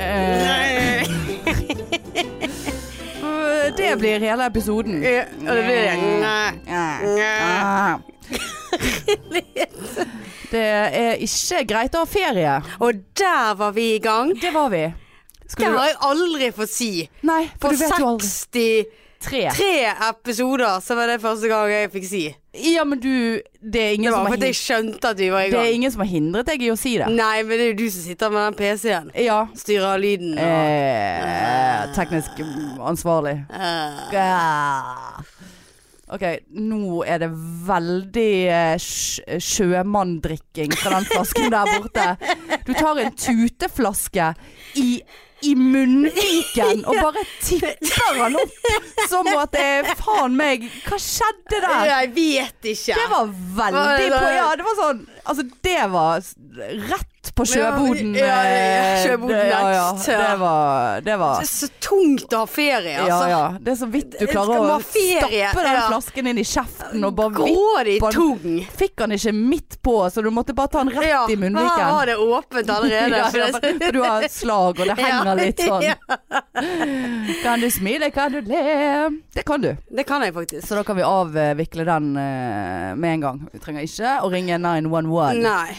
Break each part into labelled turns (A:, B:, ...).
A: Eh, Det blir hele episoden. Mm.
B: Ja, og det blir det.
A: Ah. Det er ikke greit å ha ferie.
B: Og der var vi i gang.
A: Det var vi.
B: Det
A: Skal
B: har
A: du
B: jeg aldri fått si.
A: Nei, for
B: For
A: du vet jo aldri.
B: 63
A: Tre.
B: episoder så var det første gang jeg fikk si.
A: Ja, men du Det er ingen,
B: Det
A: som
B: var
A: har,
B: fordi jeg
A: hin-
B: skjønte at vi var i
A: det er
B: gang.
A: ingen som har hindret deg i å si det.
B: Nei, men det er jo du som sitter med den PC-en.
A: Ja.
B: Styrer lyden og
A: Eh, teknisk ansvarlig.
B: eh,
A: Ah. Ok, nå er det veldig eh, sj- sjømanndrikking fra den flasken der borte. Du tar en tuteflaske i, i munnviken og bare tipper den opp som at det er faen meg Hva skjedde der?
B: Jeg vet ikke.
A: Det var veldig på Ja, det var sånn Altså, det var s- rett på sjøboden.
B: Ja, ja, ja,
A: eh,
B: sjøboden
A: det- ja, ja,
B: next.
A: det var, det var
B: Det er så tungt å ha ferie,
A: ja,
B: altså.
A: ja. Det er så vidt du
B: Jeg skal
A: klarer
B: ha
A: å
B: ferie,
A: stappe den
B: ja.
A: flasken inn i kjeften og bare vippe.
B: Går det i
A: Bare-
B: tung?
A: Fikk han ikke midt på, så du måtte bare ta den rett i
B: Her var
A: munnviken.
B: det åpent allerede.
A: Ja,
B: for
A: ja,
B: det-
A: for du har slag, og det henger
B: Ja,
A: litt sånn.
B: ja.
A: Kan du smile, kan du le? Det kan du.
B: Det kan jeg faktisk.
A: Så da kan vi avvikle den eh, med en gang. Vi trenger ikke å ringe 911
B: Nei.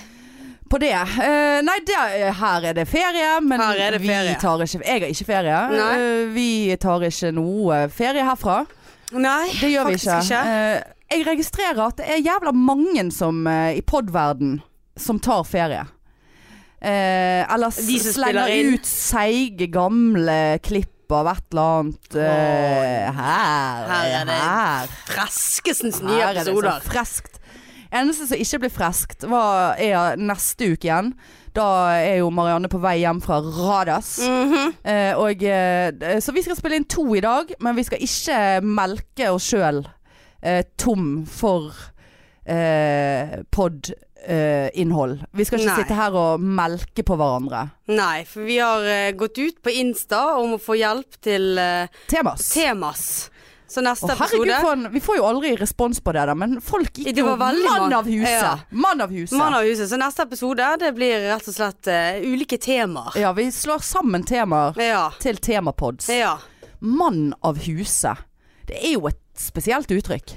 A: på det. Eh, nei, det, her er det ferie, men
B: Her er det ferie.
A: vi tar ikke Jeg har ikke ferie.
B: Nei.
A: Eh, vi tar ikke noe ferie herfra.
B: Nei,
A: Det gjør vi
B: faktisk
A: ikke. Eh, jeg registrerer at det er jævla mange som, eh, i podverden som tar ferie. Eh, eller s-
B: De som
A: slenger
B: spiller inn.
A: ut seige, gamle klipp av et eller annet. eh, her,
B: Her er det
A: her.
B: Freskesens nye
A: Her er det så
B: episoder.
A: freskt. Eneste som ikke ble freskt, var, er neste uke igjen. Da er jo Marianne på vei hjem fra Radas.
B: Mhm.
A: Eh, og, eh, d- så vi skal spille inn to i dag, men vi skal ikke melke oss sjøl eh, tom for eh, pod-innhold. vi skal ikke
B: Nei.
A: sitte her og melke på hverandre.
B: Nei, for vi har eh, gått ut på Insta om å få hjelp til eh,
A: Temas.
B: temas. Så neste
A: Å, herregud,
B: episode
A: for en, vi får jo aldri respons på det, der, men folk gikk
B: Det
A: jo
B: var veldig
A: mann
B: mange.
A: av huset.
B: Ja.
A: Mann av huset.
B: Mann av huset. Så neste episode det blir rett og slett eh, ulike temaer.
A: Ja, vi slår sammen temaer
B: Ja.
A: til temapods.
B: ja.
A: Mann av huset. Det er jo et spesielt uttrykk.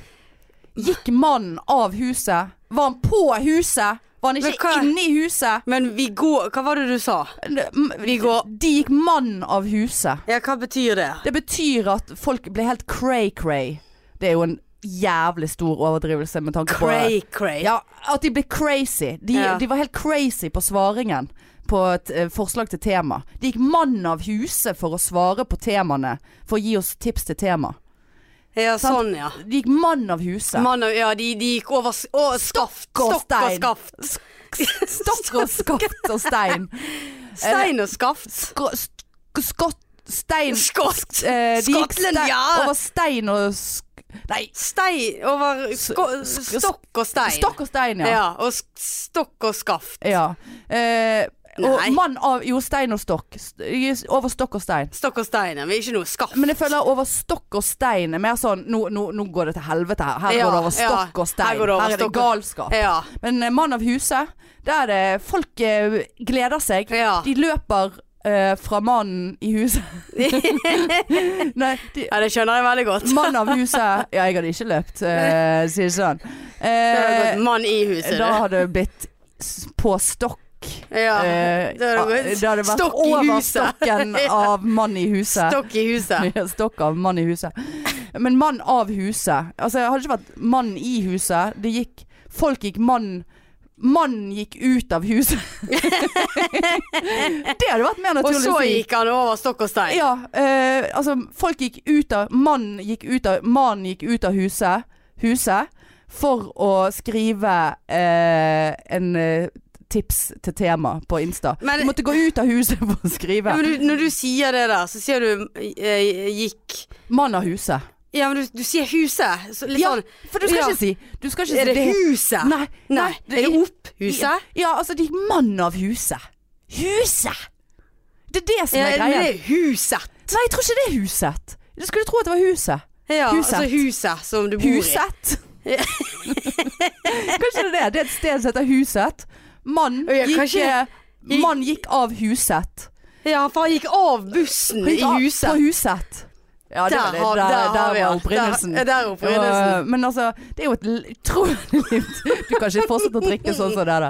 A: Gikk mannen av huset? Var han på huset? Var han
B: Men
A: ikke
B: hva-
A: inne i huset?
B: Men vi går Hva var det du sa?
A: De
B: Vi går
A: gikk mannen av huset.
B: Ja, hva betyr det?
A: Det betyr at folk ble helt cray-cray. Det er jo en jævlig stor overdrivelse med tanke på
B: Cray-cray.
A: Ja, at de ble crazy. De,
B: Ja.
A: de var helt crazy på svaringen på et eh, forslag til tema. De gikk mann av huset for å svare på temaene, for å gi oss tips til tema.
B: Ja,
A: sant.
B: sånn, ja.
A: De gikk mann av huset.
B: Mann og, ja, de, de gikk over s- å, skaft. Stokk
A: og
B: og
A: stein.
B: skaft.
A: Stokk og skaft og stein.
B: Stein og skaft.
A: Sko- sk- Skott Stein
B: Skott.
A: eh, De gikk
B: Scotland
A: ste-
B: Yard.
A: over stein og sk Nei,
B: Stein over sko,
A: sk-
B: Stokk og stein.
A: stokk og stein,
B: ja.
A: ja.
B: Og sk- stokk og skaft.
A: ja. Eh, og
B: Nei.
A: mann av Jo, stein og stokk. St- Over stokk og stein.
B: Stokk og stein, ja, men ikke noe skaft.
A: Men jeg føler over stokk og stein er mer sånn Nå, nå, nå går det til helvete her. Her
B: Ja,
A: går det over
B: ja.
A: stokk og stein.
B: Her går det
A: Her,
B: over
A: er det
B: stokk og-
A: galskap.
B: ja.
A: Men eh, mann av huset, der er det Folk eh, gleder seg.
B: Ja.
A: De løper eh, fra mannen i huset. Nei, de,
B: ja, det skjønner jeg veldig godt.
A: mann av huset Ja, jeg hadde ikke løpt, eh, sier det sånn.
B: Det hadde
A: Eh,
B: gått mann i huset,
A: da
B: du.
A: hadde det blitt s- på stokk.
B: Ja.
A: Eh,
B: det hadde gått
A: det hadde vært
B: stokk i
A: over
B: huset.
A: stokken av mann i huset.
B: Stokk i huset.
A: Mye Stokk av mann i huset. Men mann av huset. Altså, det hadde ikke vært mann i huset. Det gikk Folk gikk mann Mannen gikk ut av huset. det hadde vært mer
B: Og
A: naturlig
B: så
A: å si.
B: gikk han over stokk og stein.
A: Ja, eh, altså folk gikk ut av Mannen gikk ut av Mannen gikk ut av huset Huset For å skrive eh, En eh, tips til tema På Insta
B: Men-
A: Du måtte gå ut av huset for å skrive
B: Ja, men du, når du sier det der, så sier du eh, gikk
A: Mann av huset
B: Ja, men du, du sier huset. Så litt
A: Ja,
B: sånn
A: for du skal
B: Ja.
A: ikke si Du skal ikke si
B: Er det huset?
A: Nei,
B: Nei.
A: nei
B: Er det opp huset?
A: Ja, altså de gikk mann av huset Huset Det er det som
B: Ja,
A: er
B: er det
A: greia
B: huset?
A: Nei, jeg tror ikke det er huset Du skulle tro at det var huset
B: Ja,
A: Huset.
B: altså huset som du bor i.
A: Huset. Kanskje det er det. Det er et sted som heter Huset. Mann
B: Å ja,
A: gikk,
B: kanskje-
A: eh, mann gikk av Huset.
B: Ja, for han gikk av bussen
A: Han
B: i
A: gikk av- Fra
B: huset.
A: Huset. Ja, det var det.
B: har-
A: Der, der, var
B: alt.
A: opprinnelsen.
B: Der, der er opprinnelsen.
A: Og, men altså, det er jo et l- utrolig limt. Du kan ikke fortsette å drikke sånn som det der.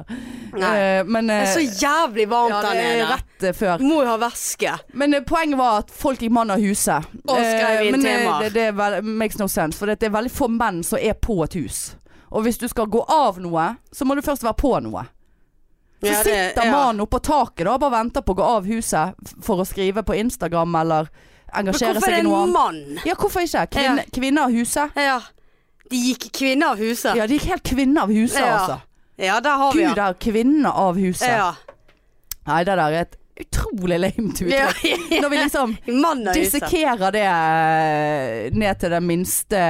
B: Nei.
A: Eh, Men
B: Det er så
A: eh,
B: jævlig varmt
A: ja,
B: der
A: det er
B: nede.
A: rett eh, før.
B: Må jo ha væske.
A: Men eh, poenget var at folk gikk mann av huse.
B: Og skrev
A: Eh,
B: inn
A: men eh,
B: temaer.
A: det, det er vel- makes no sense, for det er veldig få menn som er på et hus. Og hvis du skal gå av noe, så må du først være på noe. Så
B: Ja, det-
A: sitter
B: ja.
A: mannen oppå taket da, og bare venter på å gå av huset f- for å skrive på Instagram eller
B: Men
A: engasjere
B: hvorfor er
A: seg
B: det
A: i
B: en
A: noe annet.
B: mann?
A: Ja, hvorfor ikke? Kvinne, Kvinner av huset.
B: Ja. De gikk kvinner av huset.
A: Ja, de gikk helt kvinner av huset,
B: Ja.
A: altså.
B: Ja, der har vi
A: Gud,
B: ja.
A: er kvinner av huset.
B: ja.
A: Nei, det der er et utrolig lame uttrykk.
B: ja.
A: Når vi liksom
B: Mann av huset.
A: dissekerer det eh, ned til den minste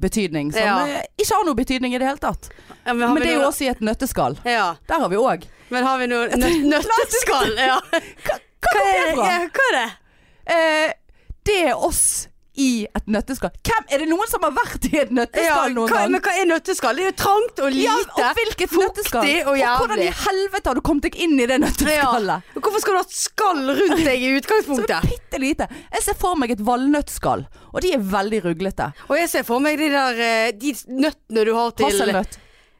A: betydning, som
B: Ja.
A: eh, ikke har noe betydning i det hele tatt.
B: Ja, men, har
A: Men
B: vi
A: det er jo
B: noe-
A: også i et nøtteskall.
B: ja.
A: Der har vi òg.
B: men har vi noe nø- nøtteskall? Ja.
A: Hva, hva kom det
B: Ja,
A: fra?
B: hva er det?
A: Eh, det er oss i et nøtteskall. Hvem, er det noen som har vært i et
B: Ja,
A: nøtteskall noen
B: hva,
A: gang?
B: men hva er nøtteskall? Det er jo trangt og lite.
A: ja, og hvilket
B: fuktig
A: nøtteskall?
B: og
A: hvordan i
B: jævlig.
A: helvete har du kommet deg inn i det
B: Ja.
A: nøtteskallet?
B: Hvorfor skal du ha et skall rundt deg i
A: Som er
B: utgangspunktet?
A: bitte lite. Jeg ser for meg et valnøttskall, og de er veldig ruglete.
B: Og jeg ser for meg de der eh, De nøttene du har til
A: Hasselnøtt.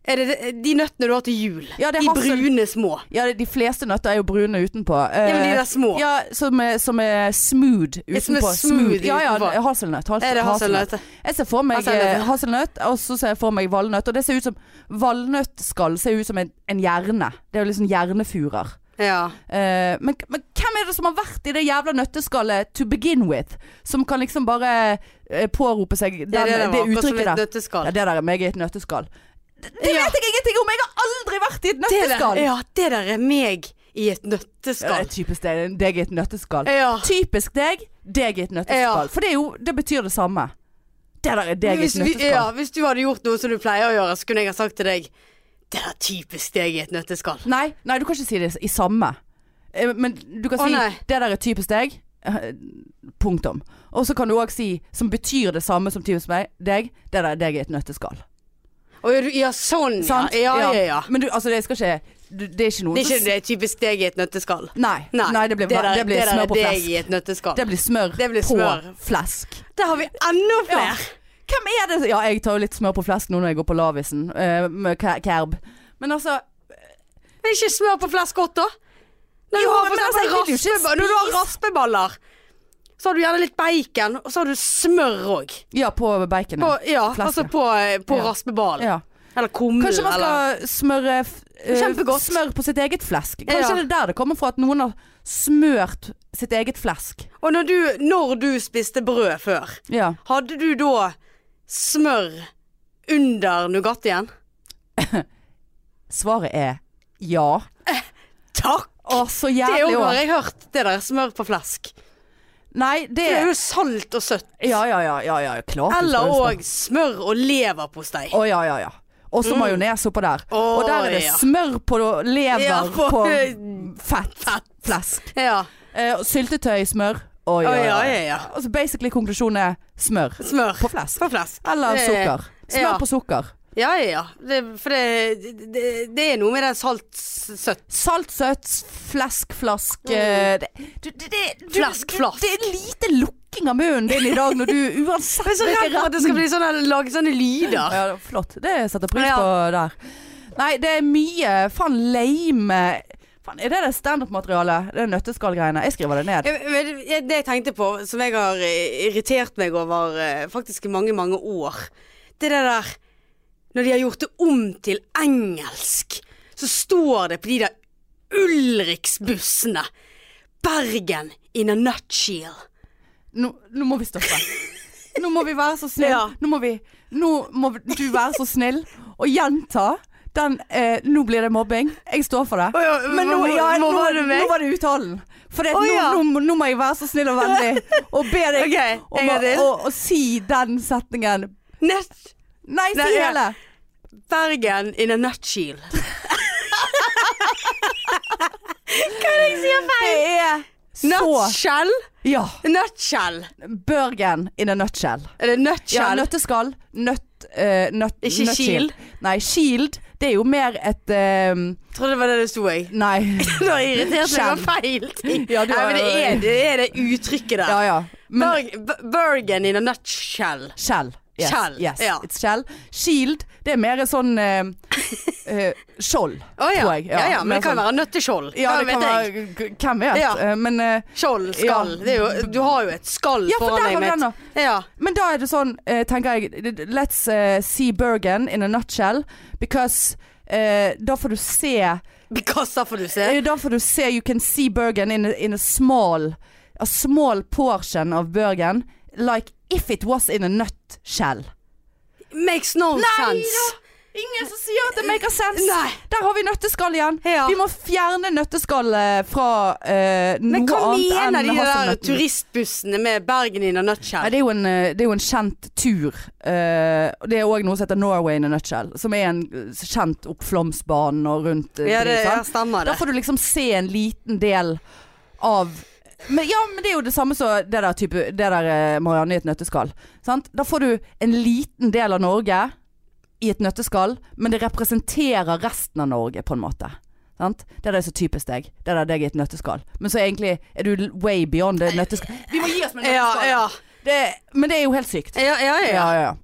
B: Er det det- de nøttene du har til jul?
A: Ja, det er
B: de
A: hassel-
B: brune små.
A: Ja, de fleste nøtter er jo brune utenpå. Eh,
B: Ja, men de der små.
A: Ja, som er, som er smooth utenpå.
B: som er smooth
A: Ja, ja,
B: utenpå.
A: hasselnøtt. has-
B: Er det hasselnøtter?
A: Jeg ser for meg
B: Hasselnøtt,
A: eh,
B: ja.
A: hasselnøtt, og så ser jeg for meg valnøtt. Og det ser ut som Valnøttskall ser ut som en, en hjerne. Det er jo liksom hjernefurer.
B: Ja.
A: Eh, men, men hvem er det som har vært i det jævla nøtteskallet to begin with? Som kan liksom bare eh, pårope seg den,
B: Det er det
A: det,
B: det var. Akkurat som
A: uttrykket
B: et
A: der.
B: nøtteskall.
A: Ja, det der er meg i et nøtteskall. Det, det
B: Ja.
A: vet jeg ingenting om! Jeg har aldri vært i et
B: Det der,
A: nøtteskall!
B: ja, det der er meg i et
A: Ja, det
B: nøtteskall.
A: er typisk deg, deg i et nøtteskall.
B: Ja.
A: Typisk deg, deg i et nøtteskall. For det, er jo, det betyr det samme. Det der er deg i
B: Hvis,
A: et
B: vi,
A: nøtteskall.
B: ja, hvis du hadde gjort noe som du pleier å gjøre, så kunne jeg ha sagt til deg Det er typisk deg i et nøtteskall.
A: Nei, nei, du kan ikke si det i samme. Eh, Men du kan
B: Å,
A: si
B: nei.
A: det der er typisk deg. eh, Punktum. Og så kan du òg si, som betyr det samme som typisk meg, deg, det der er deg i et nøtteskall.
B: Å, ja, du- ja, sånn, ja.
A: Sant?
B: Ja, ja, ja.
A: Men du, altså, det skal ikke du, Det er ikke noen
B: Det er ikke
A: som-
B: det er typisk deg i et nøtteskall.
A: Nei, nei, det blir,
B: der-
A: det blir
B: der
A: smør
B: er
A: på
B: deg
A: flesk.
B: i et nøtteskall.
A: Det blir smør,
B: Det blir smør.
A: på flesk.
B: Der har vi enda flere!
A: Ja. Hvem er det Ja, jeg tar jo litt smør på flesk nå når jeg går på lavisen eh, med ke- kerb. Men altså
B: Men ikke smør på flesk godt, da? Når
A: Jo,
B: du har, for
A: men altså,
B: eksempel
A: jeg vil jo ikke
B: raspeba- når du har
A: spise-
B: raspeballer, så har du gjerne litt bacon, og så har du smør òg.
A: Ja, på baconet.
B: Ja,
A: Fleske.
B: altså på, på
A: Ja.
B: raspeballen.
A: Ja.
B: Eller kummen.
A: Kanskje man
B: eller
A: skal smøre f- eh,
B: Kjempegodt.
A: Smør på sitt eget flesk. Kanskje
B: Ja.
A: det er der det kommer fra at noen har smørt sitt eget flesk.
B: Og når du, når du spiste brød før,
A: Ja.
B: hadde du da smør under Nugattien?
A: Svaret er ja.
B: Takk!
A: Å, så
B: Det òg
A: jævlig
B: har
A: òg.
B: jeg hørt, det der smør på flesk.
A: Nei, det
B: Det er jo salt og søtt.
A: Ja, ja, ja. ja, ja klart. du
B: Eller
A: skal jo smøre.
B: òg smør og leverpostei.
A: Å, ja, ja, ja. Og så majones oppå der.
B: Mm. Å,
A: og der er det
B: ja.
A: smør på lever
B: Ja,
A: på,
B: på-
A: fett. Flesk.
B: Ja.
A: Eh, og syltetøy, smør. Oi,
B: Å,
A: oi,
B: ja,
A: oi.
B: ja, ja.
A: Altså basically konklusjonen er smør
B: Smør
A: på flesk.
B: på flesk.
A: Eller
B: Det-
A: sukker. Smør
B: ja.
A: på sukker.
B: Ja, ja, ja. Det, for det, det, det er noe med den salt-søtt.
A: Salt, søtt, flesk, flask eh, det, du, det, det, du,
B: Flask,
A: du-
B: flask.
A: Det er lite lukking av munnen din i dag når du uansett
B: Jeg er så redd for at det skal bli sånn her- lage sånne lyder.
A: Ja, flott. Det setter pris
B: Ja.
A: på der. Nei, det er mye faen lame Faen, er det det standup-materialet? Det er nøtteskallgreiene. Jeg skriver det ned.
B: Jeg- jeg- jeg- Det jeg tenkte på, som jeg har eh, irritert meg over eh, faktisk i mange, mange år, det er det der Når de har gjort det om til engelsk, så står det på de der Ulriksbussene Bergen in a nutshell.
A: Nå, nå må vi stoppe. Nå må vi være så snill.
B: Ja.
A: Nå må vi Nå må du være så snill og gjenta den eh, Nå blir det mobbing. Jeg står for det.
B: ja,
A: Men nå,
B: må-
A: ja, nå,
B: må- var det meg?
A: nå var det uttalen. For det,
B: Å, ja.
A: nå, nå, nå må jeg være så snill og vennlig og be deg
B: Ok, en
A: om å
B: gang til.
A: å- å si den setningen.
B: Nett
A: Nei, si
B: Nei, ja.
A: hele!
B: Bergen in a nutshell.
A: Det er så
B: Nutshell?
A: Ja.
B: Nutshell.
A: Børgen in a nutshell.
B: Er det
A: Ja,
B: nutshell?
A: nøtteskall. Nøtt, at eh, nut,
B: Ikke
A: nut
B: Shield?
A: Nei, Shield det er jo mer et eh,
B: Trodde det var det det sto, jeg.
A: Nei.
B: Du har irritert meg over
A: Kjenn.
B: feil ting.
A: Ja, du
B: Nei,
A: har-
B: men det er det, er det uttrykket der.
A: Ja ja. Men
B: Berg- B- Bergen in a nutshell.
A: Shell. Yes,
B: Shell,
A: yes
B: ja.
A: it's shell. Shield det er mer et sånn eh, eh, skjold,
B: Å ja.
A: tror jeg.
B: ja, ja, men
A: mer
B: det kan
A: sånn-
B: være nøtteskjold.
A: ja,
B: Hva
A: det
B: vet
A: kan
B: jeg?
A: være, g- hvem vet.
B: Ja.
A: Eh, men, eh,
B: Skjold, skall.
A: Ja.
B: Det er jo, du har jo et skall
A: Ja, for
B: foran
A: der
B: deg.
A: har du
B: med
A: den,
B: et- Ja.
A: men da er det sånn, eh, tenker jeg d- d- Let's eh, see Bergen in a nutshell. Because eh, da får du se
B: Kassa får du se.
A: Eh, Da får du se You can see Bergen in a, in a small A small portion of Bergen Like if it was in a nutshell
B: Makes no sense.
A: Ingen som sier at det maker sense
B: Nei.
A: Der har vi nøtteskall igien
B: Ja.
A: Vi må fjerne nøtteskallet fra eh, noe
B: Men hva
A: annet enn
B: mener de der
A: hasselnøtten.
B: turistbussene med Bergen in a
A: Nei,
B: nutshell?
A: det, er jo en, eh, det er jo en kjent tur eh, og Det er også noe som heter Norway in a nutshell Som er en eh, kjent oppflomsbane og rundt eh,
B: Ja, det
A: dritt, sant?
B: ja, stemmer
A: Da
B: det.
A: får du liksom se en liten del av men, ja, men det er jo det samme som det der, type, det der eh, Marianne i et nøtteskall. Sant? Da får du en liten del av Norge i et nøtteskall, men det representerer resten av Norge på en måte. Sant? Det der er så typisk deg. Det der deg i et nøtteskall. Men så egentlig er du way beyond det nøtteskallet. Vi må gi oss med
B: Ja,
A: nøtteskall.
B: ja.
A: Det, men det er jo helt sykt.
B: Ja, ja, ja.
A: Ja, ja.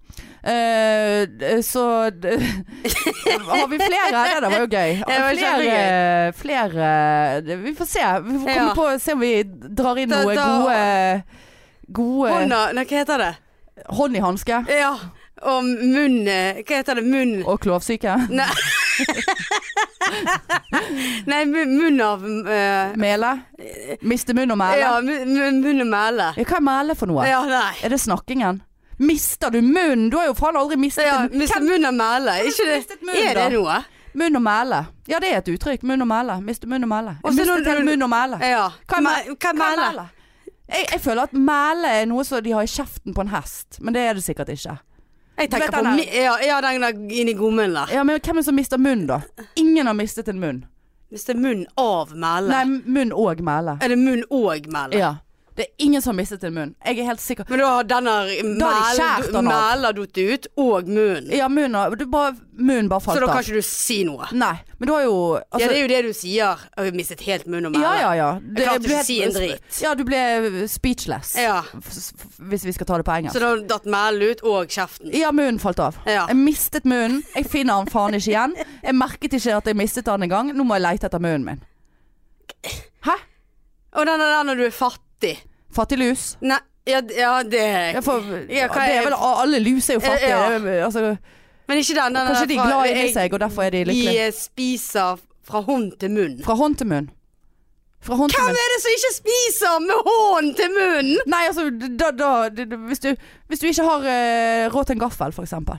A: Eh, d- så d- Har vi flere? Det der var jo gøy.
B: Det var
A: flere, flere d- Vi får se. Vi får komme
B: Ja.
A: på og se om vi drar inn
B: Da-
A: noe
B: da-
A: gode Gode
B: Hånda Nei, hva heter det?
A: hånd i hanske
B: Ja. Og munn eh, Hva heter det? Munn
A: og klovsyke.
B: Nei, Nei munn munn av eh,
A: Mele. Miste munn og mæle.
B: Ja, munn- munn munn og mæle.
A: Ja, Hva er mæle for noe?
B: Ja, nei.
A: Er det snakkingen? Mister du munnen? Du har jo faen aldri mistet
B: Ja,
A: en-
B: miste munn og mæle. Ikke det.
A: mistet munn,
B: Er det
A: da?
B: noe?
A: Munn og mæle. Ja, det er et uttrykk. Munn og mæle. Miste munn og mæle.
B: Og
A: Jeg
B: så
A: mistet
B: når-
A: hele munn og mæle.
B: Ja.
A: Hva er
B: Mæ- Hva er mæle?
A: Jeg, jeg føler at mæle er noe som de har i kjeften på en hest, men det er det sikkert ikke.
B: Jeg
A: Du vet
B: tenker på
A: den der?
B: mi- Ja, ja, den der inni gommen der.
A: Ja, Men hvem er det som mister munn, da? Ingen har mistet en munn.
B: Miste munn av mæle.
A: Nei, munn og mæle.
B: Er det munn og mæle?
A: Ja. Det er ingen som har mistet en munn. Jeg er helt sikker.
B: Men da har denne
A: skjært
B: mælen-
A: den av.
B: mæla datt ut, og munnen.
A: Ja, munnen har du bare, munnen bare
B: Så
A: falt
B: da kan
A: av.
B: ikke du si noe.
A: Nei, men du har jo
B: ja,
A: altså,
B: det er jo det du sier. Jeg har mistet helt munn og mæle.
A: ja, ja, ja. Det
B: klarte
A: ble
B: ikke å
A: helt-
B: si en dritt.
A: Ja, du ble eh, speechless.
B: Ja.
A: F- f- Hvis vi skal ta det på engelsk.
B: Så da datt mælen ut, og kjeften.
A: Ja, munnen falt av.
B: Ja.
A: Jeg mistet munnen. Jeg finner den faen ikke igjen. Jeg merket ikke at jeg mistet den engang. Nå må jeg lete etter munnen min. Hæ?
B: Og den der når du er fattig.
A: Fattig lus?
B: Nei, ja, d- ja det
A: Jeg får,
B: Ja, hva
A: det
B: er-
A: er vel, alle lus er jo fattige.
B: Ja.
A: Det er- Altså,
B: Men ikke den. den
A: kanskje de er glad inni seg, og derfor er de
B: De
A: lykkelige.
B: eh, spiser fra hånd til munn.
A: Fra hånd til munn. Fra hånd til
B: Hvem
A: munn.
B: er det som ikke spiser med hånd til munn?
A: Nei, altså, da, da, d- d- hvis, du, hvis du ikke har eh, råd til en gaffel, for eksempel.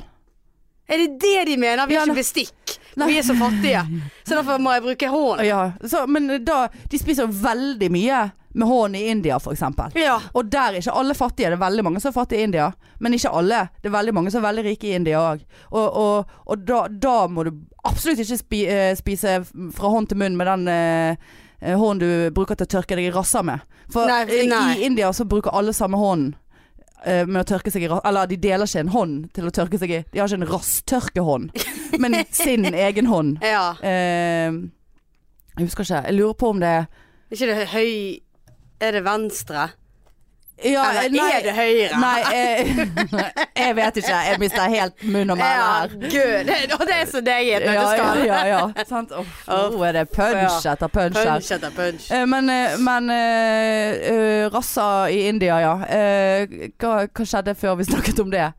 B: Er det det de mener? Vi
A: Ja,
B: har
A: nei.
B: ikke bestikk.
A: Nei.
B: Vi er så fattige. Så derfor må jeg bruke hånd.
A: Ja, så, men da, de spiser jo veldig mye med hånd i India, for eksempel.
B: Ja.
A: Og der er ikke alle fattige. Det er veldig mange som er fattige i India. Men ikke alle. Det er veldig mange som er veldig rike i India òg. Og, og, og da, da må du absolutt ikke spi, eh, spise fra hånd til munn med den eh, eh, hånden du bruker til å tørke deg i rassa med. For
B: Nei,
A: eh,
B: nei.
A: i India så bruker alle samme hånden. eh, Med å tørke seg i ra- Eller de deler ikke en hånd til å tørke seg i. De har ikke en rasstørkehånd, men sin egen hånd.
B: Ja.
A: Eh, jeg husker ikke. Jeg lurer på om det er
B: Er ikke det høy... Er det venstre?
A: ja,
B: Eller
A: nei.
B: er det høyre?
A: Nei, jeg, jeg vet ikke. Jeg mister helt munn og mæle
B: Ja,
A: her.
B: gud. Det- Og det er så deg i et
A: Ja, ja,
B: nøtteskall.
A: ja. ja. Sant? Uff, nå er det punch
B: Ja.
A: etter punch her.
B: Punch etter punch.
A: Eh, Men, eh, men eh, eh, rassa i India, ja. Eh, Hva, hva skjedde før vi snakket om det? Eh,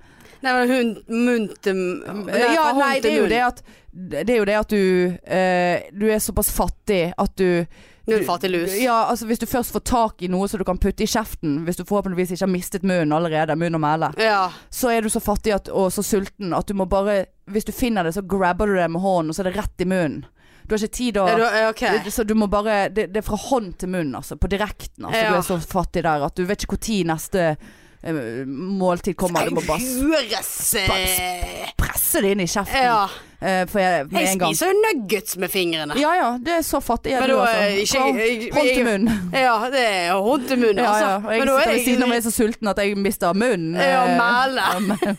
B: Nei, men hun munn til munn.
A: ja, nei, det er jo det at det er jo det at du eh, Du er såpass fattig at du
B: Nå er du fattig lus.
A: Ja, altså hvis du først får tak i noe som du kan putte i kjeften, hvis du forhåpentligvis ikke har mistet munnen allerede, munn og mæle,
B: Ja.
A: så er du så fattig at, og så sulten at du må bare Hvis du finner det, så grabber du det med hånden, og så er det rett i munnen. Du har ikke tid å
B: Nei, du, ja, ok.
A: det- Så du må bare det, det er fra hånd til munn, altså. På direkten. Altså,
B: Ja.
A: Du er så fattig der at du vet ikke når neste eh, måltid kommer, du må bare s-
B: Høres eh,
A: presse det inn i kjeften.
B: Ja.
A: Eh, for jeg, med
B: Jeg
A: en gang.
B: spiser jo nuggets med fingrene.
A: Ja ja, det er så fattig er
B: Men
A: du,
B: da, eh,
A: altså.
B: ikke-
A: Hånd,
B: jeg-
A: hånd
B: jeg-
A: til munn.
B: Ja, det er hånd til munn,
A: Ja,
B: altså.
A: ja. Og jeg
B: Men da
A: sitter
B: er
A: ved siden av meg så sulten at jeg mister munnen.
B: Ja,
A: Eh,
B: mæle.
A: ja, mæ-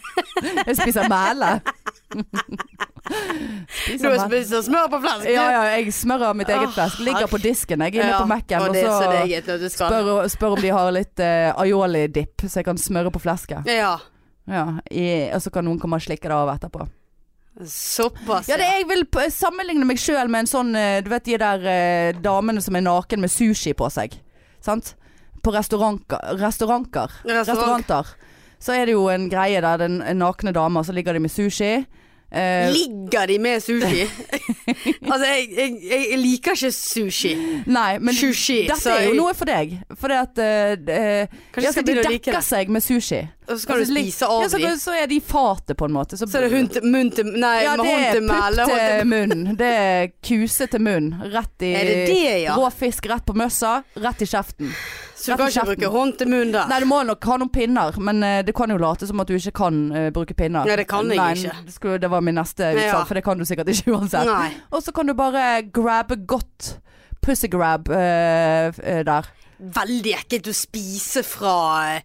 A: jeg spiser mæle.
B: Du
A: Spiser
B: har
A: mæle.
B: spist smør på flesk.
A: Ja, ja, jeg smører mitt eget
B: Åh,
A: flesk. Ligger på disken, jeg er inne på Mac-en.
B: og
A: Og
B: det er så
A: så
B: deget når du skal.
A: spør, spør om de har litt eh, aioli-dipp, så jeg kan smøre på flesket.
B: Ja,
A: Ja, i, og så kan noen komme og slikke det av etterpå.
B: såpass.
A: Ja, det, jeg vil p- sammenligne meg sjøl med en sånn eh, Du vet de der eh, damene som er naken med sushi på seg. Sant? På restauranter. Restauranter.
B: Restaurant.
A: restauranter. Så er det jo en greie der den nakne dama, så ligger de med sushi. Eh,
B: Ligger de med sushi? altså, jeg, jeg, jeg jeg liker ikke sushi.
A: nei, men
B: sushi,
A: dette
B: så
A: er jo
B: jeg-
A: noe for deg. For det at eh, d- eh,
B: Kanskje skal
A: ja, så De
B: begynne å like
A: dekker
B: det.
A: seg med sushi.
B: Og så skal
A: Altså,
B: du
A: lik-
B: spise av
A: ja, så,
B: de.
A: så er de fatet, på en måte.
B: Så er det hund til munn til Nei,
A: Ja,
B: med
A: det
B: hånd
A: er
B: til
A: pupp
B: mæle. hånd til-
A: til munn. Det er kuse til munn. Rett i
B: Er det det, ja?
A: Rå fisk rett på møssa, rett i kjeften.
B: Så du kan ikke bruke hånd til munn der.
A: Nei, du må nok ha noen pinner, men eh, det kan jo late som at du ikke kan eh, bruke pinner.
B: Nei, det kan jeg
A: Nei,
B: ikke.
A: det skulle- det var min neste utsagn,
B: Ja.
A: for det kan du sikkert ikke uansett.
B: Nei.
A: Og så kan du bare grabbe godt. Pussygrab eh, f- eh, der.
B: Veldig ekkelt å spise fra eh,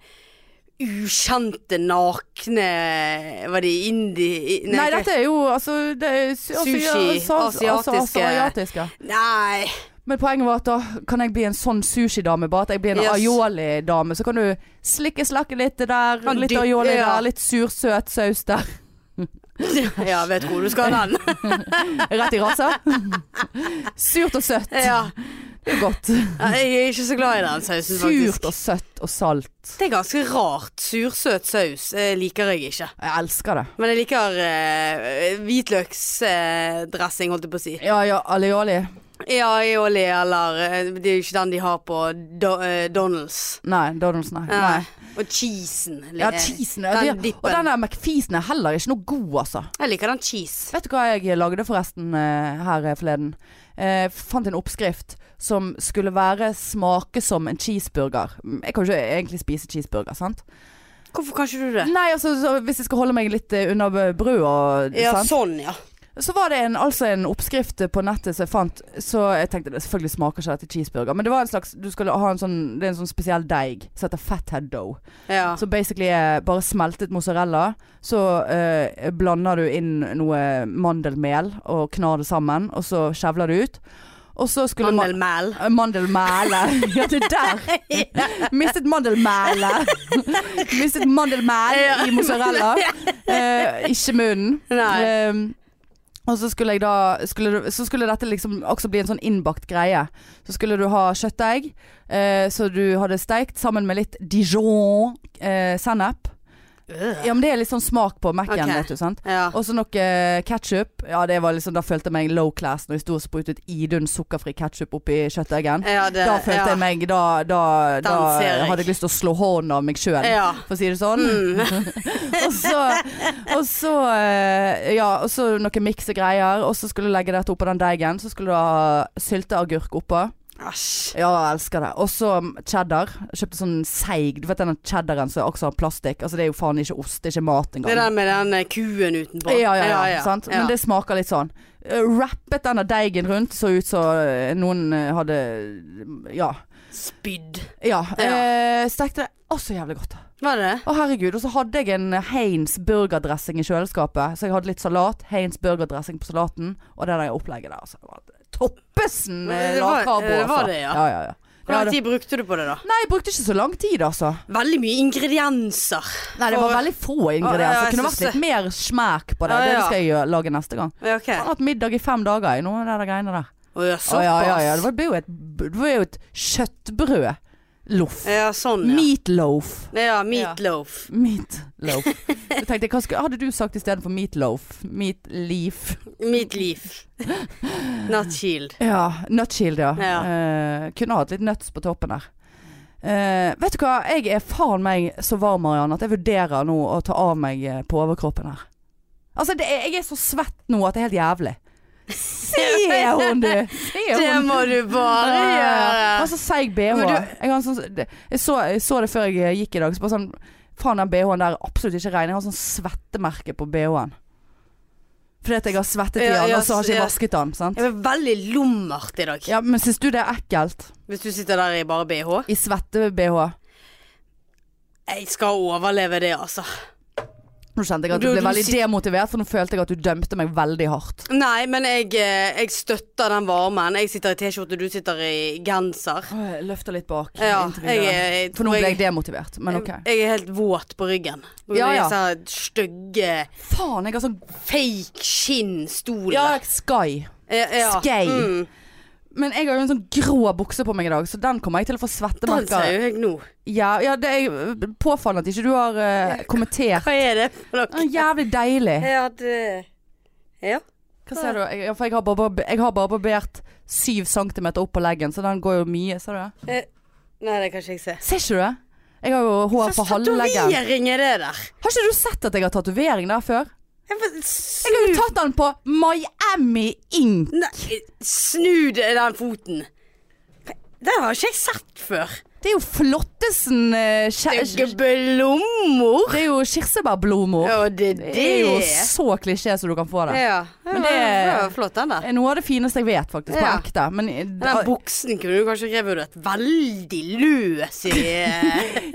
B: ukjente, nakne Var de indi... i-
A: Nei,
B: ikke-
A: dette er jo altså, det er, su- altså, ja,
B: Sushi,
A: sans- altså,
B: asiatiske-
A: asiatiske.
B: Nei.
A: Men poenget var at da kan jeg bli en sånn sushidame, bare at jeg blir en
B: Yes.
A: aioli-dame. Så kan du slikke slakke litt der,
B: Kan
A: litt
B: dyppe,
A: aioli
B: ja.
A: der, litt sursøt saus der.
B: Ja, vet hvor du skal hen.
A: Rett i rasa. Surt og søtt.
B: Ja.
A: Det er jo godt.
B: Ja, Jeg er ikke så glad i den sausen, faktisk.
A: Surt og søtt og salt.
B: Det er ganske rart. Sursøt saus eh, liker jeg ikke.
A: Jeg elsker det.
B: Men jeg liker eh, hvitløksdressing, holdt jeg på å si.
A: Ja ja, alioli.
B: Ja, aioli eller eh, Det er jo ikke den de har på do, eh, Donalds.
A: Nei, Donalds, nei. nei.
B: Og cheesen.
A: Ja,
B: eh,
A: cheesen.
B: Den
A: de-
B: dippen.
A: Og den der McFeesen er heller ikke noe god, altså.
B: Jeg liker den cheese.
A: Vet du hva jeg lagde forresten eh, her eh, forleden? Eh, fant en oppskrift som skulle være smake som en cheeseburger. Mm, Jeg kan jo ikke egentlig spise cheeseburger, sant?
B: Hvorfor kan ikke du det?
A: Nei, altså så, hvis jeg skal holde meg litt eh, under eh, brød og
B: Ja,
A: sant?
B: sånn, ja.
A: Så var det en, altså en oppskrift på nettet som jeg fant, så jeg tenkte det selvfølgelig smaker ikke dette cheeseburger. Men det var en slags du skulle ha en sånn, det er en sånn spesiell deig som heter fathead dough.
B: ja.
A: Så basically er bare smeltet mozzarella. Så eh, blander du inn noe mandelmel og knar det sammen, og så skjevler du ut. Og så skulle man-
B: Mandelmel.
A: Eh, Mandelmæle. Ja, det der. Mistet mandelmæle. Mistet mandelmæl i mozzarella. Eh, ikke munnen.
B: Nei.
A: Eh, og så skulle, jeg da, skulle, så skulle dette liksom også bli en sånn innbakt greie. Så skulle du ha kjøttdeig, eh, så du hadde steikt sammen med litt Dijon-sennep. ja, men det er litt sånn smak på Mac-en,
B: Ok.
A: vet du. sant?
B: Ja.
A: Og så noe ketsjup. Ja, det var liksom, da følte jeg meg low class når jeg sto og sprutet idun sukkerfri ketsjup oppi kjøttdeggen.
B: ja det,
A: sånn. Da følte
B: Eh, ja.
A: jeg meg Da, da, da
B: ser jeg.
A: hadde jeg lyst til å slå hånden av meg sjøl.
B: Ja. Mm.
A: For å si det sånn. og så, og så, eh, ja, og så noe miks og greier. Og så skulle du legge dette oppå den deigen. Så skulle du ha sylteagurk oppå.
B: Æsj.
A: Ja, jeg elsker det. Og så mm, cheddar. Jeg kjøpte sånn seig. Du vet den cheddaren som også har plastikk. Altså det er jo faen ikke ost, det er ikke mat engang.
B: Det er den med den eh, kuen utenpå.
A: Ja, ja, ja, Sant?
B: Ja.
A: Men det smaker litt sånn. Eh, Wrappet denne deigen rundt, så ut som eh, noen eh, hadde Ja.
B: Spydd.
A: ja.
B: Ja.
A: Eh, stekte det å så jævlig godt.
B: Var det det?
A: Å herregud. Og så hadde jeg en Heinz burgerdressing i kjøleskapet. Så jeg hadde litt salat. Heinz burgerdressing på salaten. Og det der opplegget der, altså. det var Toppesen eh,
B: Det var-
A: lavkarbo,
B: det
A: altså.
B: var det, ja.
A: Ja, ja, ja.
B: Hvor
A: Ja,
B: lang
A: det-
B: tid brukte du på det, da?
A: Nei, jeg brukte ikke så lang tid, altså.
B: Veldig mye ingredienser.
A: Nei, det var
B: For-
A: veldig få
B: Ja, ja,
A: ingredienser.
B: jeg
A: Det kunne
B: synes
A: vært litt mer smak på det.
B: Ja,
A: Det
B: ja.
A: skal jeg gjøre- lage neste gang.
B: Ja, OK.
A: Jeg har hatt middag i fem dager i noen av de greiene der.
B: Å ja,
A: Å,
B: såpass.
A: ja, ja, ja. Det var- Det ble jo et, det ble jo et kjøttbrød. Loff.
B: Ja, sånn, ja.
A: Meatloaf.
B: ja, meatloaf.
A: Meatloaf. Jeg tenkte, hva skulle, hadde du sagt istedenfor meatloaf? Meatleaf.
B: Meatleaf. Not shield.
A: Ja. Nutshield, ja.
B: Ja.
A: Eh, kunne hatt litt nuts på toppen der. Eh, vet du hva, jeg er faen meg så varm, Marianne, at jeg vurderer nå å ta av meg eh, på overkroppen her. Altså, det er, jeg er så svett nå at det er helt jævlig. Ser hun det? Ser hun
B: Det må du bare
A: Ja.
B: gjøre. Altså,
A: Han har så seig bh.
B: Ah, Men du-
A: Jeg, har en sånn, det- jeg, så, jeg så det før jeg gikk i dag. Så bare sånn Faen, den BH-en der er absolutt ikke ren. Jeg har sånn svettemerke på BH-en. Fordi at jeg har svettet i
B: Ja,
A: den,
B: ja,
A: og så har ikke jeg
B: ja.
A: vasket den. sant?
B: Jeg var veldig lummert i dag.
A: Ja, Men syns du det er ekkelt?
B: Hvis du sitter der i bare BH.
A: I svette-BH?
B: Jeg skal overleve det, altså.
A: Nå kjente jeg at
B: Du-
A: du ble
B: du
A: veldig
B: sit-
A: demotivert, for nå følte jeg at du dømte meg veldig hardt.
B: Nei, men jeg, eh, jeg støtter den varmen. Jeg sitter i T-skjorte, du sitter i genser.
A: Jeg løfter litt bak.
B: Ja,
A: inntil
B: jeg,
A: videre.
B: er- jeg
A: for nå
B: tror
A: ble
B: jeg-
A: jeg demotivert, men OK.
B: Jeg er helt våt på ryggen. På grunn
A: Ja,
B: av
A: ja.
B: Disse her stygge
A: Faen, jeg har sånn
B: fake skinnstolene.
A: Ja, Sky.
B: Ja, ja.
A: skei.
B: Mm.
A: Men jeg har jo en sånn grå bukse på meg i dag, så den kommer jeg til å
B: Den
A: få
B: ser
A: svettemerker
B: jo jeg nå.
A: Ja, ja, det er eh, påfallende at ikke du har eh, kommentert.
B: Hva er det for
A: Det
B: noe?
A: er Jævlig deilig.
B: Ja, det eh, Ja.
A: Hva ser du? Jeg, ja, Eh, for jeg har, barbar, jeg har barbert syv centimeter opp på leggen, så den går jo mye. Ser du
B: Eh,
A: det?
B: Nei, det kan ikke jeg se.
A: Ser ikke du det? Jeg har jo hår på halvleggen.
B: Tatovering er det der.
A: Har ikke du sett at jeg har tatovering der før?
B: Jeg får-
A: Jeg har jo tatt den på Miami Ink.
B: Nei, snu det- den foten. Den har ikke jeg sett før.
A: Det er jo flottesen eh, skje-
B: Stygge blommer.
A: Det er jo kirsebærblomor.
B: Ja, det er
A: Det er jo
B: det.
A: så klisjé som du kan få det.
B: Ja,
A: Men
B: men
A: det-
B: det var flott, den der.
A: Det er Noe av det fineste jeg vet, faktisk. På
B: Ja.
A: ekte. Men, eh,
B: Den buksen kunne du kanskje revurdert veldig løs i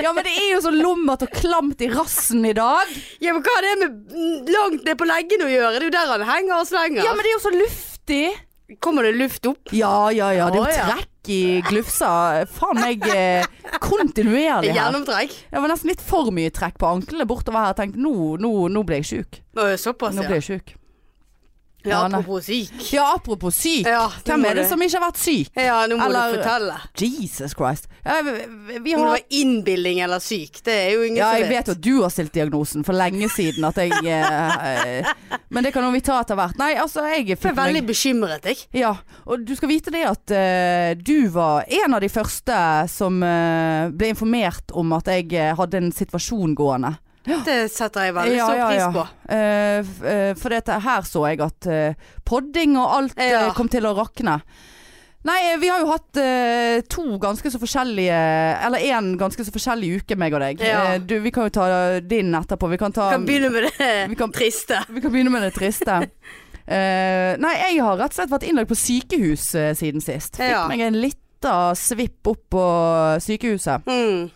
A: ja, men det er jo så lummert og klamt i rassen i dag.
B: Ja, men hva har det med langt ned på leggene å gjøre? Det er jo der han henger og slenger.
A: Ja, men det er jo så luftig.
B: Kommer det luft opp?
A: Ja, ja, ja. Det er
B: Å,
A: jo
B: ja.
A: trekk i glufsa. Faen meg eh, kontinuerlig her.
B: Gjennomtrekk?
A: Det var nesten litt for mye trekk på anklene bortover her. Jeg tenkte nå, nå, nå ble jeg sjuk.
B: Å, ja, Såpass,
A: Nå
B: ja.
A: ble jeg syk.
B: Ja,
A: Ja, nei.
B: apropos syk.
A: Ja, apropos syk.
B: Ja,
A: Hvem
B: nå må
A: er det
B: du-
A: som ikke har vært syk?
B: Ja, nå må
A: Eller-
B: du fortelle.
A: Jesus Christ. Ja, vi, vi
B: Om det
A: har
B: var innbilning eller syk, det er jo ingen
A: Ja, jeg
B: som
A: vet jo at du har stilt diagnosen for lenge siden at jeg eh, eh, Men det kan jo vi ta etter hvert. Nei, altså, jeg
B: Jeg
A: fikk
B: er veldig
A: meg
B: bekymret, jeg.
A: Ja, og du skal vite det at eh, du var en av de første som eh, ble informert om at jeg eh, hadde en situasjon gående.
B: Det setter jeg veldig
A: Ja,
B: stor
A: ja,
B: pris
A: ja.
B: på.
A: Eh, f- eh, for dette her så jeg at eh, podding og alt eh,
B: Ja.
A: kom til å rakne. Nei, eh, vi har jo hatt eh, to ganske så forskjellige Eller én ganske så forskjellig uke, meg og deg.
B: Ja.
A: Eh, du, vi kan jo ta din etterpå. Vi kan ta
B: Vi kan begynne med det
A: Um, vi kan-
B: triste.
A: Vi kan begynne med det triste. Eh, nei, jeg har rett og slett vært innlagt på sykehus eh, siden sist. Fikk
B: Ja.
A: meg en lita svipp opp på sykehuset.
B: Mm.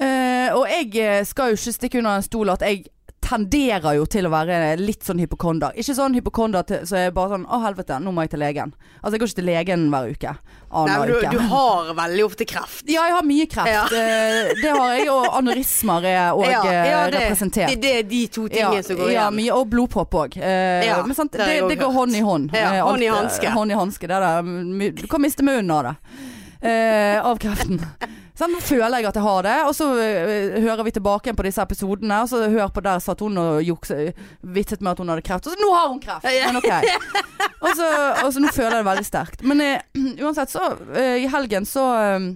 A: Eh, og jeg eh, skal jo ikke stikke under en stol at jeg tenderer jo til å være litt sånn hypokonder. Ikke sånn hypokonder til, så jeg bare sånn å helvete, nå må jeg til legen. Altså jeg går ikke til legen hver uke.
B: Nei, men
A: Annenhver
B: du,
A: uke.
B: du har veldig ofte kreft.
A: Ja, jeg har mye kreft.
B: Ja.
A: Eh, det har jeg, og anorismer er òg
B: det,
A: representert.
B: Det, det er de to tingene som går
A: ja,
B: igjen.
A: mye, og blodpropp òg. Eh,
B: Ja,
A: men sant,
B: det har
A: det,
B: jeg
A: det,
B: også
A: går
B: hørt.
A: hånd i hånd.
B: Ja,
A: Eh,
B: hånd i
A: alt, eh,
B: hanske.
A: Hånd i hanske. Det er det. My- Du kan miste munnen av det. Eh, av kreften. Sånn føler jeg at jeg har det. Og så eh, hører vi tilbake igjen på disse episodene. Og så hør på der satt hun og jukse, vitset med at hun hadde kreft. Og så nå har hun kreft!
B: Ja.
A: Men ok. Og så, og så nå føler jeg det veldig sterkt. Men eh, uansett, så eh, i helgen så eh,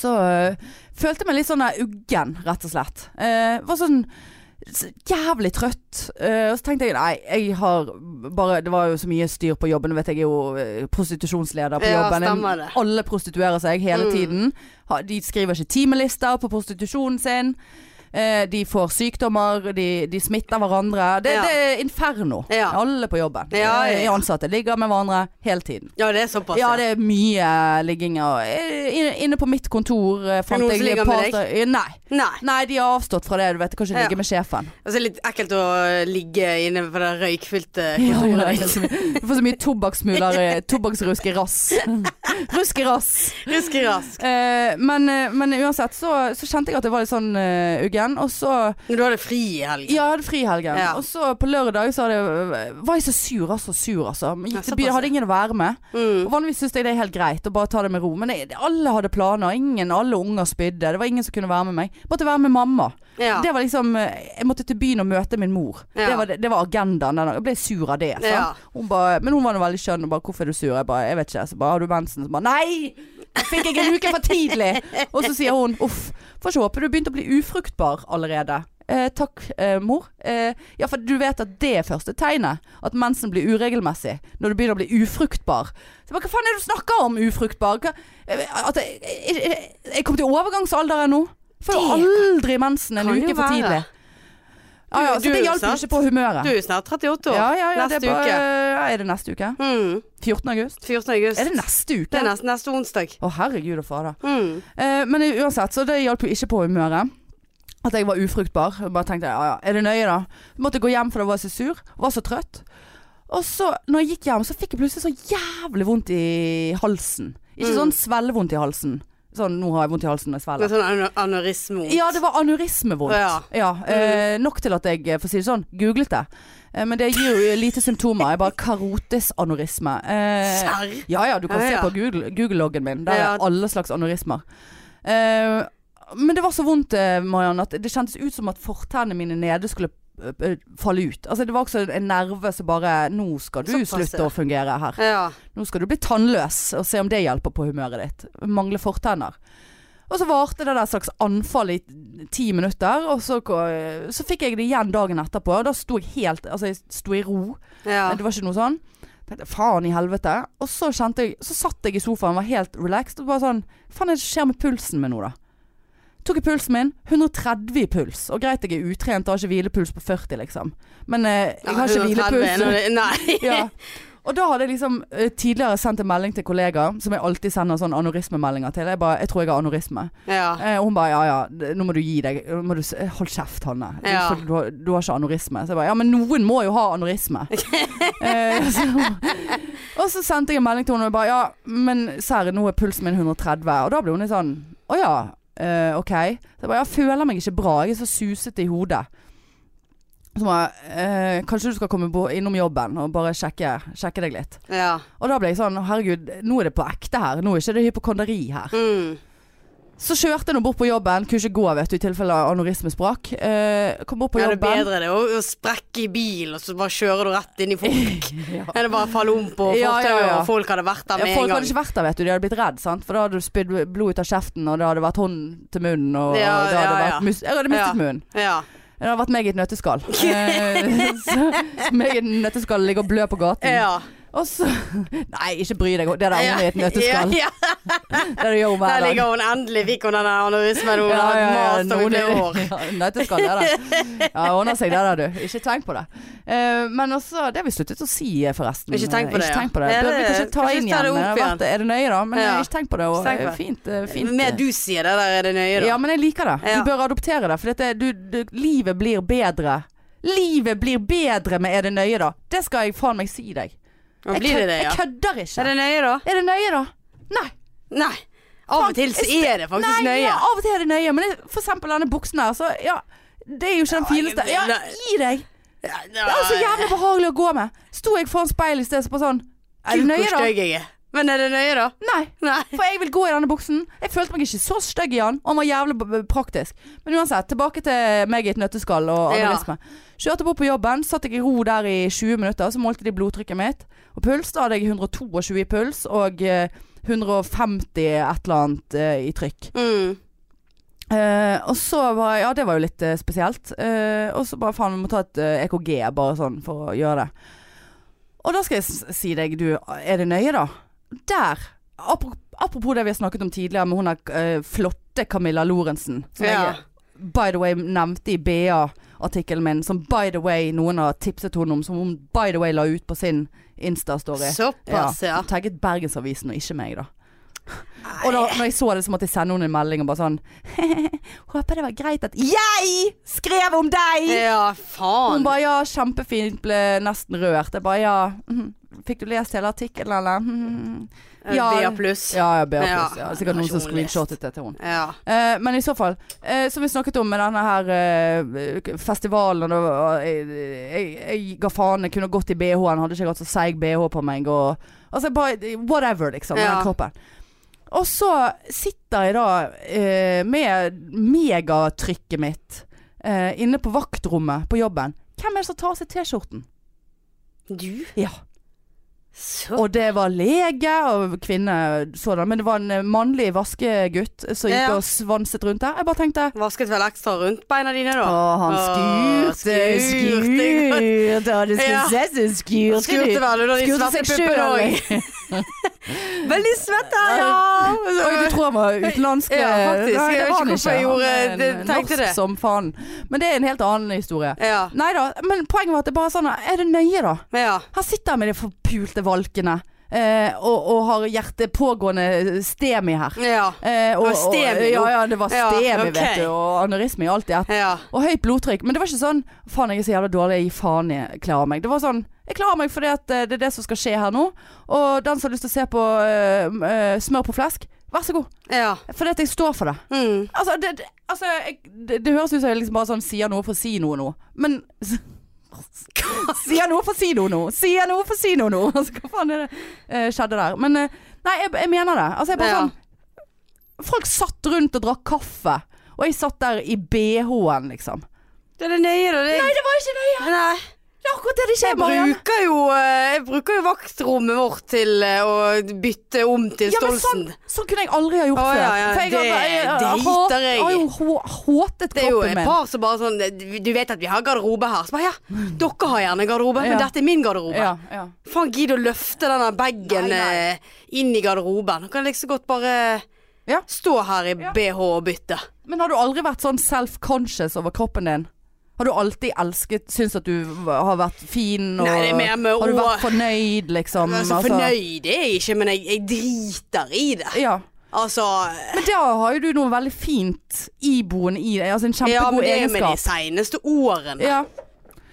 A: så øh, følte jeg meg litt sånn der uggen, rett og slett. Eh, var sånn s- jævlig trøtt. Eh, og så tenkte jeg nei, jeg har bare Det var jo så mye styr på jobben. Nå vet jeg jeg er jo eh, prostitusjonsleder på
B: Ja,
A: jobben.
B: stemmer det. Mm.
A: Alle prostituerer seg hele tiden. Ha, de skriver ikke timelister på prostitusjonen sin. Eh, de får sykdommer, de, de smitter hverandre. Det,
B: Ja.
A: det er inferno.
B: Ja.
A: Alle på jobben.
B: Ja, ja, ja.
A: Eh, Ansatte ligger med hverandre hele tiden.
B: Ja, det er såpass.
A: Ja, det er mye ligging. og, eh, Inne, inne på mitt kontor eh, fant
B: noen
A: jeg
B: som ligger
A: et par-
B: med
A: eh, Nei.
B: Nei.
A: Nei, de har avstått fra det. Du vet, du kan ikke
B: Ja.
A: ligge med sjefen.
B: Altså, det er litt ekkelt å ligge inne på det røykfylte
A: Ja, ja,
B: kontoret liksom. ditt.
A: det er så mye- du får så mye tobakkssmuler eh, Tobakksrusk i rass. Rusk i rass.
B: Rusk i rask.
A: Eh, men, eh, men uansett så, så kjente jeg at jeg var litt sånn eh, uggen. Og så
B: Når du har det fri i helgen.
A: Ja, jeg hadde fri i helgen.
B: Ja.
A: Og så på lørdag så hadde, var jeg så sur, altså. Sur, altså.
B: Ja,
A: Gikk til
B: såpass,
A: byen,
B: ja.
A: hadde ingen å være med.
B: Mm.
A: Og Vanligvis syns jeg det er helt greit å bare ta det med ro, men jeg, alle hadde planer. Ingen, alle unger spydde. Det var ingen som kunne være med meg. Måtte være med mamma.
B: Ja.
A: Det var liksom eh, Jeg måtte til byen og møte min mor.
B: Ja.
A: Det, var, det var agendaen. den- Jeg ble sur av det. sant?
B: Ja.
A: Hun ba, men hun var nå veldig skjønn og bare 'Hvorfor er du sur?' Jeg bare 'Jeg vet ikke'. Så bare 'Har du mensen?' Så bare 'Nei! Jeg Fikk jeg en uke for tidlig?' Og så sier hun 'Uff, får ikke håpe du begynte å bli ufruktbar allerede'. Eh, takk, eh, mor. Eh, ja, for du vet at det er første tegnet. At mensen blir uregelmessig. Når du begynner å bli ufruktbar. Så jeg bare, Hva faen er det du snakker om, ufruktbar? Hva, eh, at jeg, jeg, jeg, jeg kom til overgangsalderen nå. Får jo aldri mensen en
B: kan
A: uke
B: jo
A: for
B: være.
A: tidlig. Ja, ja,
B: Du-
A: så
B: du er
A: det
B: jo
A: hjalp jo
B: sant.
A: ikke på humøret.
B: Du er jo snart 38 år.
A: ja, ja, ja,
B: neste
A: det er,
B: uke.
A: ja, er det neste uke?
B: Mm.
A: 14. august?
B: 14. august.
A: Er det neste uke?
B: Det er neste, neste onsdag.
A: Å herregud og fader.
B: Mm.
A: Eh, men uansett, så det hjalp jo ikke på humøret. At jeg var ufruktbar. Jeg bare tenkte ja ja, er det nøye da? Måtte gå hjem for da var jeg så sur. Var så trøtt. Og så, når jeg gikk hjem, så fikk jeg plutselig så jævlig vondt i halsen. Ikke
B: Mm.
A: sånn svellevondt i halsen. Sånn nå har jeg vondt i halsen når jeg
B: Med
A: svelger.
B: sånn ano- anorisme.
A: Ja, det var anorismevondt.
B: Ja.
A: eh, nok til at jeg, eh, for å si det sånn, googlet det. Eh, men det gir jo lite symptomer. Jeg bare karotisanorisme. Eh,
B: Serr?
A: ja ja, du kan
B: Ja,
A: se
B: ja.
A: på Google- Google-loggen min. Der
B: Ja.
A: er alle slags anorismer. Eh, men det var så vondt, eh, Marianne, at det kjentes ut som at fortennene mine nede skulle eh, falle ut. Altså Det var også en nerve som bare Nå skal du
B: Såpass,
A: slutte
B: ja.
A: å fungere her.
B: Ja.
A: Nå skal du bli tannløs og se om det hjelper på humøret ditt. Mangler fortenner. Og så varte det der slags anfall i ti minutter, og så, ko- så fikk jeg det igjen dagen etterpå. Og da sto jeg helt Altså, jeg sto i ro.
B: ja.
A: Det var ikke noe sånn. Tenkte, faen i helvete. Og så kjente jeg Så satt jeg i sofaen, var helt relaxed og bare sånn Hva faen er det som skjer med pulsen min nå, da? Tok jeg pulsen min. 130 i puls. Og greit, jeg er utrent og har ikke hvilepuls på 40, liksom. Men eh, jeg har ikke
B: 130
A: hvilepuls.
B: når det- Nei.
A: Ja. Og da hadde jeg liksom eh, tidligere sendt en melding til kollegaer, som jeg alltid sender sånn anorismemeldinger til. Jeg bare 'Jeg tror jeg har anorisme'.
B: Ja.
A: Eh, og hun bare 'Ja ja, det- nå må du gi deg'. Nå Må du, s- eh, Hold kjeft, Hanne. Du,
B: Ja.
A: du, har, du har ikke anorisme. Så jeg bare 'Ja, men noen må jo ha anorisme'. eh, så, og så sendte jeg en melding til henne og jeg bare 'Ja, men serr, nå er pulsen min 130'. Og da ble hun litt sånn 'Å ja, eh, ok'. Så jeg bare 'Jeg føler meg ikke bra. Jeg er så susete i hodet'. Så bare, eh, kanskje du skal komme bo- innom jobben og bare sjekke, sjekke deg litt.
B: ja.
A: Og da ble jeg sånn, herregud, nå er det på ekte her. Nå er ikke det hypokonderi her.
B: Mm.
A: Så kjørte jeg nå bort på jobben. Kunne ikke gå, vet du, i tilfelle anorisme sprakk. Eh, kom bort på
B: ja, det er
A: jobben.
B: bedre det å, å sprekke i bilen, og så bare kjører du rett inn i folk.
A: Ja.
B: Eller bare falle om på fortauet,
A: Ja, ja, ja.
B: og folk hadde vært der
A: Ja,
B: med
A: folk
B: en
A: hadde
B: gang.
A: ikke vært der, vet du. De hadde blitt redd, sant. For da hadde du spydd blod ut av kjeften, og det hadde vært hånd til munnen, og,
B: Ja,
A: og det hadde
B: ja, ja.
A: vært mus Jeg hadde mistet
B: Ja.
A: munnen.
B: Ja.
A: Det hadde vært meg i et nøtteskall. Eh, så- så meg i et nøtteskall ligger og blør på gaten.
B: ja.
A: Og så Nei, ikke bry deg. Det der ungen i et nøtteskall.
B: Ja, ja.
A: Det du gjør hun hver
B: Der
A: dag.
B: ligger hun endelig, fikk hun den der anorismen hun har mast om i
A: noen
B: flere
A: er-
B: år.
A: Ja, Nøtteskall, det er det. Ja, ordner seg det der, du. Ikke tenk på det. Eh, men også, det har vi sluttet å si, eh, forresten.
B: Ikke tenk på
A: Eh,
B: det,
A: Ikke
B: ja.
A: tenk på det.
B: Ja,
A: Bør
B: det-
A: vi kanskje ta
B: kanskje
A: inn
B: ta det
A: igjen?
B: opp
A: Det har
B: igjen.
A: vært- Er det nøye, da? Men eh,
B: Ja.
A: ikke tenk på det. Og,
B: Ikke tenk på
A: eh,
B: det.
A: fint. eh, fint.
B: Mer du sier det der, er det nøye, da.
A: Ja, men jeg liker det.
B: Ja.
A: Du bør adoptere det. For dette, du, du, livet blir bedre. Livet blir bedre med er det nøye, da. Det skal jeg faen meg si deg.
B: Men
A: Jeg
B: blir det
A: kød-
B: det, ja?
A: Jeg kødder
B: Er
A: ikke.
B: det nøye, da?
A: Er det nøye, da? Nei.
B: Nei. Av og til så er det faktisk
A: Nei,
B: nøye.
A: ja, av og til er det nøye, men det, for eksempel denne buksen her, så ja Det er jo ikke den fineste. Ja,
B: nei.
A: gi deg! Det er så jævlig behagelig å gå med. Sto jeg foran speilet i sted så bare sånn Er det nøye, da?
B: Hvor stygg jeg er. Men er det nøye, da?
A: Nei.
B: Nei.
A: For jeg vil gå i denne buksen. Jeg følte meg ikke så stygg i den, og den var jævlig b- b- praktisk. Men uansett, tilbake til meg i et nøtteskall og
B: Ja.
A: anorisme. Kjørte bort på jobben, satt jeg i ro der i 20 minutter, så målte de blodtrykket mitt. Og puls, da hadde jeg 122 i puls og eh, 150 et eller annet eh, i trykk.
B: Mm.
A: Eh, og så var jeg, ja det var jo litt eh, spesielt. Eh, og så bare faen, vi må ta et eh, EKG bare sånn for å gjøre det. Og da skal jeg s- si deg, du, er det nøye da? Der! Apro- Apropos det vi har snakket om tidligere med hun der eh, flotte Camilla Lorentzen. Som
B: Ja.
A: jeg by the way nevnte i BA-artikkelen min, som by the way noen har tipset henne om, som hun by the way la ut på sin Insta-story.
B: Såpass, ja.
A: Tagget Bergensavisen og ikke meg, da. Og da når jeg så det, så måtte jeg sende henne en melding og bare sånn Håper det var greit at jeg skrev om deg!
B: Ja,
A: Hun
B: faen.
A: bare ja, kjempefint, ble nesten rørt. Jeg bare ja. mhm. Fikk du lest hele artikkelen, eller? Mhm. ja.
B: Bea pluss.
A: Ja, ja, Bea
B: Ja,
A: pluss. Ja,
B: det har
A: sikkert noen
B: ikke
A: som
B: hun lest.
A: screenshotet det til henne.
B: Ja.
A: Eh, men i så fall, eh, som vi snakket om med denne her eh, festivalen og, og jeg, jeg, jeg ga faen, jeg kunne gått i BH-en, hadde ikke jeg hatt så seig BH på meg. Og, altså bare whatever, liksom, med
B: Ja.
A: den kroppen. Og så sitter jeg da eh, med megatrykket mitt eh, inne på vaktrommet på jobben. Hvem er det som tar av seg T-skjorten?
B: Du?
A: Ja.
B: Så
A: Og det var lege og kvinne, sådan, men det var en eh, mannlig vaskegutt som gikk
B: Ja.
A: og svanset rundt der. Jeg bare tenkte
B: Vasket vel ekstra rundt beina dine, da?
A: Å, han
B: Å,
A: skurte, skurte,
B: skurte.
A: Og det skulle
B: Ja.
A: se så skurte
B: Skurte
A: ut.
B: vel under de
A: Skurte
B: svarte
A: seg
B: puppene
A: sjøl.
B: òg. Veldig svett her, ja!
A: Oi, du tror jeg var utenlandsk?
B: Ja, faktisk. Jeg
A: Nei, det
B: vet
A: var
B: ikke
A: han
B: hvorfor jeg gjorde-
A: Han er en
B: det- tenkte det.
A: Norsk som faen. Men det er en helt annen historie.
B: Ja.
A: Nei da, men poenget var at det bare er sånn Er det nøye, da?
B: Men ja.
A: Her sitter jeg med de forpulte valkene eh, og, og har hjertet pågående stemi her.
B: ja.
A: Eh, og,
B: Det var stemi,
A: og,
B: jo.
A: ja, ja, det var
B: Ja,
A: stemi,
B: ok.
A: vet du. Og aneurisme i alt i ett.
B: Ja.
A: Og høyt blodtrykk. Men det var ikke sånn 'faen, jeg er så jævla dårlig, jeg gir faen i jeg klarer meg'. Det var sånn 'jeg klarer meg fordi at eh, det er det som skal skje her nå'. Og den som har lyst til å se på eh, m- eh, smør på flesk, vær så god.
B: ja.
A: Fordi at jeg står for det.
B: Mm.
A: Altså, det, det, altså jeg, det, det høres ut som jeg liksom bare sånn sier noe for å si noe nå. Men Sier noe for å si noe nå! Sier noe for å si noe nå! Altså, hva faen er det eh, skjedde der? Men eh, nei, jeg, jeg mener det. Altså, jeg bare
B: Ja.
A: sånn Folk satt rundt og drakk kaffe, og jeg satt der i BH-en, liksom.
B: Det er det nøye, da. Det,
A: Nei, det var ikke det!
B: Nei.
A: Det er akkurat det det skjer,
B: Jeg
A: Marianne.
B: bruker, jo, eh, jeg bruker jo vaktrommet vårt til eh, å bytte om til
A: Ja, men sånn,
B: Stolsen.
A: sånn kunne jeg aldri ha gjort
B: Å,
A: før.
B: ja, ja,
A: For jeg,
B: det
A: har- jeg, har-
B: driter jeg i.
A: har jo hå- håtet
B: Det er jo et
A: kroppen min.
B: par som bare sånn eh, Du vet at vi har garderobe her. Så bare ja, dere har gjerne garderobe, men
A: Ja.
B: dette er min garderobe.
A: Ja, ja.
B: Faen, gidd å løfte denne bagen
A: Nei, nei.
B: eh, inn i garderoben. Kan jeg liksom godt bare
A: Ja.
B: stå her i BH og bytte.
A: Men har du aldri vært sånn self-conscious over kroppen din? Har du alltid elsket, syns at du v- har vært fin og
B: Nei, det er mer med
A: Har du
B: å-
A: vært fornøyd, liksom?
B: Altså,
A: altså?
B: fornøyd er jeg ikke, men jeg, jeg driter i det.
A: Ja.
B: Altså
A: Men da har jo du noe veldig fint iboende i deg, altså en
B: Ja, men
A: kjempegod
B: det er med de
A: egenskap.
B: seneste årene,
A: Ja.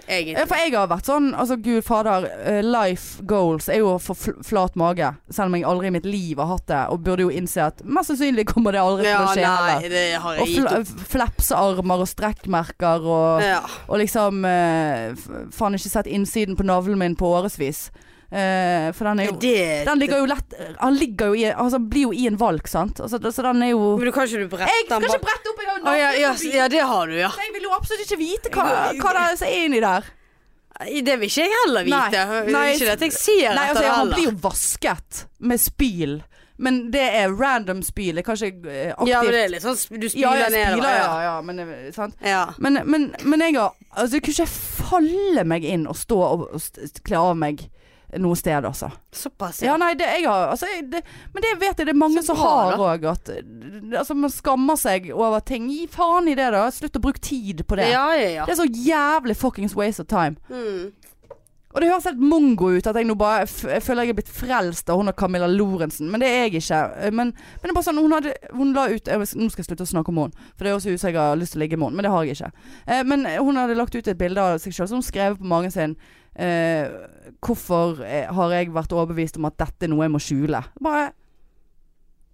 A: Ja,
B: egentlig.
A: for jeg har vært sånn, altså gud fader, eh, life goals er jo å få fl- flat mage. Selv om jeg aldri i mitt liv har hatt det, og burde jo innse at mest sannsynlig kommer det aldri
B: Ja,
A: til å skje heller.
B: nei, det har
A: Og
B: jeg gitt opp.
A: fla flapsarmer og strekkmerker og
B: Ja.
A: Og liksom eh, f- faen ikke sett innsiden på navlen min på årevis. Eh, for den er jo
B: Det-
A: Den ligger jo lett Han ligger jo i Altså han blir jo i en valk, sant. Altså, så den er jo
B: Men du kan ikke du brette
A: Jeg skal
B: den
A: ikke
B: bak-
A: brette opp, jeg har jo
B: Å, ja, ja,
A: forbi.
B: ja, det har du, ja.
A: Så Jeg vil jo absolutt ikke vite hva, hva det er som er inni der.
B: Det vil ikke jeg heller
A: Nei.
B: vite.
A: Nei,
B: ikke at jeg ser
A: Nei,
B: etter
A: altså
B: det
A: jeg, Han
B: heller.
A: blir jo vasket med spyl, men det er random spyl. Det er kanskje eh, aktivt
B: Ja, men det er litt sånn sp- Du
A: Ja,
B: spyler
A: jeg
B: nedover.
A: spyler, ja, ja, men, eh, sant?
B: ja.
A: Men, men, men jeg har Altså, jeg kunne ikke falle meg inn og stå og, og st- kle av meg noe sted, altså.
B: Såpass,
A: Ja, nei, det jeg har altså, jeg, det, Men det vet jeg det er mange
B: Så
A: som
B: bra,
A: har òg, at eh, Altså, man skammer seg over ting. Gi faen i det, da. Slutt å bruke tid på det.
B: Ja, ja, ja.
A: Det er så jævlig fuckings waste of time.
B: Mm.
A: Og det høres helt mongo ut at jeg nå bare f jeg føler jeg er blitt frelst av hun og Camilla Lorentzen, men det er jeg ikke. Eh, Men, men det er bare sånn, hun, hadde, hun la ut jeg, Nå skal jeg slutte å snakke om henne, for det høres ut som jeg har lyst til å ligge med henne, men det har jeg ikke. Eh, men hun hadde lagt ut et bilde av seg sjøl som hun skrev på mange sin. Eh, hvorfor eh, har jeg vært overbevist om at dette er noe jeg må skjule? Bare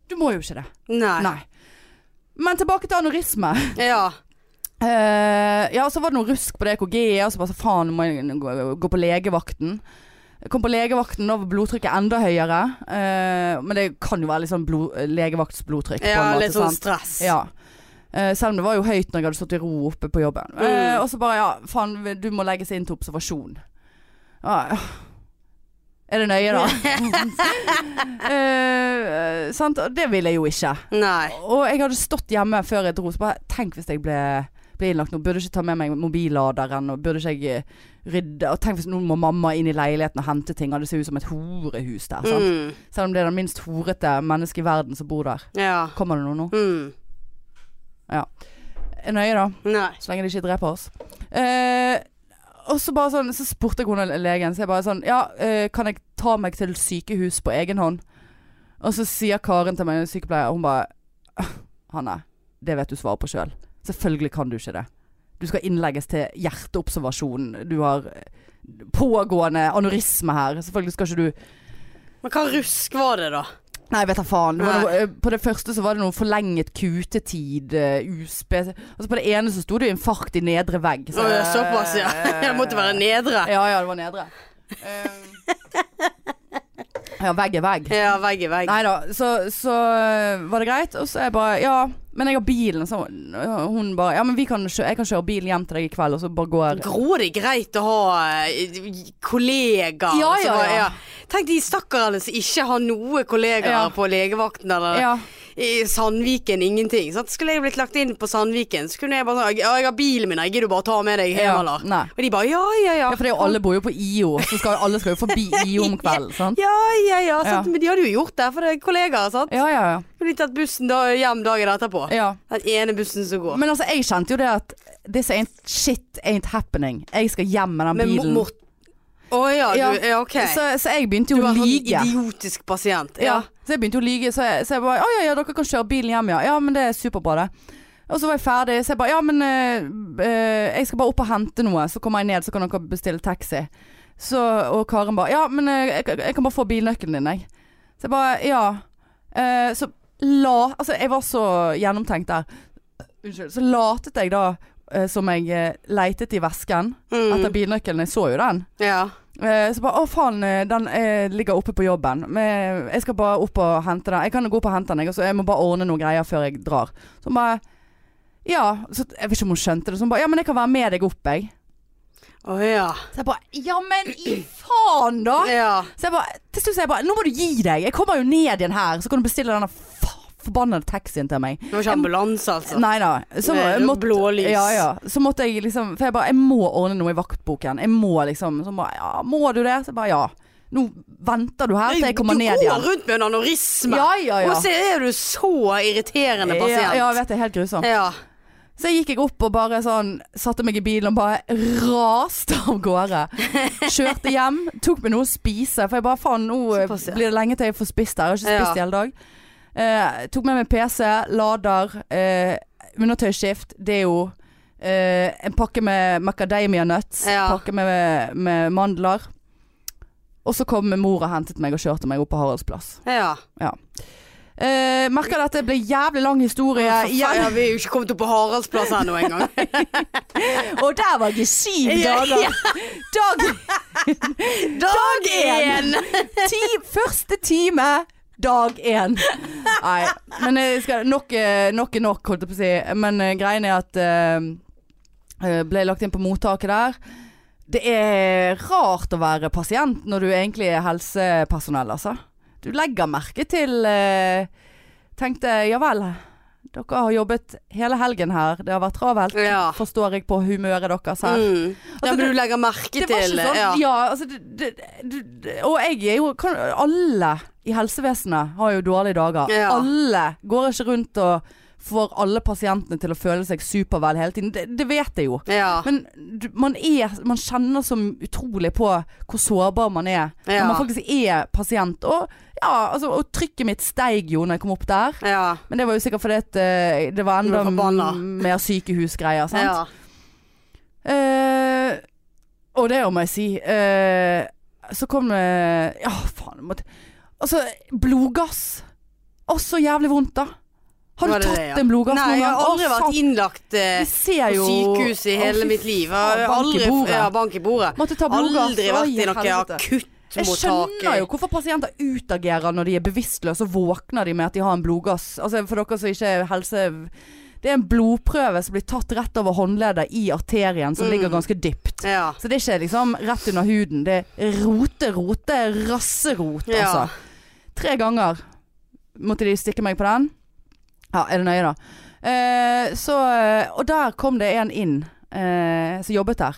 A: Du må jo ikke det.
B: Nei.
A: Nei. Men tilbake til anorisme.
B: Ja.
A: Eh, ja, så var det noe rusk på DKG, og så bare så faen, nå må jeg gå, gå på legevakten. Jeg kom på legevakten, da var blodtrykket enda høyere. Eh, men det kan jo være litt sånn blod, legevaktsblodtrykk. på en
B: ja
A: måte,
B: litt sånn
A: sant?
B: stress.
A: Ja. Eh, selv om det var jo høyt når jeg hadde stått i ro oppe på jobben. Eh,
B: Mm.
A: og så bare ja, faen, du må legges inn til observasjon. Ah, ja. er det nøye, da? eh, sant? Og Det vil jeg jo ikke.
B: Nei.
A: Og jeg hadde stått hjemme før jeg dro, så bare tenk hvis jeg ble, ble innlagt nå. Burde jeg ikke ta med meg mobilladeren, og burde ikke jeg eh, rydde Og tenk hvis nå må mamma inn i leiligheten og hente ting, og det ser ut som et horehus der. Sant?
B: Mm.
A: Selv om det er den minst horete mennesket i verden som bor der.
B: Ja.
A: Kommer det noe nå?
B: Mm.
A: Er nøye, da.
B: Nei.
A: Så lenge de ikke dreper oss. Eh, og så bare sånn, så spurte jeg hun legen, så jeg bare sånn Ja, eh, kan jeg ta meg til sykehus på egen hånd? Og så sier Karen til meg, en sykepleier, hun bare Hanne, det vet du svaret på sjøl. Selv. Selvfølgelig kan du ikke det. Du skal innlegges til hjerteobservasjon. Du har eh, pågående anorisme her. Selvfølgelig skal ikke du
B: Men hva rusk var det, da?
A: Nei, vet da faen. Det var
B: Nei.
A: noe, eh, på det første så var det noe forlenget kutetid. eh, uspe- altså på det ene så sto det jo infarkt i nedre vegg.
B: Å, ja, såpass, ja. Jeg måtte være nedre.
A: Ja, ja, det var nedre.
B: Ehm.
A: ja, vegg er vegg.
B: Ja, vegg i vegg.
A: Nei da, så, så øh, var det greit. Og så er jeg bare Ja, men jeg har bilen. Så øh, hun bare Ja, men vi kan kjø jeg kan kjøre bilen hjem til deg i kveld, og så bare går
B: Gror det greit å ha eh, kollegaer?
A: Ja,
B: som
A: ja,
B: var-
A: ja.
B: Tenk de stakkarene som ikke har noe kollegaer
A: Ja.
B: på legevakten. Eller,
A: Ja.
B: i Sandviken ingenting. Sant? Skulle jeg blitt lagt inn på Sandviken, så kunne jeg bare sagt Ja, jeg har bilen min, jeg gidder du bare ta med deg hjem,
A: Ja,
B: eller?
A: nei.
B: Og de bare ja, ja, ja.
A: Ja, for det er jo alle bor jo på IO, så skal, alle skal jo forbi IO om kvelden. Sant?
B: Ja, ja, ja, sant?
A: Ja.
B: Men de hadde jo gjort det, for det er kollegaer, sant.
A: Ja, ja, ja.
B: Kunne de tatt bussen da, hjem dagen etterpå.
A: ja.
B: Den ene bussen som går.
A: Men altså, jeg kjente jo det at This ain't shit ain't happening. Jeg skal hjem med den
B: Men
A: bilen.
B: Morten Å ja,
A: Ja,
B: du ja, OK.
A: så, så jeg begynte
B: Du
A: jo å
B: var en sånn
A: lyge.
B: idiotisk pasient.
A: Ja. Så jeg begynte jo å lyge, så jeg, så jeg bare Å ja, ja, dere kan kjøre bilen hjem, ja. Ja, men det er superbra, det. Og så var jeg ferdig, så jeg bare Ja, men eh, eh, jeg skal bare opp og hente noe, så kommer jeg ned, så kan dere bestille taxi. Så, og Karen bare Ja, men eh, jeg, jeg kan bare få bilnøkkelen din, jeg. Så jeg bare Ja. Eh, så la Altså, jeg var så gjennomtenkt der. Unnskyld. Så latet jeg da eh, som jeg eh, leitet i vesken etter bilnøkkelen. Jeg så jo den.
B: Mm. ja.
A: Eh, Så bare, å faen, eh, den eh, ligger oppe på jobben Men eh, Jeg skal bare opp og hente den Jeg kan jo gå opp og hente den, jeg, og så jeg må bare ordne noen greier før jeg drar Så hun bare, ja så, Jeg vet ikke om hun skjønte det Så hun bare, ja, men jeg kan være med deg opp, jeg
B: Å ja.
A: Så jeg bare, ja, men i faen da
B: ja.
A: Så jeg bare, til slutt så jeg bare, nå må du gi deg Jeg kommer jo ned igjen her, så kan du bestille denne fa- forbannede taxien til meg
B: Det var ikke ambulanse, altså.
A: Nei da. Så,
B: Med
A: måtte-
B: blålys.
A: Ja, ja. så måtte jeg liksom For jeg bare Jeg må ordne noe i vaktboken. Jeg må liksom Så bare Ja, må du det? Så jeg bare ja. Nå venter du her til jeg kommer
B: Du
A: ned igjen.
B: går rundt med en anorisme.
A: Ja, ja, ja.
B: Og så er du så irriterende
A: Ja,
B: pasient.
A: ja, jeg vet det. Helt grusomt.
B: Ja.
A: Så jeg gikk jeg opp og bare sånn Satte meg i bilen og bare raste av gårde. Kjørte hjem, tok meg noe å spise, for jeg bare faen, nå eh,
B: Såpass, ja.
A: blir det lenge til jeg får spist her. Jeg har ikke
B: Ja.
A: spist i hele dag. Eh, tok med meg PC, lader, eh, undertøyskift, deo. Eh, en pakke med macadamia nuts,
B: Ja.
A: pakke med, med mandler. Og så kom mor og hentet meg og kjørte meg opp på Haralds plass.
B: ja.
A: Eh, merker dette blir jævlig lang historie
B: Ja, ja,
A: igjen.
B: vi er jo ikke kommet opp på Haraldsplass ennå engang.
A: Og der var det syv dager.
B: Ja.
A: Dag
B: Dag
A: én.
B: én!
A: ti, første time dag én. Nei, men jeg skal, nok, eh, nok er nok, holdt jeg på å si. Men eh, greien er at eh, eh, ble lagt inn på mottaket der. Det er rart å være pasient når du egentlig er helsepersonell, altså. Du legger merke til eh, Tenkte ja vel, dere har jobbet hele helgen her. Det har vært travelt.
B: Ja.
A: Forstår jeg på humøret deres her.
B: Ah. Mm. ja, men du legger merke
A: Det var
B: til
A: ikke sånn, ja,
B: ja.
A: altså det, det, det, det- Og jeg er jo kan, Alle i helsevesenet har jo dårlige dager.
B: Ja.
A: Alle går ikke rundt og får alle pasientene til å føle seg supervel hele tiden. Det, det vet jeg jo.
B: Ja.
A: Men du, man, er, man kjenner så utrolig på hvor sårbar man er når
B: Ja.
A: man faktisk er pasient. Og, ja, altså, og trykket mitt steig jo når jeg kom opp der.
B: ja.
A: Men det var jo sikkert fordi at eh, det var
B: Du ble
A: enda
B: forbanna.
A: mer sykehusgreier. Sant?
B: ja.
A: Eh, og det må jeg si. Eh, så kom det Ja, faen. jeg Måtte, altså, blodgass. Også jævlig vondt, da. Har du
B: Var det
A: tatt
B: det, ja?
A: en blodgass
B: Nei,
A: noen
B: jeg
A: gang?
B: har aldri
A: Å,
B: vært
A: satan,
B: innlagt eh,
A: vi ser
B: på
A: jo-
B: sykehus i
A: Å,
B: hele
A: fy
B: mitt liv.
A: faen,
B: Jeg har
A: bank i
B: aldri,
A: bordet.
B: ja, bank i bordet.
A: Måtte ta blodgass.
B: Aldri vært i
A: Oi,
B: noe
A: helvete. Jeg
B: akuttmottak.
A: skjønner jo hvorfor pasienter utagerer når de er bevisstløse og våkner de med at de har en blodgass. Altså For dere som ikke er helse... Det er en blodprøve som blir tatt rett over håndleddet i arterien,
B: Mm.
A: som ligger ganske dypt.
B: Ja.
A: Så det er ikke liksom rett under huden. Det er rote, rote, rasserot,
B: Ja.
A: altså. Tre ganger måtte de stikke meg på den. Ja, er det nøye, da. Eh, så, eh, og der kom det en inn eh, som jobbet der.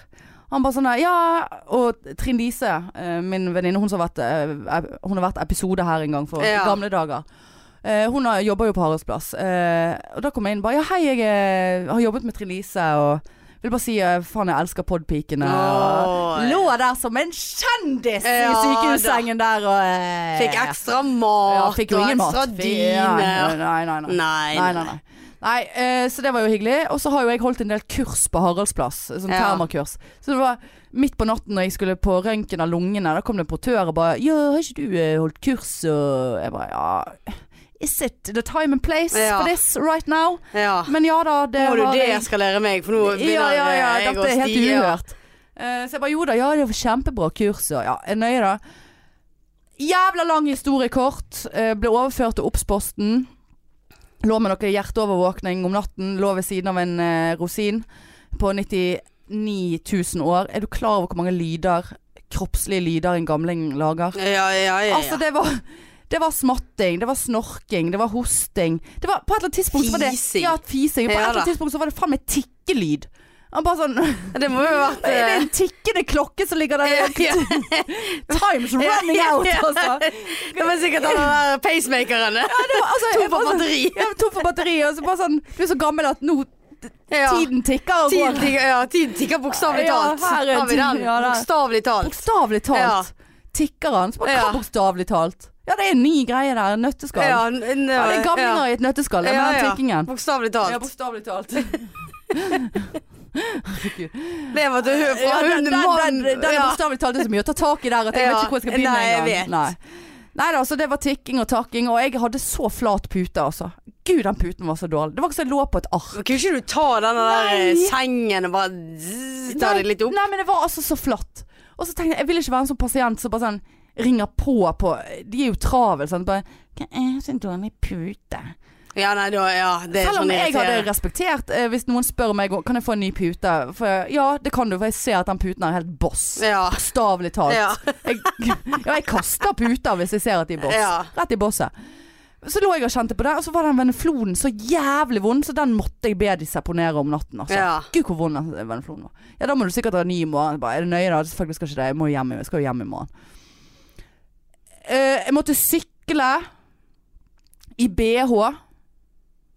A: Han bare sånn der, Ja, og Trine Lise, eh, min venninne, hun, som har vært, eh, ep- hun har vært episode her en gang for
B: Ja.
A: gamle dager. Eh, hun har, jobber jo på Haralds plass. Eh, og da kom jeg inn bare Ja, hei, jeg eh, har jobbet med Trine Lise, og vil bare si eh, faen, jeg elsker podpikene. og
B: Åh.
A: Lå der som en kjendis i
B: Ja,
A: sykehussengen der og eh,
B: Fikk ekstra mat
A: ja, fikk jo
B: og
A: ingen mat.
B: ekstra
A: Fikk- ja,
B: dyne.
A: Nei, nei, nei.
B: Nei,
A: Nei, nei, nei. Nei, eh, så det var jo hyggelig. Og så har jo jeg holdt en del kurs på Haraldsplass. Sånn
B: Ja.
A: termakurs. Så det var midt på natten når jeg skulle på røntgen av lungene. Da kom det en portør og bare 'Ja, har ikke du eh, holdt kurs?' Og jeg bare 'Ja, is it the time and place
B: Ja.
A: for this right now?'
B: Ja.
A: Men ja da, det
B: Må du
A: har jeg-
B: deeskalere meg, for nå begynner eh,
A: ja, ja, ja,
B: jeg å
A: dette er helt
B: stige.
A: uhørt. Eh, så jeg bare jo da, ja det var kjempebra kurs og ja, er nøye da. Jævla lang historie kort. Eh, ble overført til Obs-posten. Lå med noe hjerteovervåkning om natten. Lå ved siden av en eh, rosin på 99 000 år. Er du klar over hvor mange lyder, kroppslige lyder, en gamling lager?
B: Ja, ja, ja. ja.
A: Altså, det var Det var smatting, det var snorking, det var hosting. Det var, på et eller annet tidspunkt så var det
B: Fising.
A: Ja, fising. På et
B: Ja
A: eller
B: da.
A: annet tidspunkt så var det faen meg tikkelyd. Han bare sånn
B: Det må jo ha vært
A: Det er
B: eh,
A: en tikkende klokke som ligger der.
B: ja.
A: Time's running out, altså.
B: Det var sikkert han der pacemakeren.
A: Det var, altså
B: Tom
A: jeg bare
B: for
A: sånn-
B: batteri.
A: Ja, tom for batteri. Og så bare sånn Du er så gammel at nå
B: Ja.
A: Tiden tikker og
B: Tiden
A: går.
B: tikker, ja, tiden tikker bokstavelig
A: Ja,
B: talt.
A: her er
B: Har vi
A: tiden,
B: den?
A: ja, der.
B: Bokstavelig talt.
A: Bokstavelig talt. Tikker han. Så bare
B: Ja.
A: hva bokstavelig talt? Ja, det er en ny greie der. En nøtteskall. Ja,
B: n- n-
A: det er gamlinger
B: ja.
A: i et nøtteskall. Jeg mener den tikkingen.
B: Bokstavelig
A: Ja,
B: talt.
A: bokstavelig talt.
B: Det var til fra
A: Ja,
B: hund,
A: den, den, den,
B: mann
A: den er
B: ja.
A: bokstavelig talt det er så mye å ta tak i der at jeg
B: Ja,
A: vet ikke hvor jeg skal begynne
B: nei, jeg vet.
A: engang. Nei. Nei da, så det var tikking og takking, og jeg hadde så flat pute, altså. Gud, den puten var så dårlig. Det var ikke så jeg lå på et ark.
B: Men Kunne ikke du ta den der eh,
A: Nei.
B: sengen og bare zzz, ta
A: Nei,
B: det litt opp?
A: Nei, men det var altså så flatt. Og så tenkte jeg, jeg vil ikke være en sånn pasient som bare sånn ringer på på De er jo travel, sant. Bare Hva er så dårlig pute?
B: Ja, nei, da, ja, det er
A: Selv
B: sånn
A: om jeg hadde
B: irriterende.
A: respektert eh, hvis noen spør meg om kan jeg få en ny pute. For jeg, ja, det kan du, for jeg ser at den puten er helt boss.
B: Ja.
A: Bokstavelig talt.
B: Ja.
A: Jeg, ja, jeg kaster puter hvis jeg ser at de er boss.
B: Ja.
A: Rett i bosset. Så lå jeg og kjente på det, og så var den veneflonen så jævlig vond, så den måtte jeg be de seponere om natten. Altså.
B: Ja.
A: Gud, hvor vond den veneflonen var. Ja, da må du sikkert ha ny i morgen. Jeg Bare, er det nøye, da? Selvfølgelig skal ikke det. Jeg, må hjem, i- jeg skal jo hjem i morgen. Eh, jeg måtte sykle i BH.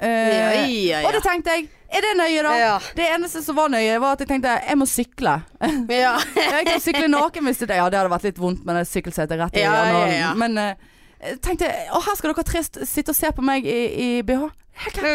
B: Ja,
A: Eh,
B: ja,
A: Og det
B: ja.
A: tenkte jeg. Er det nøye, da?
B: Ja.
A: Det eneste som var nøye, var at jeg tenkte jeg må sykle.
B: ja.
A: Jeg kan sykle naken hvis det Ja, det hadde vært litt vondt med det sykkelsetet rett i
B: Ja, ja,
A: analen.
B: ja.
A: Men eh, tenkte jeg, å her skal dere tre st- sitte og se på meg i, i BH.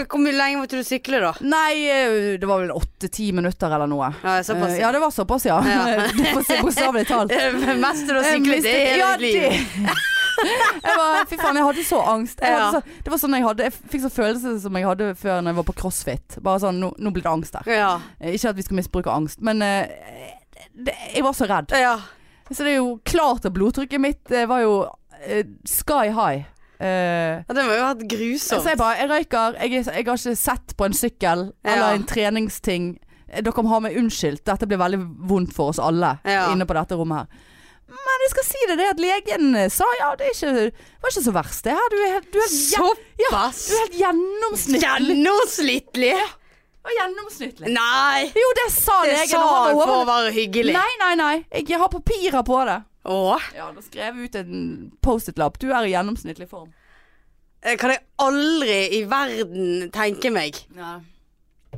B: Hvor mye lenge måtte du sykle, da?
A: Nei, eh, det var vel åtte-ti minutter eller noe.
B: Ja, såpass.
A: Eh, ja, det var såpass, ja.
B: Ja.
A: Du får se Bokstavelig talt.
B: Det meste du har
A: Jeg
B: syklet i
A: mistet-
B: hele
A: ja,
B: ditt liv.
A: det- Jeg var, fy faen, jeg hadde så angst. Jeg
B: Ja.
A: hadde så, det var sånn jeg hadde Jeg fikk sånn følelse som jeg hadde før når jeg var på crossfit. Bare sånn, nå, nå blir det angst der.
B: Ja.
A: Eh, Ikke at vi skal misbruke angst, men eh, det, jeg var så redd.
B: ja.
A: Så det er jo klart at blodtrykket mitt eh, var jo eh, sky high. Eh,
B: Ja, Det må jo ha vært
A: så jeg
B: grusomt.
A: bare, jeg røyker, jeg, er- jeg har ikke sett på en sykkel
B: Ja.
A: eller en treningsting. Eh, Dere må ha meg unnskyldt, dette blir veldig vondt for oss alle
B: Ja.
A: inne på dette rommet her. Men jeg skal si det, det at legen eh, sa ja, det, er ikke, det var ikke så verst det her. Du er helt, du er helt, gjen-
B: Såpass!
A: du er helt gjennomsnittlig.
B: Gjennomsnittlig!
A: Du er gjennomsnittlig.
B: Nei!
A: Jo, det sa
B: Det
A: legen.
B: sa
A: og han
B: han
A: var
B: for å
A: over-
B: være hyggelig.
A: Nei, nei, nei. Jeg har papirer på det.
B: Åh.
A: Ja, da skrev jeg ut en Post-It-lapp. Du er i gjennomsnittlig form.
B: Det Eh, kan jeg aldri i verden tenke meg.
A: Nei.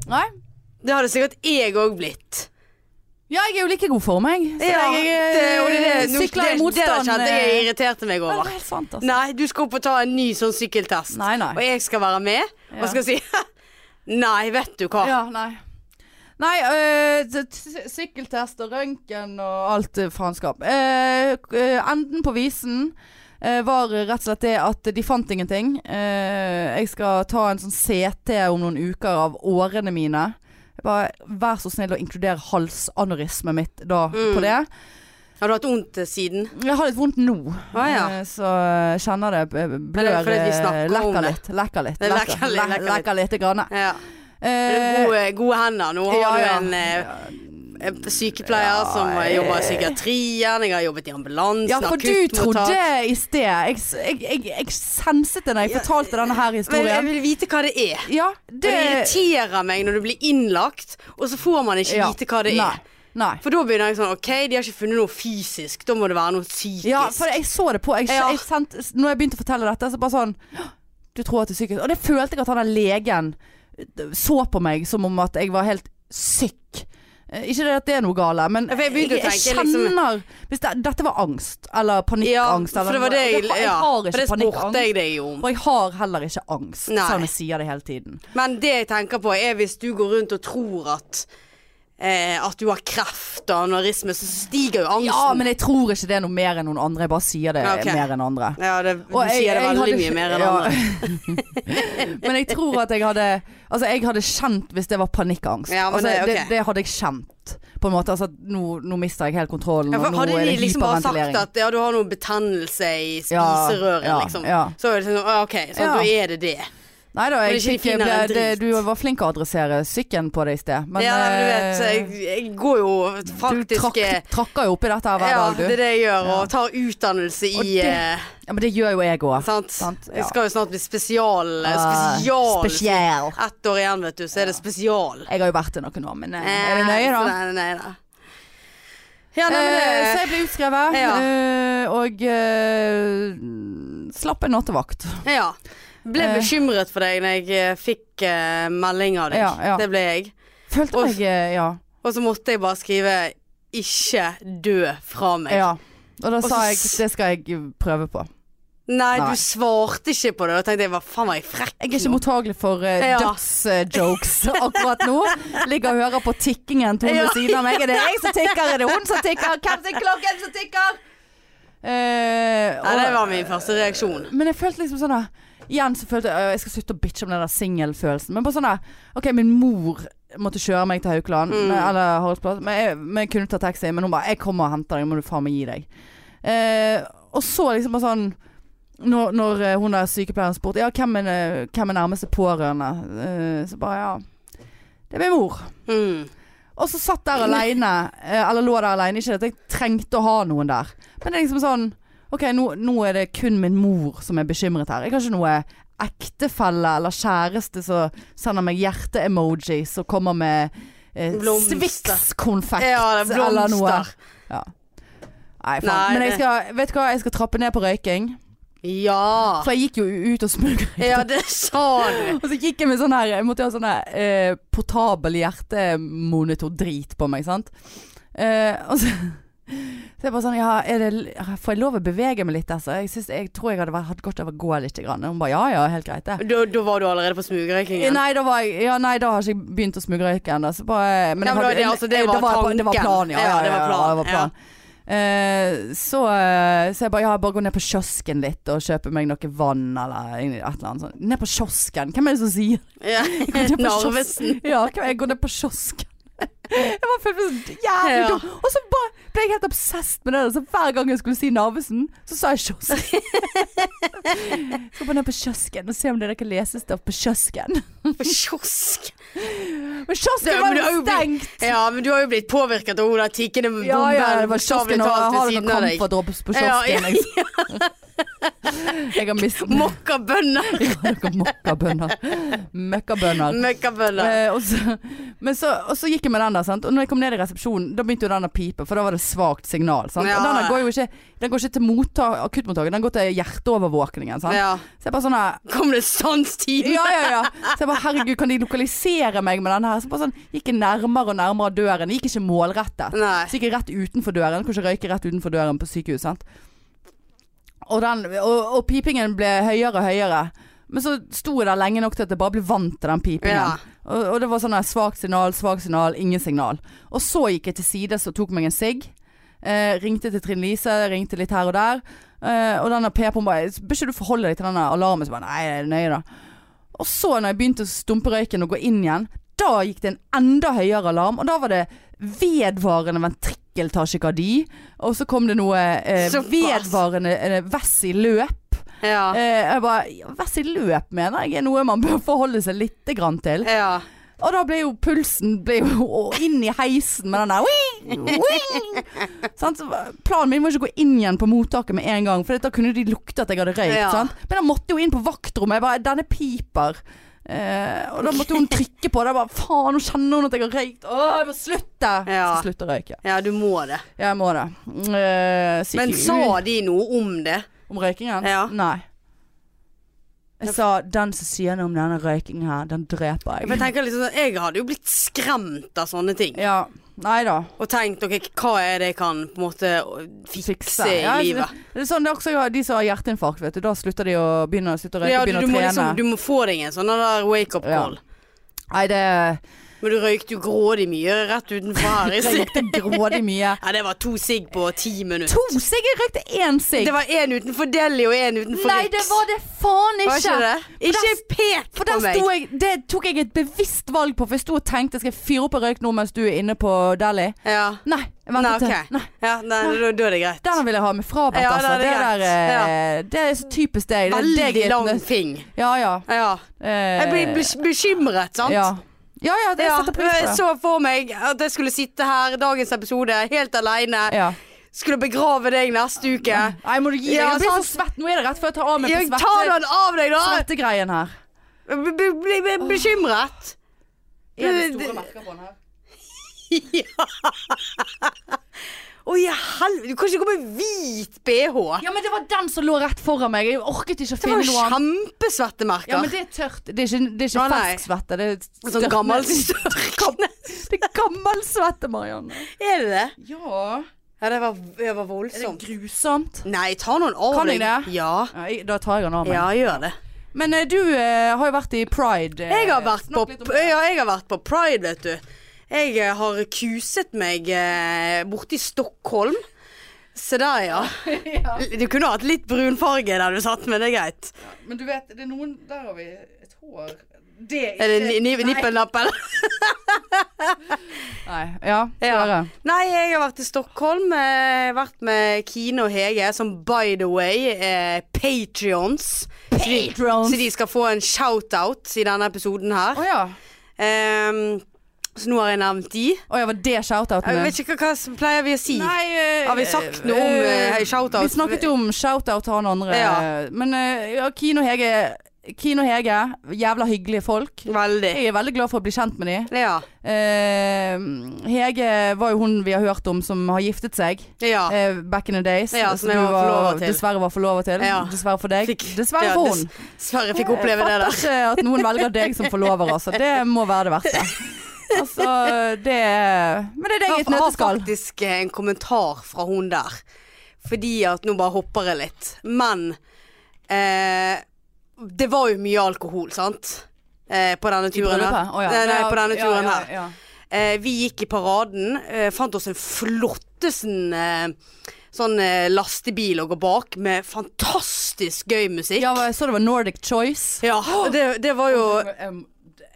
A: Nei.
B: Det hadde sikkert jeg òg blitt.
A: Ja, jeg er jo like god for meg. Så
B: Ja,
A: jeg
B: det,
A: eh,
B: og det, det, nå-
A: sykler i
B: det, det der
A: motstand.
B: kjente jeg
A: eh,
B: irriterte meg
A: ja, det
B: over.
A: er helt sant, altså.
B: Nei, du skal opp og ta en ny sånn sykkeltest.
A: Nei, nei.
B: Og jeg skal være med
A: Ja.
B: og skal si Nei, vet du hva.
A: Ja, nei. Nei, eh, s- s- sykkeltest og røntgen og alt eh, faenskap. Eh, k- eh, enden på visen eh, var rett og slett det at de fant ingenting. Eh, jeg skal ta en sånn CT om noen uker av årene mine. Jeg Bare, vær så snill å inkludere halsaneurysmet mitt da
B: Mm.
A: på det.
B: Har du hatt vondt siden?
A: Jeg har litt vondt nå,
B: Ah, ja.
A: eh, så jeg kjenner det eh, blør
B: fordi vi
A: eh,
B: snakker om
A: Lekker
B: det.
A: litt. Lekker litt.
B: Det lekker litt,
A: le-
B: lekker litt.
A: lekker lite grann.
B: Ja. Er det
A: Eh,
B: Gode, gode hender. Nå har
A: ja, ja.
B: du en eh, eh, sykepleier
A: Ja,
B: som eh,
A: jeg-
B: jobber i psykiatrien, jeg har jobbet i ambulansen,
A: Ja, for du
B: akuttmottak.
A: trodde i sted Jeg, jeg, jeg, jeg senset det da jeg fortalte denne her
B: Men jeg
A: historien.
B: vil vite hva det er.
A: Ja,
B: Det,
A: det
B: irriterer meg når du blir innlagt, og så får man ikke
A: ja.
B: vite hva det er.
A: Nei. nei.
B: For da begynner jeg sånn OK, de har ikke funnet noe fysisk, da må det være noe psykisk.
A: Ja, for jeg så det på jeg,
B: Ja.
A: jeg sendte- Når jeg begynte å fortelle dette, så bare sånn «Hå, Du tror at det er psykisk Og det følte jeg at han der legen eh, så på meg som om at jeg var helt syk. Eh, Ikke det at det er noe gale, men
B: Ja, for jeg begynte å tenke,
A: kjenner
B: liksom-
A: Hvis det, dette var angst, eller
B: Ja,
A: panikkangst eller
B: for det var
A: noe,
B: det jeg,
A: og har-
B: ja,
A: Jeg har
B: for
A: ikke
B: det spurte
A: panikkangst.
B: jeg deg jo om.
A: Og jeg har heller ikke angst,
B: Nei.
A: selv om jeg sier det hele tiden.
B: Men det jeg tenker på er hvis du går rundt og tror at eh, At du har kreft og anorisme, så stiger jo angsten.
A: Ja, men jeg tror ikke det er noe mer enn noen andre. Jeg bare sier det
B: Ja, ok.
A: mer enn andre.
B: Ja, det, du
A: Og jeg-
B: sier det
A: jeg
B: veldig
A: hadde-
B: mye mer enn
A: ja.
B: andre.
A: Men jeg tror at jeg hadde Altså, jeg hadde kjent hvis det var panikkangst.
B: Ja, men
A: altså,
B: det- ok.
A: det, det hadde jeg kjent, på en måte. Altså, at nå, nå mister jeg helt kontrollen,
B: Ja,
A: og
B: for
A: nå
B: hadde
A: er
B: de
A: det
B: liksom bare sagt
A: hyperventilering.
B: at ja, du har noe betennelse i
A: Ja,
B: spiserøret,
A: ja,
B: liksom.
A: ja.
B: Så er det sånn, «Å, ok, sånn,
A: Ja.
B: da er det det.
A: Nei da, jeg
B: Men ikke
A: fikk,
B: finere
A: ble,
B: enn drit.
A: det, du var flink å adressere sykkelen på deg i sted. Men,
B: ja, men du vet,
A: eh,
B: jeg, jeg går jo
A: du
B: faktisk
A: trakk,
B: eh,
A: trakker jo oppi dette her hver
B: Ja,
A: dag,
B: det
A: du.
B: er det jeg gjør,
A: Ja.
B: og tar utdannelse i
A: Og det-
B: eh,
A: Ja, men det gjør jo jeg òg.
B: Sant?
A: Sant, ja.
B: Jeg skal jo snart bli spesial... eh,
A: Ah,
B: spesial.
A: spesial.
B: Ett år igjen, vet du, så er det spesial.
A: Jeg har jo vært det noen år, men eh, er det nøye, da?
B: Nei, nei, nei, nei. Ja, nei, men
A: Eh, så
B: det,
A: jeg ble utskrevet,
B: Ja.
A: eh, og eh, slapp en nattevakt.
B: ja. Ble
A: eh,
B: bekymret for deg når jeg eh, fikk eh, melding av deg.
A: Ja, ja.
B: Det ble jeg.
A: Følte
B: Og-
A: meg eh, ja,
B: Og så måtte jeg bare skrive 'ikke dø fra meg'.
A: ja. Og da
B: så
A: sa jeg
B: s-
A: det skal jeg prøve på.
B: Nei,
A: Nei.
B: du svarte ikke på det. Da tenkte jeg hva faen var jeg frekk
A: Jeg er ikke
B: nå?
A: mottagelig for uh,
B: Ja.
A: dødsjokes akkurat nå. Ligger og hører på tikkingen til hun
B: Ja.
A: ved siden av meg. Er det jeg som tikker? Er det hun som tikker? Hvem sin klokken som tikker? Eh,
B: Nei,
A: og-
B: det var min første reaksjon.
A: Men jeg følte liksom sånn da Igjen så følte jeg øh, Jeg skal slutte å bitche om den der singelfølelsen Men bare sånn da Ok, min mor måtte kjøre meg til Haukeland eh,
B: Mm.
A: Eller Haraldsplass men, jeg- men jeg kunne ta taxi Men hun bare Jeg kommer og henter deg Må du faen meg gi deg eh, Og så liksom bare sånn når, når eh, hun der sykepleieren spurte Ja, hvem er, det- hvem er nærmeste pårørende? Eh, så bare ja Det er min mor
B: Mm.
A: og så satt der alene, eh, eller lå der alene, ikke at jeg trengte å ha noen der. Men det er liksom sånn Ok, nå, nå er det kun min mor som er bekymret her. Jeg har ikke noe ektefelle eller kjæreste som sender meg hjerte-emojis og kommer med eh,
B: Blomster.
A: Swix-konfekt
B: Ja, det er
A: eller noe.
B: blomster.
A: Ja. Nei, faen.
B: Nei,
A: Men jeg
B: det-
A: skal, vet du hva, jeg skal trappe ned på røyking.
B: Ja.
A: For jeg gikk jo ut og smugrøykte.
B: Ja, det sa du.
A: Og så gikk jeg med sånn her Jeg måtte ha sånn her eh, portabel hjertemonitor-drit på meg, sant. Eh, og så, så jeg bare sånn Ja, er det, får jeg lov å bevege meg litt? Altså? Jeg, synes, jeg tror jeg hadde vært- hatt godt av å gå litt. Grann. Og hun bare ja ja, helt greit det.
B: Da, da var du allerede på smugrøykingen.
A: Nei, da var jeg, ja, nei, da har ikke jeg begynt å smugrøyke ennå. så bare-
B: Ja,
A: eh, Men, jeg
B: men det
A: hadde-
B: var det, altså, det var
A: det var
B: tanken.
A: planen, ja.
B: Ja, det var planen,
A: det var planen. Eh, så, eh, så jeg bare, ja, jeg bare går ned på kiosken litt og kjøper meg noe vann eller et eller annet sånt. Ned på kiosken? Hvem er det som sier
B: Ja.
A: Jeg går ned på
B: Narvesen.
A: kios- Ja, hvem- jeg går ned på kiosken. Jeg var følt meg så jævlig
B: Ja.
A: dum. Og så bare ble jeg helt obsesst med det. der, Så hver gang jeg skulle si Narvesen, så sa jeg kiosken. Skal bare ned på kiosken og se om det er noe lesestoff på kiosken.
B: På kiosk.
A: Men kiosken
B: Ja,
A: var
B: men det er
A: jo
B: jo blitt-
A: stengt!
B: Ja, men du har jo blitt påvirket av hun der tikkende bomben.
A: Ja, ja, det var
B: bokstavelig
A: kiosken, og
B: talt,
A: jeg
B: ved
A: har
B: siden
A: noen
B: av deg.
A: komfadrops på
B: Ja,
A: kiosken.
B: ja,
A: Jeg, jeg har mistet
B: Mokkabønner.
A: noen mokkabønner. Møkkabønner.
B: Møkkabønner.
A: Eh, og, så, men så, og så gikk jeg med den der, sant? og når jeg kom ned i resepsjonen, da begynte jo den å pipe, for da var det svakt signal. Sant?
B: Ja.
A: Og den der går jo ikke, den går ikke til motta- akuttmottaket, den går til hjerteovervåkningen. Sant?
B: Ja.
A: Så jeg bare sånn her
B: Kom det sanstid?
A: ja, ja, ja. Så jeg bare, herregud, kan de lokalisere meg med denne her? Så bare sånn, gikk jeg nærmere og nærmere døren. Jeg gikk ikke målrettet.
B: Nei.
A: Så gikk jeg rett utenfor døren. Kunne ikke røyke rett utenfor døren på sykehus, sant. Og, den, og, og pipingen ble høyere og høyere. Men så sto jeg der lenge nok til at jeg bare ble vant til den pipingen.
B: Ja.
A: Og, og det var sånn her, svakt signal, svakt signal, ingen signal. Og så gikk jeg til sides og tok meg en sigg. Eh, ringte til Trine Lise, ringte litt her og der. Eh, og denne p-pumpen bare Bør ikke du forholde deg til denne alarmen? Så bare nei, det er nøye, da. Og så, når jeg begynte å stumpe røyken og gå inn igjen, da gikk det en enda høyere alarm. Og da var det vedvarende ventrikkeltasjikardi. Og så kom det noe eh,
B: Såpass.
A: vedvarende eh, vess i løp.
B: Ja.
A: Eh, jeg bare Vess i løp, mener jeg, er noe man bør forholde seg lite grann til.
B: Ja.
A: Og da ble jo pulsen ble jo og inn i heisen med den der «wing, wing». Sant? Så Planen min var ikke å gå inn igjen på mottaket med en gang, for da kunne de lukte at jeg hadde røykt.
B: Ja.
A: Sant? Men jeg måtte jo inn på vaktrommet. Jeg bare 'Denne piper'. Eh, og da måtte hun trykke på det. Jeg bare 'Faen, nå kjenner hun at jeg har røykt'. Å, jeg må slutte!
B: Ja.
A: Så slutte å røyke.
B: ja, du må det.
A: Jeg må det. Eh, så
B: Men
A: gikk jeg ut
B: sa de noe om det?
A: om røykingen?
B: Ja.
A: Nei. Jeg sa 'Den som sier noe om denne røykingen her, den dreper
B: For Jeg
A: jeg'.
B: tenker liksom sånn, jeg hadde jo blitt skremt av sånne ting.
A: Ja. Nei da.
B: Og tenkt ok, hva er det jeg kan på en måte fikse,
A: fikse
B: i
A: Ja,
B: livet?
A: Det er sånn det er også de som har hjerteinfarkt, vet du. Da slutter de å begynne å, slutte å røyke,
B: Ja, du, liksom-
A: begynne
B: du,
A: å
B: må
A: trene.
B: liksom, du må få deg en sånn der wake up
A: Ja.
B: call.
A: Nei, det
B: Men du røykte jo grådig mye rett utenfor her. i
A: Jeg
B: sted.
A: røykte grådig mye.
B: Ja, det var to sigg på ti minutter.
A: To sigg! Jeg røykte én sigg!
B: Det var én utenfor Deli og én utenfor
A: Nei,
B: Rix.
A: det var det faen
B: Var
A: ikke!
B: ikke det? Ikke
A: der-
B: pek
A: For
B: på
A: der
B: meg.
A: sto jeg, Det tok jeg et bevisst valg på, for jeg sto og tenkte skal jeg fyre opp en røyk nå mens du er inne på Deli?
B: Ja.
A: Nei, jeg
B: Nei,
A: ventet
B: ok.
A: til. Nei.
B: Ja, nei, da, da er det greit.
A: Den vil jeg ha med frabedt,
B: Ja,
A: altså.
B: det er
A: Det,
B: greit.
A: der, eh, det er så typisk deg. Det er deg i
B: Veldig
A: et
B: lang
A: nøtt-
B: fing.
A: Ja, ja.
B: Ja.
A: Eh,
B: Jeg blir bes- bekymret, sant?
A: ja. ja, ja, det
B: Ja,
A: setter pris
B: jeg
A: på. det.
B: så for meg at jeg skulle sitte her i dagens episode helt aleine.
A: Ja.
B: Skulle begrave deg neste uke.
A: Nei, må du gi deg.
B: Ja,
A: Jeg blir så
B: sant.
A: svett. Nå er det rett før jeg tar av meg på
B: Jeg
A: svette,
B: tar den av deg, da!
A: svettegreien her.
B: B- b- Blir be- bekymret.
A: Er det
B: Det-
A: store merker på den her?
B: Å, i helvete. Du kan ikke gå med hvit bh.
A: Ja, men det var den som lå rett foran meg. Jeg orket ikke å
B: Det var
A: finne
B: jo
A: noe annet.
B: kjempesvettemerker.
A: Ja, men det er tørt. Det er ikke, det er ikke
B: Å, nei.
A: fersk svette. Det er
B: Sånn
A: størknet-
B: gammel størkne.
A: Det er gammel svette, Marianne.
B: Er det det?
A: Ja.
B: Ja, det var, det var
A: Er det
B: voldsomt.
A: grusomt?
B: Nei, ta noen av
A: Kan jeg
B: deg.
A: det?
B: Ja.
A: Ja, jeg- da tar jeg den av meg.
B: ja, gjør det.
A: Men eh, du eh, har jo vært i pride. eh,
B: Jeg har vært på,
A: snakk litt om det.
B: ja, jeg har vært på pride, vet du. Jeg eh, har kuset meg eh, borti Stockholm. Se der, ja. Du kunne hatt litt brunfarge der du satt, men det er greit.
A: Men du vet, det er noen Der har vi et hår Det er
B: Er det ni- ni-
A: Nei.
B: nippelnappel?
A: Nei. Ja.
B: Ja.
A: ja.
B: Nei, jeg har vært i Stockholm. eh, vært med Kine og Hege, som by the way er patrions.
A: Patrons.
B: Så de skal få en shout-out i denne episoden her.
A: Å ja.
B: Ehm, så nå har jeg nevnt de.
A: Å ja, var det shoutouten
B: Jeg
A: din?
B: vet ikke hva som pleier vi å si.
A: eh,
B: Har vi sagt noe om, eh, shoutout?
A: Vi snakket jo om shoutout til han andre.
B: Ja.
A: Men eh, ja, Kine og Hege Kine og Hege, jævla hyggelige folk.
B: Veldig.
A: Jeg er veldig glad for å bli kjent med dem.
B: Ja.
A: Hege var jo hun vi har hørt om som har giftet seg.
B: ja.
A: eh, back in the days.
B: Ja, som jeg
A: du
B: var forlovet til.
A: Dessverre var forlovet til.
B: Ja.
A: Dessverre for deg.
B: Fikk-
A: dessverre
B: ja,
A: for
B: dess-
A: hun.
B: Dessverre fikk oppleve det
A: Jeg
B: der.
A: fatter ikke at noen velger deg som forlover, altså. Det må være det verste. Altså, det Men det er deg i et
B: Jeg har
A: nøtteskall.
B: faktisk eh, en kommentar fra hun der. Fordi at nå bare hopper jeg litt. Men eh, det var jo mye alkohol, sant? Eh, på denne turen her.
A: Bryllupet? Å, ja.
B: nei, nei,
A: Ja,
B: på denne
A: ja,
B: turen
A: ja,
B: her.
A: ja.
B: Eh, vi gikk i paraden, eh, fant oss en flottesen eh, sånn eh, lastebil å gå bak med fantastisk gøy musikk.
A: Ja, jeg så det var Nordic Choice.
B: Ja, og det, det var jo
A: Um,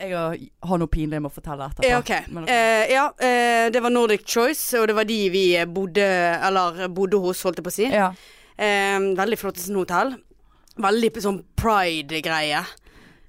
A: Jeg har- har noe pinlig jeg må fortelle etterpå.
B: Ja, ok.
A: Men-
B: Eh, ja, eh, det var Nordic Choice, og det var de vi eh, bodde, eller bodde hos, holdt jeg på å si.
A: ja.
B: Eh, veldig flott sånn hotell. Veldig p- sånn pride-greie.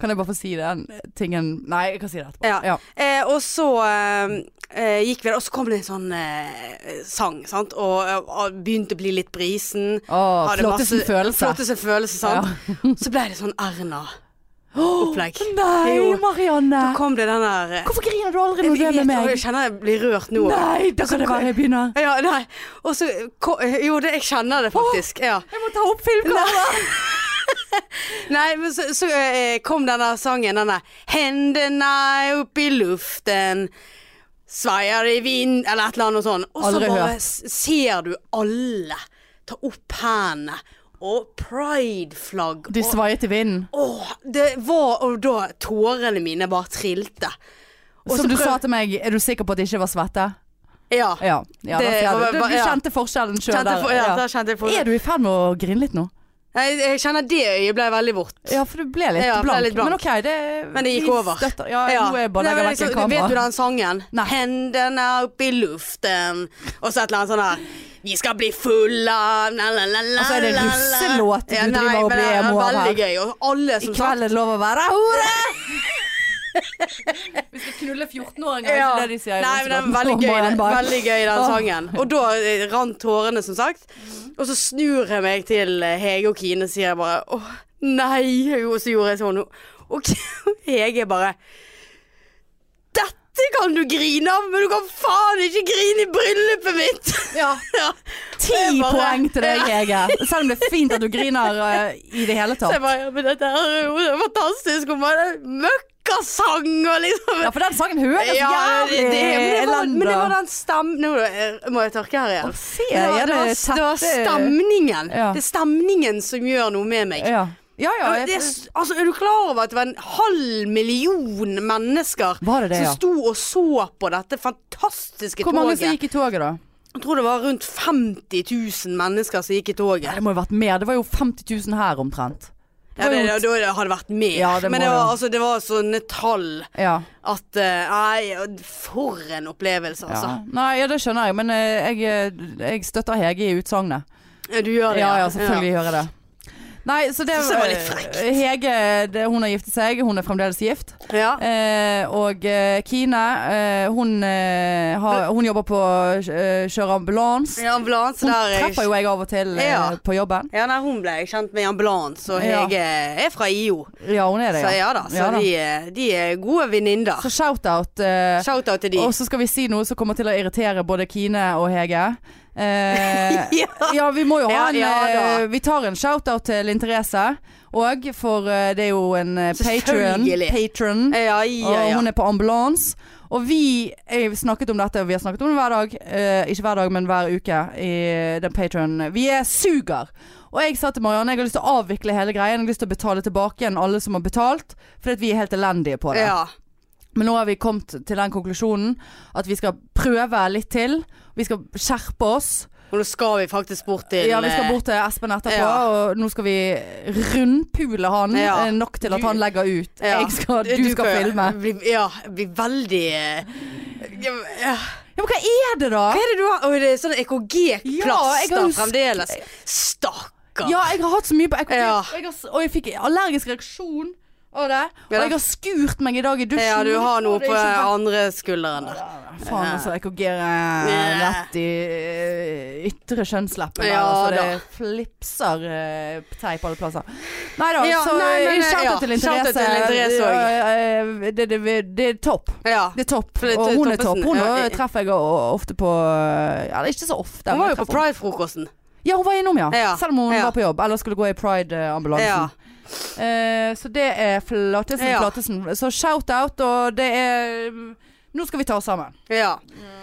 A: Kan jeg bare få si den tingen Nei, jeg kan si det etterpå.
B: Ja.
A: Ja.
B: Eh, og så eh, eh, gikk vi der, og så kom det en sånn eh, sang, sant, og, eh, og begynte å bli litt brisen.
A: Å,
B: Hadde
A: flotteste
B: masse-
A: følelse.
B: Flotteste følelse, sant. så ble det sånn Erna-opplegg.
A: Nei,
B: Jo.
A: Marianne!
B: Så kom det den der eh,
A: Hvorfor griner du aldri når du er med
B: Jeg
A: meg?
B: kjenner jeg blir rørt nå.
A: Nei, da kan det være jeg begynner.
B: Ja, nei. Og så ko- Jo, det, jeg kjenner det faktisk. Ja.
A: Jeg må ta opp filmkameraet!
B: Nei, men så, så eh, kom denne sangen, denne Hendene opp i luften, sveier i vind Eller et eller annet sånn. Og så
A: Aldri
B: bare
A: hørt.
B: s- ser du alle ta opp hendene, og prideflagg
A: De svaiet i vinden.
B: Åh, det var Og da tårene mine bare trilte. Og så
A: Som du
B: prøv-
A: sa til meg, er du sikker på at det ikke var svette?
B: Ja.
A: Ja. ja
B: Det
A: da ser
B: var
A: du. Du,
B: bare-
A: du
B: ja.
A: kjente forskjellen sjøl
B: Kjente
A: der.
B: for, ja,
A: Ja.
B: da kjente jeg på
A: Er du i ferd med å grine litt nå?
B: Jeg, jeg kjenner det øyet ble veldig vått.
A: Ja, for du ble litt,
B: Ja, jeg ble
A: blank.
B: litt blank.
A: Men ok, det
B: Men det gikk
A: vi
B: over.
A: Støtter. Ja,
B: Ja.
A: nå er jeg bare
B: Nei, men
A: legger vekk
B: liksom, Vet du
A: kameraet.
B: den sangen?
A: Nei.
B: Hendene opp i luften Og så et eller annet sånn her Vi skal bli full av na, la, la, la,
A: Altså, er det
B: la, la.
A: russelåt du driver
B: nei,
A: og
B: men
A: blir
B: det er
A: emo av
B: Veldig gøy Og alle
A: I
B: som
A: kveld
B: sagt
A: er det lov å være hore! Vi skal knulle 14-åringer,
B: ja.
A: det de sier.
B: Nei, men det er veldig gøy, den, veldig gøy den sangen Og da eh, rant tårene som sagt
A: Mhm.
B: Og så snur jeg meg til eh, Hege og Kine Og sier jeg bare Åh, nei Og så gjorde jeg sånn Og Hege bare Dette kan du grine av Men du kan faen ikke grine i bryllupet mitt
A: Ja.
B: Ja.
A: Ti
B: Jeg bare-
A: poeng til deg,
B: Ja.
A: Hege. Selv om det er fint at du griner eh, i det hele
B: Så
A: tatt.
B: jeg bare, ja, men dette her er jo fantastisk. Og bare møkkasang og liksom
A: Ja, for den sangen høres jævlig
B: det, det, men, det var, men det
A: elendig.
B: var den stemmen Nå eh, må jeg tørke her igjen.
A: Se,
B: Det var, det var, det var stemningen.
A: Ja.
B: Det er stemningen som gjør noe med meg.
A: Ja. Ja, ja.
B: det, er
A: Jeg,
B: s- altså, er du klar over at det var en halv million mennesker
A: Var det det, ja?
B: som sto og så på dette fantastiske
A: hvor mange
B: toget?
A: som gikk i toget, da?
B: Jeg tror det var rundt 50 000 mennesker som gikk i
A: Ja,
B: toget.
A: det må jo ha vært mer. Det var jo 50 000 her omtrent.
B: Ja,
A: var
B: det,
A: jo-
B: da da hadde det vært mer.
A: Ja, det må
B: Men det var,
A: jo.
B: altså, det var sånne tall
A: Ja.
B: at eh, Nei, for en opplevelse,
A: ja.
B: altså.
A: Nei, ja, det skjønner jeg, men eh, jeg, jeg støtter Hege i utsagnet.
B: Du gjør det,
A: Ja, ja, selvfølgelig gjør jeg det. Nei, så det, eh,
B: Synes det var litt frekt.
A: Hege, det, hun har giftet seg. Hun er fremdeles gift.
B: Ja.
A: Eh, og eh, Kine, eh, hun, eh, har, hun jobber på eh, kjører ambulanse.
B: I ambulanse
A: Hun
B: der jeg-
A: treffer jo jeg av og til eh,
B: Ja.
A: på jobben.
B: Ja, nei, hun ble jeg kjent med i ambulanse, og
A: Ja.
B: Hege er fra IO.
A: Ja, hun er det,
B: Så
A: ja.
B: ja da, så
A: Ja da.
B: De, er- de er gode venninner.
A: Så shout-out. Eh,
B: Shout-out til de.
A: Og så skal vi si noe som kommer til å irritere både Kine og Hege. Eh,
B: Ja.
A: ja, vi må jo ha
B: Ja,
A: en
B: ja da.
A: eh, Vi tar en shout-out til Linn Therese. Og for eh, det er jo en eh, patron.
B: Selvfølgelig.
A: patron
B: Ja,
A: og
B: ja, ja.
A: hun er på ambulanse. Og vi har snakket om dette, og vi har snakket om det hver dag. Eh, ikke hver dag, men hver uke i eh, den patronen. Vi er suger! Og jeg sa til Marianne jeg har lyst til å avvikle hele greien. Jeg har lyst til å betale tilbake igjen alle som har betalt, fordi at vi er helt elendige på det.
B: ja.
A: Men nå har vi kommet til den konklusjonen at vi skal prøve litt til. Vi skal skjerpe oss.
B: Og nå skal vi faktisk bort til eh,
A: Ja, Vi skal bort til Espen etterpå,
B: Ja.
A: og nå skal vi rundpule han
B: Ja.
A: eh, nok til at
B: Du-
A: han legger ut.
B: eh, ja.
A: Jeg skal, du, skal
B: kan-
A: filme.
B: Bli, ja, bli veldig eh, ja, ja.
A: Ja, men hva er det, da?
B: Hva er det du har? Oi, det er sånn
A: Ja, jeg
B: EKG-plaster
A: har jo sk-
B: fremdeles. Stakkar.
A: Ja, jeg har hatt så mye på EKG,
B: Ja.
A: og, jeg har, s- og jeg fikk allergisk reaksjon av det. Og
B: Ja, da.
A: jeg har skurt meg i dag i dusjen.
B: Ja, du har noe
A: og det
B: på
A: er ikke bra.
B: andre skulderen der.
A: Faen, altså. EKG er rett i eh, ytre kjønnsleppe. der,
B: Ja,
A: altså,
B: da.
A: det flipser eh, teip alle plasser. Nei da,
B: Ja,
A: så
B: nei, men,
A: eh, shout
B: ja,
A: out til
B: shout out
A: interesse.
B: til Linn Therese også.
A: Eh, eh, det, det, det er topp.
B: Ja.
A: Det er topp.
B: For det er
A: og hun er
B: toppesen.
A: topp. Hun
B: Ja,
A: eh,
B: jeg-
A: treffer jeg o- ofte på eh, Eller ikke så ofte.
B: Hun
A: men
B: var
A: jeg
B: jo på
A: treffer henne.
B: Pride-frokosten.
A: Ja, hun var innom, ja.
B: Ja,
A: Selv om hun
B: ja.
A: var på jobb. Eller skulle gå i Pride-ambulansen.
B: Ja.
A: Eh, så det er Flatesen,
B: Ja.
A: Flatesen. Så shout-out, og det er mm, Nå skal vi ta oss sammen.
B: ja.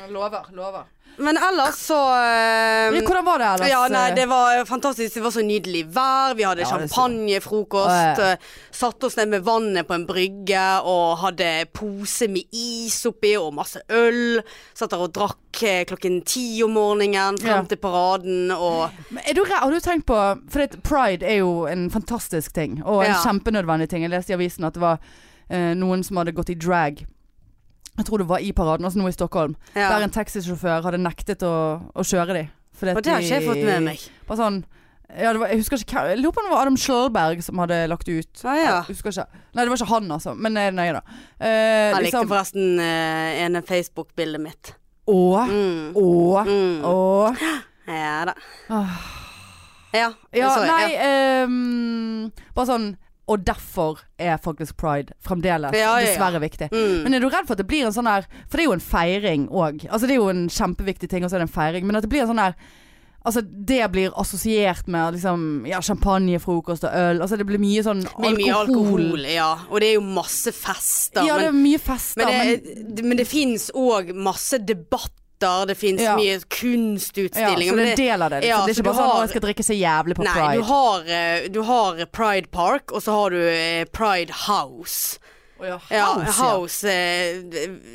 A: Lover. Lover.
B: Men ellers så eh,
A: Hvordan var det ellers?
B: Ja, nei, det var fantastisk. Det var så nydelig vær. Vi hadde
A: Ja, det er så- Å,
B: champagnefrokost.
A: ja.
B: eh, Satte oss ned med vannet på en brygge og hadde pose med is oppi og masse øl. Satt der og drakk eh, klokken ti om morgenen
A: Ja.
B: frem til paraden og
A: Men er du, re- har du tenkt på For det, pride er jo en fantastisk ting, og en
B: Ja.
A: kjempenødvendig ting. Jeg leste i avisen at det var eh, noen som hadde gått i drag. Jeg tror det var i paraden, altså nå i Stockholm.
B: Ja.
A: Der en taxisjåfør hadde nektet å, å kjøre dem.
B: Og det har ikke jeg fått med meg.
A: Bare sånn ja, det var, Jeg husker ikke hvem- Jeg lurer på om det var Adam Schjølberg som hadde lagt ut.
B: Ah, ja.
A: Jeg husker ikke. Nei, det var ikke han, altså. Men eh, nøye, da. Eh,
B: Jeg likte
A: liksom,
B: forresten eh, ene Facebook-bildet mitt.
A: å,
B: Mm.
A: å,
B: Mm.
A: å.
B: Ja da.
A: Ah.
B: Ja,
A: Ja,
B: sorry,
A: nei ehm, Bare sånn Og derfor er faktisk pride fremdeles
B: Ja, ja, ja.
A: dessverre viktig.
B: Mm.
A: Men er du redd for at det blir en sånn her For det er jo en feiring òg. Altså, det er jo en kjempeviktig ting, og så er det en feiring. Men at det blir en sånn her Altså, det blir assosiert med liksom ja, champagnefrokost og øl. Altså, det blir mye sånn
B: Med
A: alkohol.
B: mye alkohol, ja. Og det er jo masse fester.
A: ja, det
B: men-
A: er mye fester,
B: Men
A: men,
B: det, det, men det fins òg masse debatter, det fins
A: Ja.
B: mye
A: ja,
B: kunstutstillinger.
A: Så det
B: men
A: er en del av det. liksom.
B: ja,
A: det er
B: så du
A: ikke bare sånn
B: har-
A: 'Å, jeg skal drikke så jævlig på
B: Nei, du
A: pride'.
B: har, eh, du har Pride Park, og så har du eh, Pride House.
A: Å ja,
B: Ja,
A: house, ja.
B: House eh,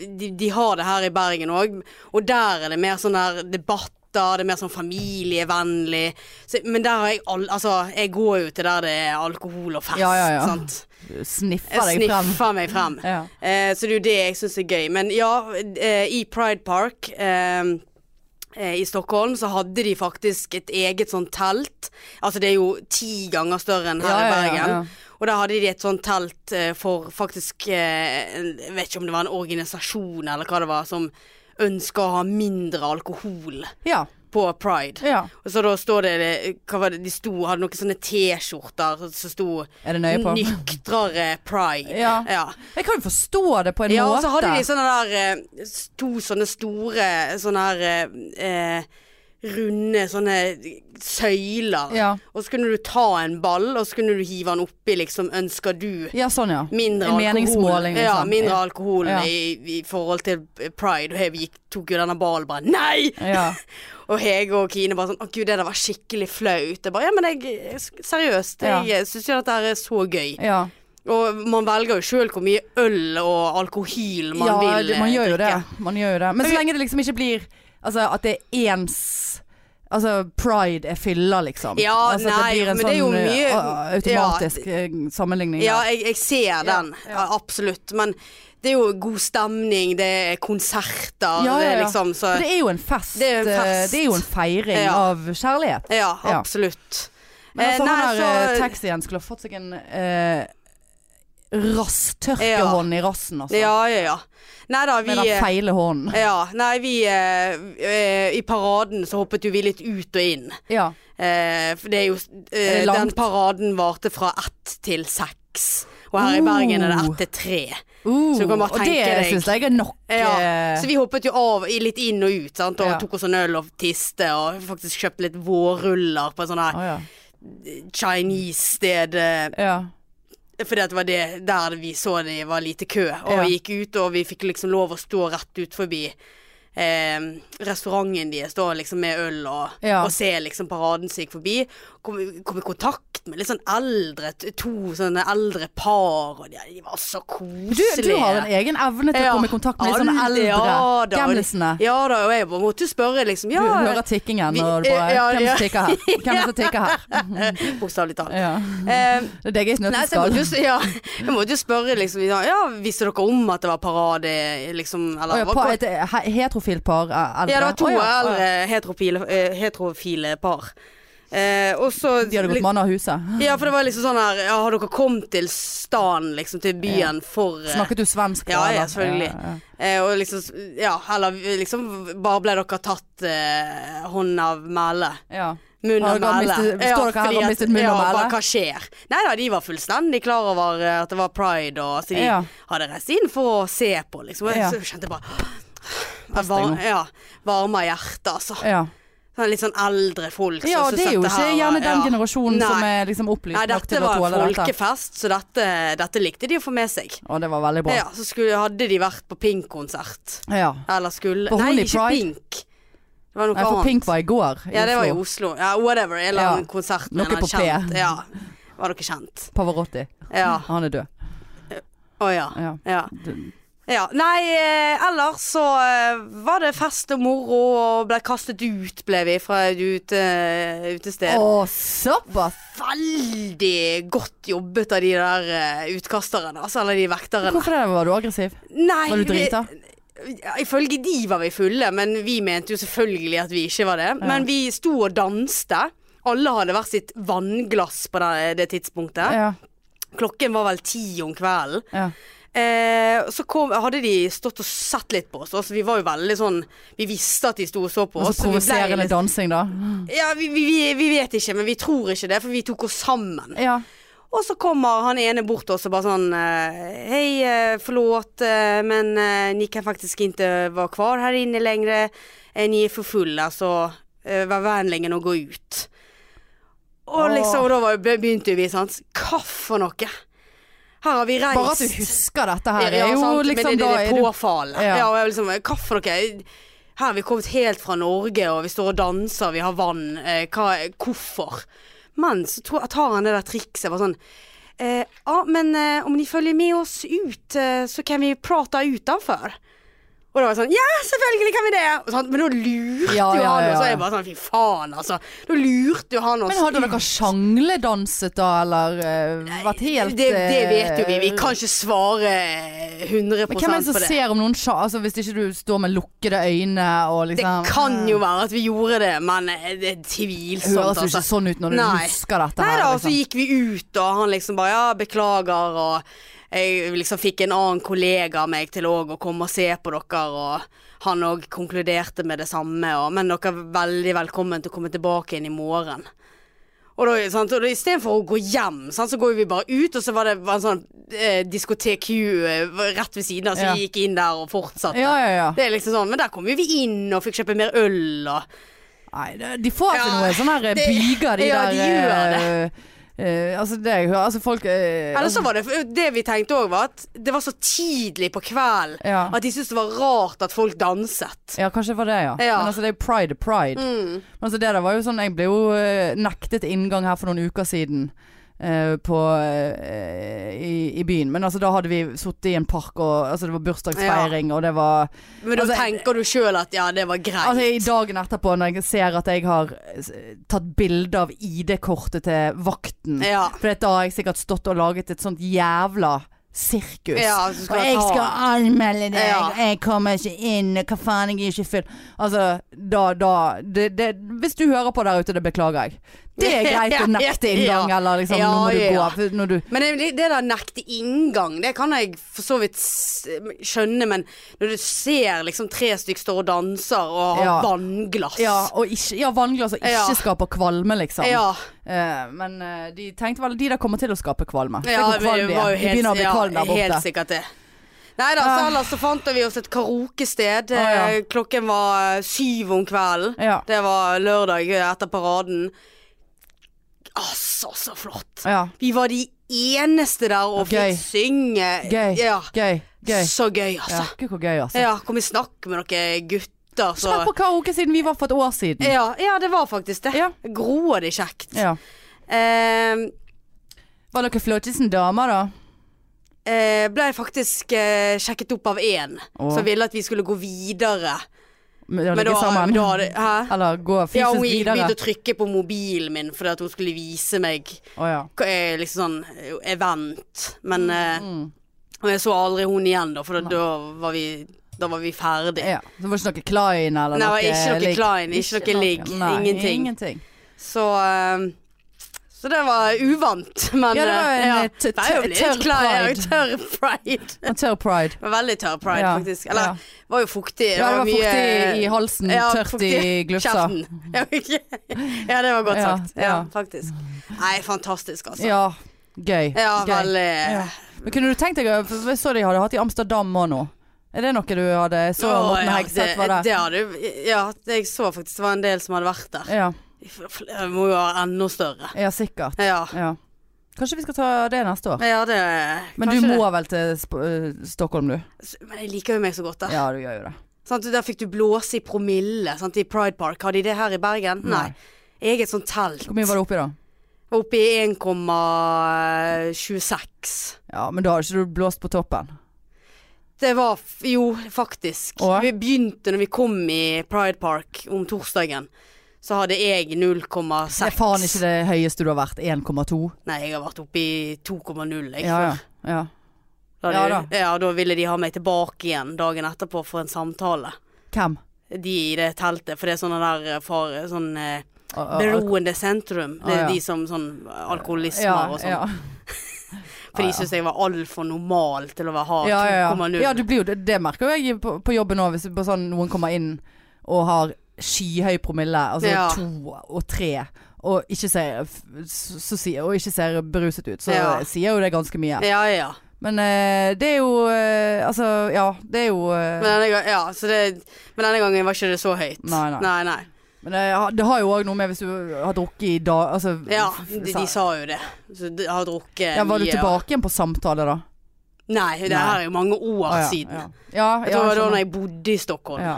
B: de, de har det her i Bergen òg, og der er det mer sånn der debatter, Det er mer sånn familievennlig. Så, men der har jeg all, Altså, jeg går jo til der det er alkohol og fest.
A: Ja, ja, ja.
B: Sant?
A: Sniffer
B: Jeg
A: deg frem.
B: sniffer meg frem.
A: Ja.
B: Eh, så det er jo det jeg syns er gøy. Men ja, eh, i Pride Park eh, eh, i Stockholm så hadde de faktisk et eget sånn telt. Altså det er jo ti ganger større enn her
A: Ja,
B: i
A: ja,
B: Bergen.
A: ja, ja.
B: Og der hadde de et sånt telt eh, for faktisk eh, en- Jeg vet ikke om det var en organisasjon eller hva det var, som ønsker å ha mindre alkohol
A: Ja.
B: på Pride.
A: ja.
B: Og så da står det, hva var det De sto, hadde noen sånne T-skjorter som sto
A: Er det nøye på?
B: Nyktrere pride.
A: Ja.
B: ja.
A: Jeg kan jo forstå det på en
B: Ja, og
A: måte.
B: så hadde de sånne der eh, to sånne store sånne her eh, eh, runde sånne eh, søyler.
A: Ja.
B: Og så kunne du ta en ball, og så kunne du hive den oppi liksom 'Ønsker du
A: ja, sånn ja.
B: mindre
A: En
B: alkohol'?
A: meningsmåling,
B: Ja,
A: liksom.
B: mindre
A: Ja.
B: alkohol
A: Ja.
B: i, i forhold til pride. Og jeg gikk, tok jo denne ballen bare 'Nei!'
A: ja.
B: Og Hege og Kine bare sånn 'Å gud, det der var skikkelig flaut'. Jeg bare 'Ja, men jeg Seriøst,
A: Ja.
B: jeg eh, syns jo dette her er så gøy'.
A: ja.
B: Og man velger jo sjøl hvor mye øl og alkohol man
A: ja,
B: vil eh,
A: det- man gjør jo
B: drikke.
A: det. Man gjør jo det. Men så
B: Ok.
A: lenge det liksom ikke blir Altså at det er ens Altså pride er fylla, liksom.
B: Ja,
A: altså,
B: nei, men det er jo
A: eh,
B: mye-
A: a- automatisk eh, sammenligning.
B: Ja,
A: der.
B: jeg, jeg ser den.
A: ja.
B: Absolutt. Men det er jo god stemning, det er konserter,
A: Ja, ja,
B: det er
A: ja.
B: liksom så
A: For det er jo en fest.
B: Det er jo en
A: eh,
B: fest.
A: det er jo en feiring
B: Ja.
A: av kjærlighet.
B: Ja,
A: Ja.
B: absolutt.
A: Men altså,
B: Eh, nei,
A: han der
B: så-
A: eh, taxien skulle ha fått seg en eh, rasstørkehånd i rassen, altså.
B: Ja, ja, ja. Nei da, vi
A: Med den
B: eh,
A: feile hånden.
B: ja, nei, vi eh, eh, I paraden så hoppet jo vi litt ut og inn.
A: Ja.
B: Eh, for det er jo
A: Er
B: eh,
A: det langt?
B: Den paraden varte fra ett til seks. Og her i Bergen er det
A: Oh.
B: ett til tre.
A: Uh,
B: Så du kan bare
A: og
B: tenke
A: det
B: deg-
A: syns jeg er nok.
B: Ja,
A: eh,
B: så vi hoppet jo av i- litt inn og ut, sant? og
A: Ja.
B: tok oss en øl og tiste, og faktisk kjøpte litt vårruller på et sånt her
A: å, ja.
B: Chinese-sted, eh,
A: Ja.
B: fordi at det var det der vi så det var lite kø. Og
A: Ja.
B: vi gikk ut, og vi fikk liksom lov å stå rett ut forbi eh, restauranten deres, da liksom med øl og,
A: Ja.
B: og se liksom paraden som gikk forbi. Kom, kom i kontakt med litt sånn eldre, to sånne eldre par, og de, de var så
A: Du,
B: koselige.
A: du har en egen evne til å komme i kontakt med de sånne
B: Alle-
A: eldre
B: ja, da,
A: gamlisene.
B: Ja da, og jeg bare måtte spørre liksom
A: Du
B: ja,
A: hører tikkingen
B: Vi-
A: og du bare
B: ja,
A: Hvem
B: ja.
A: som tikker her? Hvem er det som tikker her?
B: Bokstavelig talt.
A: Ja.
B: Eh,
A: Det er deg
B: nei,
A: i
B: så jeg
A: snøtteskall.
B: måtte, jo s- ja, jeg måtte jo spørre liksom ja, ja, visste dere om at det var parade, liksom? Eller
A: Å ja,
B: det var
A: pa-
B: ko-
A: et eh, he- heterofilt par eh, eldre?
B: ja, det var to
A: Å ja, å ja.
B: eldre heterofile, eh, heterofile par. Eh, og så
A: De hadde gått mann av huset.
B: Ja, for det var liksom sånn her ja, Har dere kommet til staden, liksom? Til byen for eh,
A: Snakket du svensk? da,
B: Ja, ja,
A: eller?
B: selvfølgelig.
A: Ja,
B: Eh, og liksom Ja, eller liksom Bare ble dere tatt eh, hånd av mæle?
A: ja. Ja.
B: Munn
A: Har
B: og
A: dere
B: mæle.
A: mistet- står dere her
B: fordi
A: og
B: at-
A: mistet munn og
B: Ja,
A: mæle?
B: bare hva skjer? Nei da, de var fullstendig klar over eh, at det var pride, og så de
A: Ja.
B: hadde reist inn for å se på, liksom. Og
A: Ja.
B: jeg så kjente jeg bare jeg
A: deg
B: var,
A: nå.
B: ja, varme av hjertet, altså.
A: ja.
B: Sånn Litt sånn eldre folk.
A: ja,
B: som
A: det er jo
B: sitter
A: ikke
B: her og-
A: gjerne den
B: ja.
A: generasjonen
B: Nei.
A: som er liksom opplyst
B: Nei,
A: nok
B: dette
A: til å
B: var en
A: tåle dette.
B: folkefest, så dette, dette likte de å få med seg.
A: Å, det var veldig bra.
B: Ja, så skulle, hadde de vært på Pink-konsert.
A: Ja.
B: Eller skulle
A: For
B: Nei,
A: Holy
B: ikke
A: Pride?
B: Pink. Det var noe
A: Nei, for
B: annet.
A: Pink var i går. I
B: Ja, det var i
A: Oslo.
B: Oslo. Ja, whatever. En eller annen
A: Ja.
B: konsert
A: Noe
B: med en eller annen
A: på P.
B: kjent. Ja. Var dere kjent?
A: Pavarotti.
B: Ja.
A: Han er død.
B: Å ja.
A: Ja.
B: ja.
A: Du-
B: Ja. Nei, eh, ellers så eh, var det fest og moro og ble kastet ut, ble vi, fra et ute, utested.
A: Å, såpass!
B: Veldig godt jobbet av de der eh, utkasterne, altså. Eller de vekterne.
A: Hvorfor det? Var du aggressiv?
B: Nei,
A: Var du
B: vi-
A: drita?
B: Ja, Ifølge de var vi fulle, men vi mente jo selvfølgelig at vi ikke var det. Men vi sto og danste. Alle hadde hvert sitt vannglass på det, det tidspunktet.
A: Ja.
B: Klokken var vel ti om kvelden.
A: ja.
B: Eh, så kom, hadde de stått og sett litt på oss, så vi var jo veldig sånn Vi visste at de sto og så på
A: Og
B: oss. så
A: så
B: vi ble
A: Altså, provoserende
B: litt-
A: dansing, da.
B: Ja, vi, vi, vi, vi vet ikke, men vi tror ikke det, for vi tok oss sammen.
A: Ja.
B: Og så kommer han ene bort til oss og bare sånn eh, Hei, eh, förlåt, eh, men eh, ni kan faktisk inte vara kvar här inne längre. Eh, Ni är för fulla, så eh, var vänligen och gå ut. Og
A: Åh.
B: liksom, og da var, begynte jo vi sånn Hva for noe? Her har vi reist
A: Bare at du husker dette her,
B: ja,
A: er jo
B: sant,
A: liksom
B: Men det,
A: da
B: det,
A: er
B: det
A: du
B: påfallet.
A: Ja.
B: Ja. og jeg liksom, hva for noe? Her har vi kommet helt fra Norge, og vi står og danser, vi har vann. Eh, hva, hvorfor? Men så to- tar han det der trikset bare sånn eh, Ja, men eh, om ni følger med oss ut, eh, så kan vi prate utenfor. Og da var jeg sånn Ja, selvfølgelig kan vi det! Og sånn, men da lurte
A: Ja,
B: jo
A: ja,
B: han
A: ja,
B: oss, og
A: ja.
B: jeg bare sånn Fy faen, altså. Da lurte jo han oss
A: Men hadde dere sjangledanset da, eller eh, vært helt
B: det, det
A: eh,
B: vet jo vi. Vi kan ikke svare 100
A: Men
B: på det.
A: hvem er det som ser om noen sja... Altså, hvis ikke du står med lukkede øyne og liksom
B: Det kan jo være at vi gjorde det, men eh, det er
A: Det høres
B: tvilsomt.
A: jo ikke
B: altså.
A: sånn ut når du
B: Nei.
A: husker dette
B: Nei
A: her. liksom.
B: da, altså, og så gikk vi ut, og han liksom bare ja, beklager, og jeg liksom fikk en annen kollega av meg til òg å komme og se på dere, og han òg konkluderte med det samme, og men dere er veldig velkommen til å komme tilbake igjen i morgen. Og da, sant, og da istedenfor å gå hjem, sant, så går vi bare ut, og så var det var en sånn eh, diskotek Q eh, rett ved siden av, så
A: Ja.
B: vi gikk inn der og fortsatte.
A: Ja, ja, ja.
B: Det er liksom sånn, Men der kom jo vi inn og fikk kjøpe mer øl og
A: Nei, det- de får seg
B: Ja,
A: noe sånne her eh,
B: det-
A: byger, de
B: ja,
A: der
B: de gjør
A: eh, eh, altså det jeg hører, altså folk eh,
B: Eller
A: altså,
B: så var det Det vi tenkte òg, var at det var så tidlig på kvelden
A: Ja.
B: at de syntes det var rart at folk danset.
A: Ja, kanskje det var det,
B: Ja.
A: ja.
B: Mm.
A: Men altså, det er pride er pride. Men altså, det der var jo sånn Jeg ble jo eh, nektet inngang her for noen uker siden. eh, på, eh, i, I byen. Men altså, da hadde vi sittet i en park, og altså, det var bursdagsfeiring, og det var
B: Men da
A: Altså,
B: tenker du sjøl at ja, det var greit.
A: Altså i Dagen etterpå, når jeg ser at jeg har eh, tatt bilde av ID-kortet til vakten
B: Ja.
A: For da har jeg sikkert stått og laget et sånt jævla sirkus.
B: Ja, så skal
A: og
B: jeg
A: jeg
B: ta-
A: skal anmelde deg,
B: Ja.
A: og jeg kommer ikke inn, og hva faen, jeg er ikke full. Altså, da, da det, det, Hvis du hører på der ute, det beklager jeg. Det er greit å nekte inngang,
B: Ja.
A: eller liksom
B: Ja,
A: Nå må du
B: ja.
A: gå. for Når du
B: Men det, det det der nekte inngang, det kan jeg for så vidt s- skjønne, men når du ser liksom tre stykker står og danser og har
A: Ja.
B: vannglass
A: ja, og ikke, ja, vannglass og ikke
B: Ja.
A: skaper kvalme, liksom.
B: Ja,
A: Eh, men eh, de tenkte vel de der kommer til å skape kvalme. Se
B: ja,
A: hvor kvalm de er. De begynner å bli
B: ja,
A: kvalm der borte.
B: helt sikkert det. Nei da, så
A: Ah.
B: ellers så fant vi oss et karaokested.
A: Ah, ja.
B: Eh, Klokken var eh, syv om kvelden.
A: Ja.
B: Det var lørdag eh, etter paraden. Altså, så flott.
A: ja.
B: Vi var de eneste der og
A: Gøy.
B: fikk synge.
A: Gøy.
B: Ja.
A: Gøy. Gøy.
B: Så gøy, altså.
A: Ja, gud hvor gøy, altså.
B: Ja, kom i snakk med noen gutter så.
A: Snakk på karaoke siden vi var for et år siden.
B: ja, ja, det var faktisk det
A: Ja.
B: Groa det kjekt
A: Ja.
B: eh,
A: Var dere flåtisen damer, da?
B: eh, Ble faktisk eh, sjekket opp av en
A: Åh.
B: Som ville at vi skulle gå videre
A: Med å
B: Men
A: ligge
B: da,
A: sammen?
B: da hadde- Hæ?
A: Eller gå fysisk
B: Ja, hun
A: videre?
B: begynte å trykke på mobilen min Fordi at hun skulle vise meg
A: Å ja.
B: k- eh, Liksom sånn eh, event Men eh,
A: Mm.
B: og jeg så aldri hun igjen da For da, da var vi da var vi ferdige
A: ja. Så det var ikke noe Klein eller
B: Nei, det
A: noe
B: var ikke noe
A: ligg?
B: Klein, ikke noe ligg,
A: Nei,
B: ingenting.
A: ingenting.
B: Så eh, Så det var uvant, men
A: Ja, det var en,
B: eh,
A: eh, t-
B: Det er jo
A: tørr-
B: litt
A: tørr
B: klar- ja,
A: pride.
B: Tørr pride.
A: Og tørr pride.
B: Det var Veldig tørr pride,
A: Ja,
B: faktisk. Eller
A: ja.
B: det var jo fuktig.
A: Ja, det var fuktig i halsen,
B: ja,
A: tørt i
B: fuktig-
A: glufsa.
B: Kjeften. Ja, ja, det var godt
A: Ja,
B: sagt. Ja,
A: ja.
B: faktisk. Nei, fantastisk, altså. eh. Ja,
A: Ja. Gøy. Gøy.
B: veldig
A: Ja. Men kunne du tenkt deg for Jeg så de hadde hatt i Amsterdam òg nå. Er det noe du hadde så
B: Å,
A: Morten
B: ja,
A: Hegseth
B: det,
A: var der?
B: det hadde jo- Ja, jeg så faktisk det var en del som hadde vært der.
A: Ja,
B: Det må jo være enda større.
A: ja, sikkert.
B: Ja.
A: Ja. Kanskje vi skal ta det neste år.
B: ja det,
A: Men du
B: kanskje
A: må vel til Sp eh, Stockholm, du?
B: det. Men jeg liker jo meg så godt der.
A: Ja, du gjør jo det.
B: Sant? Der fikk du blåse i promille sant? i Pride Park. Har de det her i Bergen?
A: Nei.
B: Nei. Jeg er et sånt telt.
A: Hvor mye var det oppi, da?
B: Var Oppe i 1,26.
A: Ja, Men da har ikke du blåst på toppen?
B: Det var f- Jo, faktisk.
A: Og?
B: Vi begynte når vi kom i Pride Park om torsdagen. Så hadde jeg 0,6.
A: Det er faen ikke det høyeste du har vært. 1,2?
B: Nei, jeg har vært oppe i 2,0. jeg.
A: Ja, ja. ja.
B: Da,
A: Ja
B: hadde- ja, da ville de ha meg tilbake igjen dagen etterpå for en samtale.
A: Hvem?
B: De i det teltet. For det er sånne der eh, far... Sånn eh,
A: Å, å, å,
B: beroende sentrum. Det
A: Å,
B: er
A: ja.
B: de som sånn alkoholismer
A: ja,
B: og sånn.
A: ja.
B: For de syns jeg var altfor normal til å være hard.
A: Ja, ja, ja.
B: 2,0.
A: ja du blir jo, det, det merker jo jeg på, på jobben òg, hvis på sånn, noen kommer inn og har skyhøy promille, altså
B: Ja.
A: to og tre, og ikke ser, f- så, så, sier- og ikke ser beruset ut, så
B: Ja.
A: sier jo det ganske mye.
B: ja, ja.
A: Men eh, det er jo eh, Altså, ja. Det er jo eh,
B: Men, denne gang, ja så det, men denne gangen var ikke det så høyt.
A: Nei, nei.
B: nei, nei.
A: Men det, har- det har jo òg noe med hvis du har drukket i dag altså,
B: Ja,
A: f-
B: de,
A: sa-
B: de sa jo det. Så de har drukket
A: ja, Var du
B: mye,
A: tilbake igjen på samtale da?
B: og- Nei, det
A: Nei.
B: her er jo mange år
A: Å, ja,
B: siden.
A: Ja, ja,
B: Jeg tror det var da
A: skjønner.
B: jeg bodde i Stockholm.
A: ja.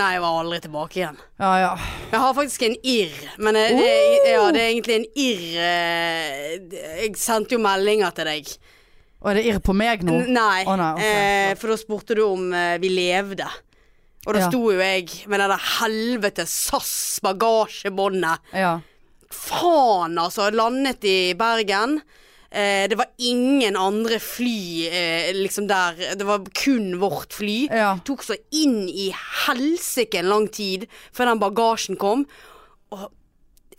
B: Nei, jeg var aldri tilbake igjen.
A: ja, ja.
B: Jeg har faktisk en irr, men eh, det,
A: Oh!
B: ja, det er egentlig en irr eh, Jeg sendte jo meldinger til deg.
A: Og er det irr på meg nå?
B: N- Nei,
A: Å, nei, ok.
B: eh, for da spurte du om eh, vi levde. Og da
A: Ja.
B: sto jo jeg med det der helvete SAS-bagasjebåndet.
A: Ja.
B: Faen, altså. Landet i Bergen. Eh, det var ingen andre fly eh, liksom der. Det var kun vårt fly.
A: Ja.
B: Tok så inn i helsike en lang tid før den bagasjen kom.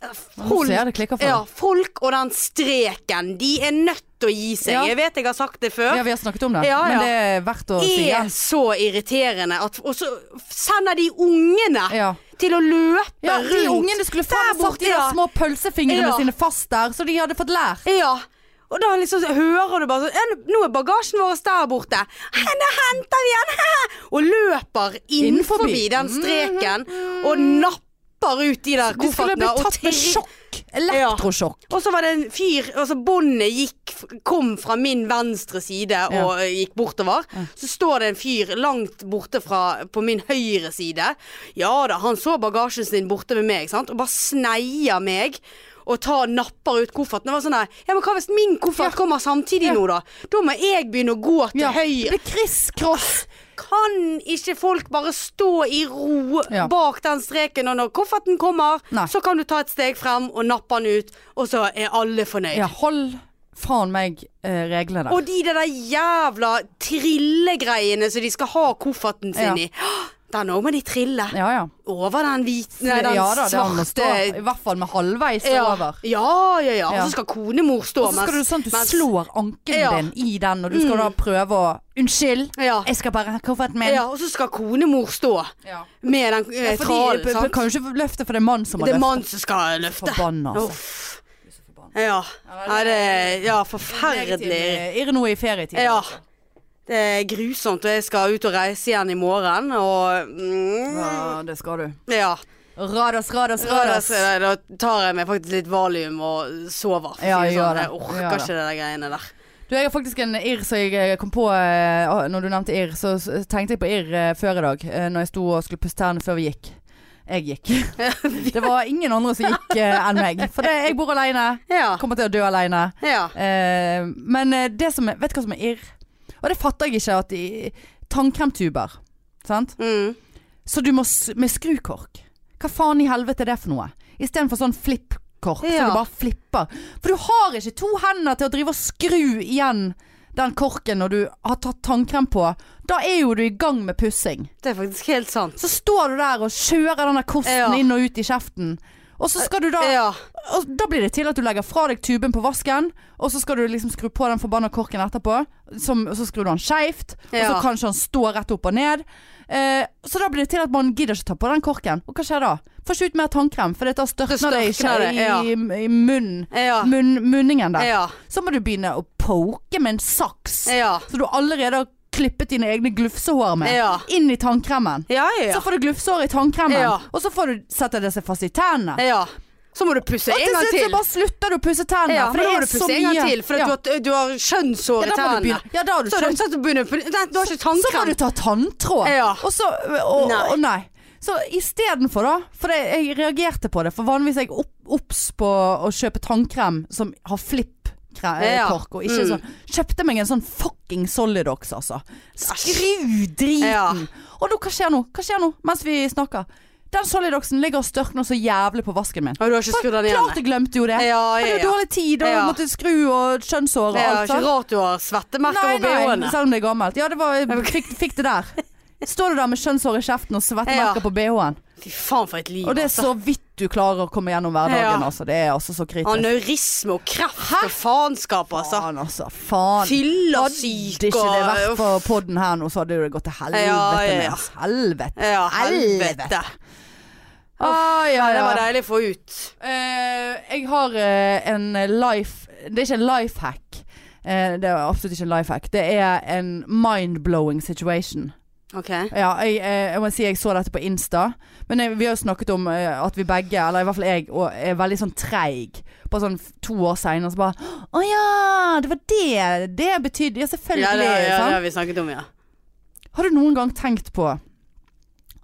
B: Og
A: Nå ser jeg det klikker for
B: ja,
A: deg.
B: folk og den streken, de er nødt til å gi seg.
A: Ja.
B: Jeg vet jeg har sagt det før
A: Ja, vi har snakket om det,
B: Ja,
A: men
B: ja.
A: det er verdt å si. Ja.
B: er så irriterende at Og så sender de ungene
A: Ja.
B: til å løpe
A: Ja,
B: rundt.
A: de ungene skulle faen
B: Der
A: satt de
B: borte,
A: der
B: ja.
A: små pølsefingrene
B: Ja.
A: sine fast der, så de hadde fått lært.
B: Ja. Og da liksom hører du bare sånn «Ja, Nå er bagasjen vår der borte. Henne henter vi igjen! Og løper innenfor
A: Innenforbi.
B: den streken og napper hopper ut de der
A: Mhm. Du skulle
B: koffertene
A: bli
B: og
A: tatt med
B: tirrer-
A: sjokk. Elektrosjokk.
B: Og så var det en fyr altså Båndet gikk, kom fra min venstre side og eh, gikk bortover. Så står det en fyr langt borte fra, på min høyre side. Ja da, han så bagasjen sin borte ved meg, sant? og bare sneier meg. Og tar, napper ut kofferten. Det var sånn der, ja, men Hva hvis min koffert kommer samtidig nå, da? Da må jeg begynne å gå til
A: Ja. Det
B: høyre.
A: blir kriss-kross.
B: Kan ikke folk bare stå i ro
A: Ja.
B: bak den streken, og når kofferten kommer,
A: Nei.
B: så kan du ta et steg frem og nappe den ut, og så er alle fornøyd.
A: Ja, hold faen meg eh, reglene.
B: Og de der jævla trillegreiene som de skal ha kofferten sin
A: Ja.
B: i. Åh, Den òg må de trille.
A: Ja ja.
B: Over den hvite Nei, den
A: ja da, det han må stå.
B: svarte
A: I hvert fall med halvveis
B: ja.
A: over.
B: ja, ja, ja. Og
A: Ja.
B: så skal konemor stå
A: Og så skal du sånn at du
B: mens-
A: slår ankelen
B: Ja. Mm.
A: din i den, og du skal da prøve å Unnskyld,
B: Ja.
A: jeg skal bare ha kofferten min.
B: ja, og så skal konemor stå
A: Ja.
B: med den eh,
A: Fordi,
B: tralen.
A: b- b-
B: sant?
A: kan jo ikke løfte, for det er mann som
B: Det
A: har
B: er
A: løftet.
B: mann som skal løfte.
A: Forbanna, altså.
B: Uff. Ja. Nei, det er ja, forferdelig.
A: Irre noe i ferietid. altså.
B: Ja. Det er grusomt, og jeg skal ut og reise igjen i morgen, og mm,
A: Ja, det skal du.
B: Ja.
A: Radas, radas,
B: Lørdag
A: radas.
B: så- nei, Da tar jeg meg faktisk litt valium og sover. For å
A: Ja,
B: si det
A: gjør
B: sånn.
A: det.
B: Jeg orker
A: Gjør det.
B: ikke det der greiene der.
A: Du, jeg har faktisk en irr som jeg eh, kom på eh, ah, Når du nevnte irr, så s- tenkte jeg på irr eh, før i dag. eh, Når jeg sto og skulle pusse tennene før vi gikk. Jeg gikk. Det var ingen andre som gikk eh, enn meg. For det, jeg bor aleine.
B: Ja.
A: Kommer til å dø aleine.
B: ja.
A: Eh, men eh, det som er, vet du hva som er irr? Og det fatter jeg ikke at de Tannkremtuber. Sant?
B: Mm.
A: Så du må s- med skrukork. Hva faen i helvete er det for noe? Istedenfor sånn flippkork,
B: Ja.
A: så du bare flipper. For du har ikke to hender til å drive og skru igjen den korken når du har tatt tannkrem på. Da er jo du i gang med pussing.
B: Det er faktisk helt sant.
A: Så står du der og kjører den der kosten
B: Ja.
A: inn og ut i kjeften. Og så skal du da
B: Ja.
A: og da blir det til at du legger fra deg tuben på vasken, og så skal du liksom skru på den forbanna korken etterpå. Som, og så skrur du den skeivt, og så
B: Ja.
A: kanskje han står rett opp og ned. Eh, så da blir det til at man gidder ikke ta på den korken. Og hva skjer da? Får ikke ut mer tannkrem, for da størkner det, i
B: størkner det,
A: skje-
B: ja.
A: i, i munnen.
B: Ja.
A: Munn, munningen der.
B: Ja.
A: Så må du begynne å poke med en saks.
B: Ja.
A: Så du allerede har klippet dine egne glufsehår med.
B: Ja.
A: Inn i tannkremen.
B: Ja,
A: Så
B: ja.
A: får du glufsehår i tannkremen,
B: Ja.
A: og så får du sette det seg fast i tennene.
B: ja. Så må du pusse
A: Og
B: en
A: til
B: gang
A: slutt så
B: til.
A: bare slutter du å pusse tennene.
B: Ja,
A: for
B: men
A: det
B: da må
A: er
B: du
A: så
B: pusse en
A: mye.
B: gang til, for at
A: ja.
B: du, har, du har skjønnshår i
A: ja, da må du
B: tennene.
A: begynne. Ja, da har du
B: Så
A: skjønt.
B: du, så du begynner på Nei, du har ikke
A: Så må
B: tannkrem.
A: du ta tanntråd.
B: Ja.
A: Og så og,
B: Nei.
A: og nei. Så istedenfor, da. For det, jeg reagerte på det. For vanligvis er jeg opp- obs på å kjøpe tannkrem som har flipp.
B: Ja.
A: Kork, og ikke
B: Mm.
A: sånn. Kjøpte meg en sånn fucking Solidox, altså. Skru driten!
B: Ja.
A: Og da, hva skjer nå? Hva skjer nå mens vi snakker? Den Solidoxen ligger og størkner så jævlig på vasken min.
B: Og du har ikke skrudd den igjen.
A: Klart jeg glemte jo det.
B: Ja,
A: Jeg
B: ja,
A: hadde jo
B: ja.
A: dårlig tid og
B: Ja.
A: måtte skru og skjønnshår og
B: Det er
A: alt.
B: ikke
A: sant?
B: rart du har svettemerker
A: altså. Nei,
B: på
A: nei,
B: bh-ene.
A: selv om det er gammelt. Ja, det var, jeg fikk, fikk det der. Står du der med skjønnshår i kjeften og
B: Ja.
A: svettemerker på bh-en.
B: Fy faen for et liv,
A: Og det er
B: altså.
A: så vidt du klarer å komme gjennom
B: Ja.
A: hverdagen, altså. Det er altså så kritisk.
B: Aneurisme og kreft og faenskap, altså.
A: Faen, altså. Faen.
B: Fyllesyk
A: Hadde ikke det
B: og
A: vært for podden her nå, så hadde det gått til helvete
B: Ja, ja,
A: med
B: ja.
A: oss. Helvete.
B: Ja,
A: Helvete.
B: helvete.
A: Ah, ja,
B: Det
A: ja.
B: var deilig å få ut.
A: Eh, jeg har eh, en life Det er ikke en life hack. Eh, det er absolutt ikke en life hack. Det er en mind-blowing situation.
B: Ok.
A: Ja, jeg, eh, jeg må si jeg så dette på Insta. Men jeg, vi har jo snakket om eh, at vi begge, eller i hvert fall jeg, og er veldig sånn treig. Bare sånn f- to år seinere så bare Å ja, det var det det betydde. Ja,
B: Ja,
A: selvfølgelig.
B: det, ja, det
A: sant?
B: har vi snakket om, ja.
A: Har du noen gang tenkt på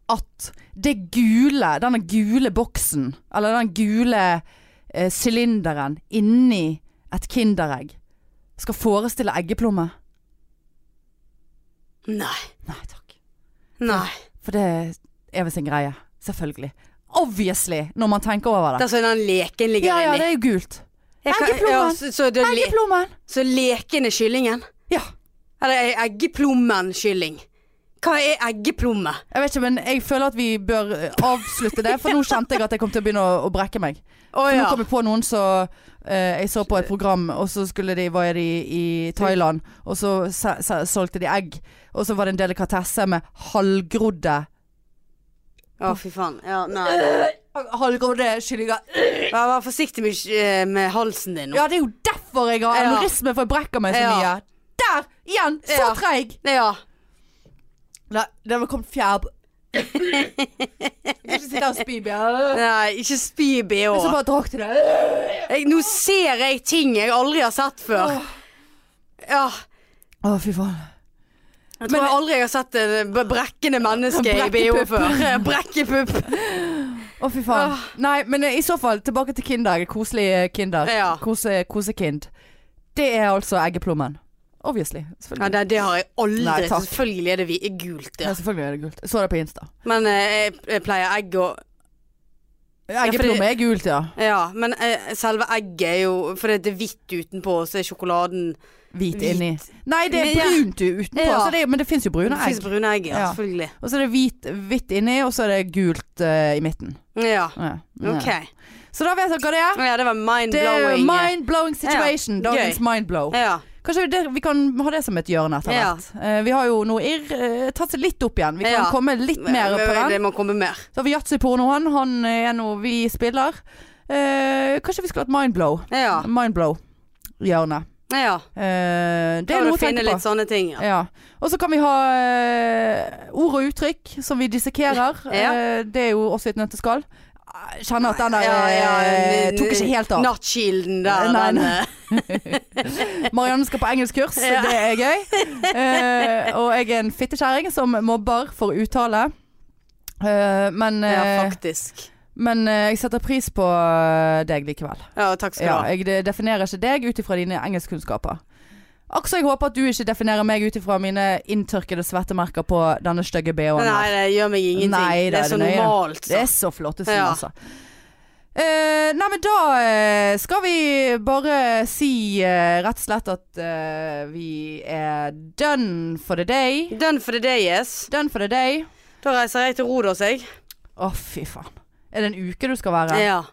A: at det gule, denne gule boksen, eller den gule eh, sylinderen inni et kinderegg, skal forestille eggeplomme?
B: Nei.
A: Nei takk.
B: Nei.
A: For det er visst en greie. Selvfølgelig. Obviously, når man tenker over
B: Det
A: det.
B: er sånn den leken ligger
A: Ja, ja, det
B: inni.
A: er jo gult.
B: Jeg kan-
A: Eggeplommen.
B: ja, så, så, det er le,
A: Eggeplommen!
B: så leken er kyllingen?
A: Ja.
B: Eller er eggeplommen kylling? Hva er eggeplomme?
A: Jeg vet ikke, men jeg føler at vi bør eh, avslutte det, for nå kjente jeg at jeg kom til å begynne å, å brekke meg.
B: Å
A: For
B: ja.
A: nå kom jeg på noen som eh, Jeg så på et program, og så skulle de, var de i Thailand, og så se- se- solgte de egg. Og så var det en delikatesse med halvgrodde
B: Å, fy faen. Ja, nei.
A: Halvgrodde kyllinger.
B: Ja, Vær forsiktig med, eh, med halsen din nå.
A: Ja, det er jo derfor jeg har
B: Ja.
A: aneurisme, for jeg brekker meg så
B: Ja.
A: mye. Der! Igjen! Så
B: Ja.
A: treig!
B: Ja.
A: Nei, det var kommet fjær Du skal ikke sitte og spy, Bjørn.
B: Nei, ikke spy i bh.
A: Så bare drakk du det.
B: Jeg, nå ser jeg ting jeg aldri har sett før. Ja.
A: Å, fy faen.
B: Jeg tror jeg aldri jeg har sett et b- brekkende menneske i bh
A: Brekkepupp.
B: før. Brekkepupp.
A: Å, fy faen. Nei, men eh, i så fall tilbake til Kinder. Koselig eh, Kinder.
B: Ja.
A: Kose, kosekind. Det er altså eggeplommen. Obviously.
B: Ja,
A: Selvfølgelig.
B: det, det har jeg aldri.
A: Nei, takk. Altså.
B: Selvfølgelig er det vi, gult.
A: Ja,
B: Ja.
A: selvfølgelig er det gult. Jeg så det på Insta.
B: Men eh, jeg, jeg pleier egg og
A: Eggeplomme
B: fordi-
A: er gult, ja.
B: Ja, men eh, selve egget er jo Fordi det er hvitt utenpå, og så er sjokoladen
A: Hvit
B: Hvit.
A: inni. Nei, det er
B: Men ja.
A: brunt u- utenpå,
B: Ja.
A: så det er, men det fins jo brune
B: Det
A: egg.
B: finnes brune egg, ja,
A: Ja.
B: selvfølgelig.
A: Og så er det hvit, hvitt inni, og så er det gult eh, i midten.
B: Ja.
A: Ja. Ja.
B: OK.
A: Så da vet dere hva det er.
B: Ja, det var
A: Det er
B: mind-blowing.
A: mind-blowing situation.
B: Ja,
A: Dagens
B: gøy.
A: mindblow.
B: Ja.
A: Kanskje det, vi kan ha det som et hjørne etter
B: Ja.
A: hvert. Eh, vi har jo nå irr eh, tatt seg litt opp igjen. Vi kan
B: Ja.
A: komme litt mer på den.
B: Det må komme mer.
A: Så har vi Yatzy-pornoen. Han er nå vi spiller. Eh, kanskje vi skulle hatt mindblow.
B: Ja.
A: Mindblow-hjørne.
B: ja.
A: Eh, det
B: Da
A: er
B: må du
A: noe å
B: finne
A: tenke på.
B: litt sånne ting. Ja.
A: Ja. Og så kan vi ha eh, ord og uttrykk som vi dissekerer.
B: Ja.
A: Eh, det er jo også et nøtteskall. Jeg Kjenner at den der
B: Ja, ja,
A: eh,
B: n-
A: tok ikke helt av.
B: Nattkilden der.
A: Nei,
B: den,
A: nei.
B: eh,
A: Marianne skal på engelskkurs,
B: Ja.
A: det er gøy. Eh, og jeg er en fittekjerring som mobber for uttale. Eh, men
B: Ja,
A: eh,
B: faktisk.
A: men eh, jeg setter pris på eh, deg likevel.
B: Ja, takk skal du
A: Ja,
B: ha.
A: jeg de- definerer ikke deg ut ifra dine engelskkunnskaper. Akkurat jeg håper at du ikke definerer meg ut ifra mine inntørkede svettemerker på denne stygge BH-en. her.
B: Nei, det eh, gjør meg ingenting.
A: Nei,
B: det
A: det
B: er
A: er
B: så
A: det nøye.
B: normalt.
A: Det
B: Så.
A: er så flott å si,
B: Ja.
A: altså. Eh, nei, men da eh, skal vi bare si eh, rett og slett at eh, vi er done for the day.
B: Done for the day, yes.
A: Done for the day.
B: Da reiser jeg til Rodos, jeg.
A: Å, fy faen. Er det en uke du skal være?
B: Ja.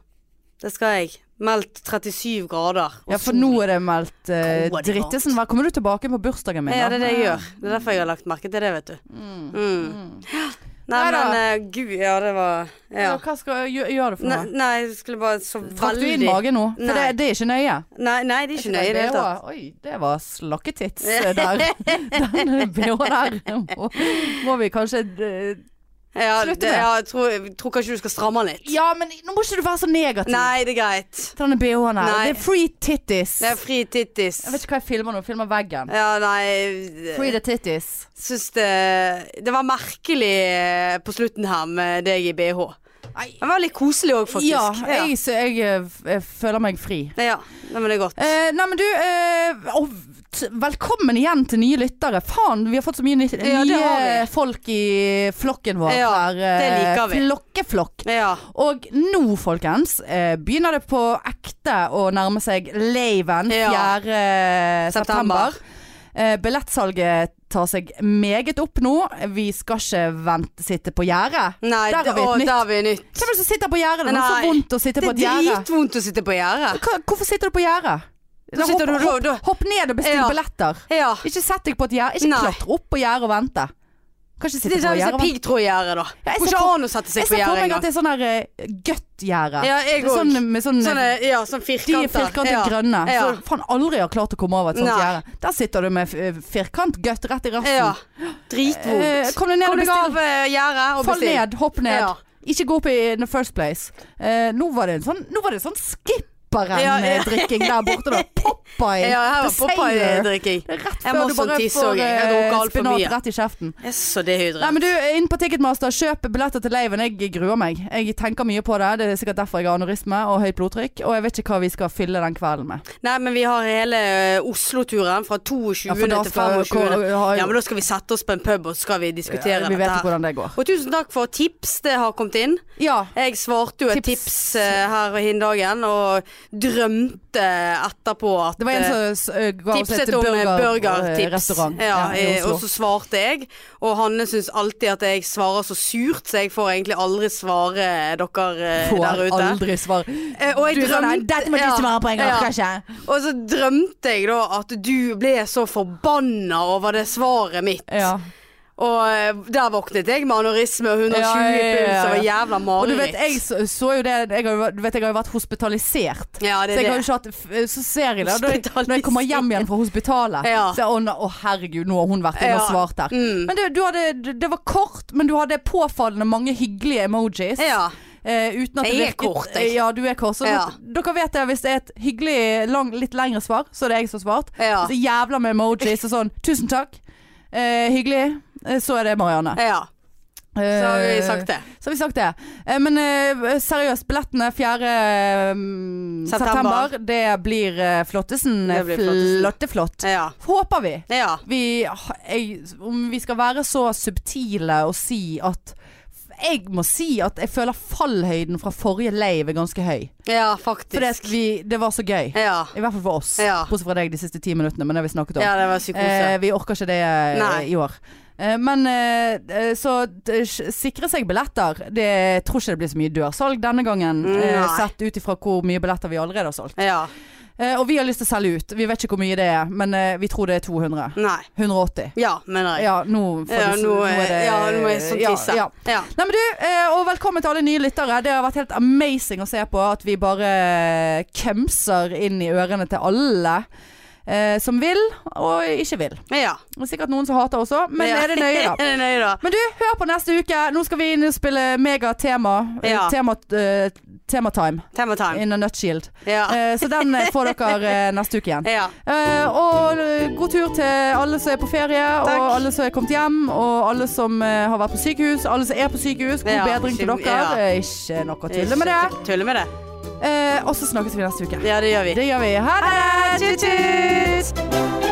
B: Det skal jeg. Meldt 37 grader. og
A: Ja, for
B: sol.
A: nå er det meldt eh,
B: Å, det er
A: drittesen. Hva- Kommer du tilbake på bursdagen min?
B: Ja,
A: da?
B: det er det jeg gjør. Det er derfor jeg har lagt merke til det, vet du.
A: Mm.
B: Mm.
A: Mm.
B: Nei,
A: Neida.
B: men eh, gud, ja, det var Ja.
A: Ja, Hva skal gjør, gjør du for
B: Nei,
A: noe?
B: nei, jeg skulle bare så
A: Trakk du
B: veldig
A: inn magen nå? For det,
B: Nei.
A: det er ikke nøye.
B: Nei, nei, det er ikke nøye i det hele tatt.
A: Oi, det var slakketits eh, der. Den BH-en der må, må vi kanskje eh,
B: Ja,
A: Slutt med
B: det,
A: det.
B: ja, jeg, tror, jeg tror kanskje du skal stramme den litt.
A: Ja, men nå må ikke du være så negativ.
B: Nei, det er greit.
A: Denne BH-en her.
B: Nei.
A: Det er free titties.
B: Det er fri tittis.
A: Jeg vet ikke hva jeg filmer nå. Jeg filmer veggen.
B: Ja, nei
A: Free the titties.
B: Syns det Det var merkelig eh, på slutten her med deg i bh.
A: Nei.
B: Men det var litt koselig òg, faktisk.
A: Ja, jeg, så jeg, eh, f- jeg føler meg fri.
B: ja. ja. Nei, men det er godt.
A: Eh, nei, men du eh, og t Velkommen igjen til nye lyttere. Faen, vi har fått så mye ny
B: Ja, det har vi.
A: nye folk i flokken vår.
B: Ja,
A: her, eh,
B: det liker vi.
A: Flokkeflokk.
B: Ja.
A: Og nå, folkens, eh, begynner det på ekte å nærme seg laven 4.
B: Ja.
A: september.
B: September.
A: Eh, billettsalget tar seg meget opp nå. Vi skal ikke vente, sitte på gjerdet.
B: Nei,
A: Der har vi et
B: å,
A: nytt.
B: der har vi et nytt.
A: Hvem er det som sitter på gjerdet? Det er så
B: Nei.
A: vondt å sitte
B: Det
A: på
B: er
A: et gjerde.
B: dritvondt å sitte på gjerdet.
A: Hva- Hvorfor sitter du på gjerdet?
B: Da sitter
A: Hopp,
B: du-
A: hopp,
B: da-
A: hopp ned og bestill
B: Ja.
A: billetter.
B: Ja.
A: Ikke sett deg på et gjerde. Ikke
B: Nei.
A: klatre opp på gjerdet og vente. Kan
B: Det
A: ikke sitte
B: er sånn
A: på
B: der vi ser
A: gjerdet og vente.
B: piggtrådgjerde, da.
A: Ja, jeg
B: Går
A: ser
B: ikke
A: for-
B: an å sette
A: Jeg
B: seg
A: ser
B: på
A: for
B: gjerdet
A: meg at
B: engang.
A: det er sånn her eh, godt gjerde.
B: Ja, jeg
A: Det er sånn,
B: òg.
A: med sånn
B: Sånne, ja, sånn
A: De
B: firkanter.
A: er firkantet grønne,
B: Ja.
A: så faen aldri har klart å komme over et sånt
B: Nei.
A: gjerde. Der sitter du med f- eh, firkant gøtt rett i rassen.
B: Ja.
A: Eh,
B: Dritvondt.
A: kom deg ned
B: Kom
A: og
B: deg
A: bestill.
B: still på gjerdet og
A: Fall
B: bestill.
A: ned, hopp ned.
B: Ja.
A: Ikke gå opp i in the first place. Eh, nå var det en sånn, nå var det en sånn
B: Ja, ja.
A: skipperen-drikking der borte. Da. Popeye.
B: Ja, her
A: the
B: var
A: sailor.
B: Popeye-drikking.
A: Det er Rett
B: Jeg
A: før
B: må
A: du
B: sånn
A: bare
B: tisse også,
A: får
B: jeg. Jeg har
A: eh,
B: drukket alt for
A: spinat
B: mye.
A: rett i kjeften.
B: Jeg er så
A: Nei,
B: dehydrert.
A: men du, Inn på Ticketmaster, kjøp billetter til leiven. Jeg gruer meg. Jeg tenker mye på det. Det er sikkert derfor jeg har anorisme og høyt blodtrykk. Og jeg vet ikke hva vi skal fylle den kvelden med.
B: Nei, men vi har hele ø, Oslo-turen fra 22.
A: Ja, for da
B: til
A: skal-
B: 25.
A: ko- har-
B: Ja, men da skal vi sette oss på en pub og så skal vi diskutere
A: Eh, vi vet
B: dette
A: jo
B: her.
A: hvordan det går.
B: Og tusen takk for tips, det har kommet inn.
A: Ja,
B: Jeg svarte jo et
A: Tips.
B: tips, ø, her hin dagen, og drømte etterpå at
A: det var en
B: ø,
A: som s- eh, ga oss et
B: tipset om ø, burgertips.
A: burgerrestaurant
B: ja,
A: i
B: ø, og
A: Oslo.
B: så svarte jeg. Og Hanne syns alltid at jeg svarer så surt, så jeg får egentlig aldri svare dere ø, eh, der
A: Får
B: ute.
A: aldri svar.
B: Eh, Og jeg
A: Du sa nei,
B: drømte-
A: dette må du
B: Ja,
A: svare på, jeg
B: ja.
A: orker ikke.
B: Og så drømte jeg da at du ble så forbanna over det svaret mitt.
A: Ja.
B: Og eh, der våknet jeg med anorisme og 120
A: Ja, ja, ja, ja.
B: puls og jævla
A: Og du
B: mareritt.
A: vet, jeg så, så jo det jeg har, jo- Du vet, jeg har jo vært hospitalisert.
B: ja, det
A: Så jeg
B: er
A: har jo
B: det.
A: ikke hatt f- Så ser jeg det. og da- Når jeg kommer hjem igjen fra hospitalet,
B: Ja.
A: så er jeg, å, ne- å herregud, nå har hun vært inne og
B: Ja.
A: svart her.
B: Mm.
A: Men det, du hadde, det var kort, men du hadde påfallende mange hyggelige emojis.
B: Ja.
A: Eh, uten at
B: Jeg
A: det
B: er
A: virket-
B: kort, jeg.
A: Ja, du er kort. Så
B: Ja.
A: at- dere vet det, hvis det er et hyggelig, lang, litt lengre svar, så er det jeg som har svart.
B: Ja.
A: Så jævla med emojis og sånn. Tusen takk. Eh, hyggelig. Eh, Så er det Marianne. Eh,
B: ja. Så har vi sagt det.
A: Så har vi sagt det. Eh, Men eh, seriøst, billettene 4. mm,
B: September.
A: september, det blir eh, Flottesen.
B: Det blir Flottesen.
A: Flotteflott.
B: Ja.
A: Håper vi.
B: ja.
A: vi jeg, om vi skal være så subtile og si at jeg må si at jeg føler fallhøyden fra forrige lave er ganske høy.
B: Ja,
A: Fordi
B: faktisk.
A: at vi, det var så gøy.
B: Ja.
A: I hvert fall for oss.
B: Ja.
A: Bortsett fra deg de siste ti minuttene, men det har vi snakket om.
B: ja, det var psykose.
A: Eh, vi orker ikke det eh,
B: Nei.
A: i år. Eh, men eh, eh, så eh, s- sikre seg billetter. Det, jeg tror ikke det blir så mye dørsalg denne gangen. eh,
B: Nei.
A: sett ut ifra hvor mye billetter vi allerede har solgt.
B: Ja.
A: Eh, og vi har lyst til å selge ut. Vi vet ikke hvor mye det er, men eh, vi tror det er 200.
B: Nei.
A: 180.
B: Ja, mener jeg.
A: Ja, nå får
B: Ja,
A: du
B: nå, er- ja, nå er jeg sånn tisse.
A: Ja, ja.
B: ja.
A: Nei, men du, eh, og velkommen til alle nye lyttere. Det har vært helt amazing å se på at vi bare kømser inn i ørene til alle eh, som vil og ikke vil.
B: Ja.
A: Og sikkert noen som hater også, men
B: ja.
A: er det nøye, da?
B: er det nøye, da?
A: Men du, hør på neste uke. Nå skal vi inn og spille megatema. eh,
B: Ja.
A: Tema, eh, tematime
B: Tema time.
A: in a nutshield.
B: Ja.
A: Eh, så den eh, får dere eh, neste uke igjen.
B: ja.
A: Eh, og eh, god tur til alle som er på ferie,
B: Takk.
A: og alle som er kommet hjem, og alle som eh, har vært på sykehus. Alle som er på sykehus, god
B: Ja,
A: bedring til
B: syk-
A: dere.
B: ja.
A: Eh, Ikke noe å tulle med det.
B: Tulle med det.
A: Eh, og så snakkes vi neste uke.
B: Ja, det gjør vi.
A: Det gjør vi. Ha det!
B: Tut-tut!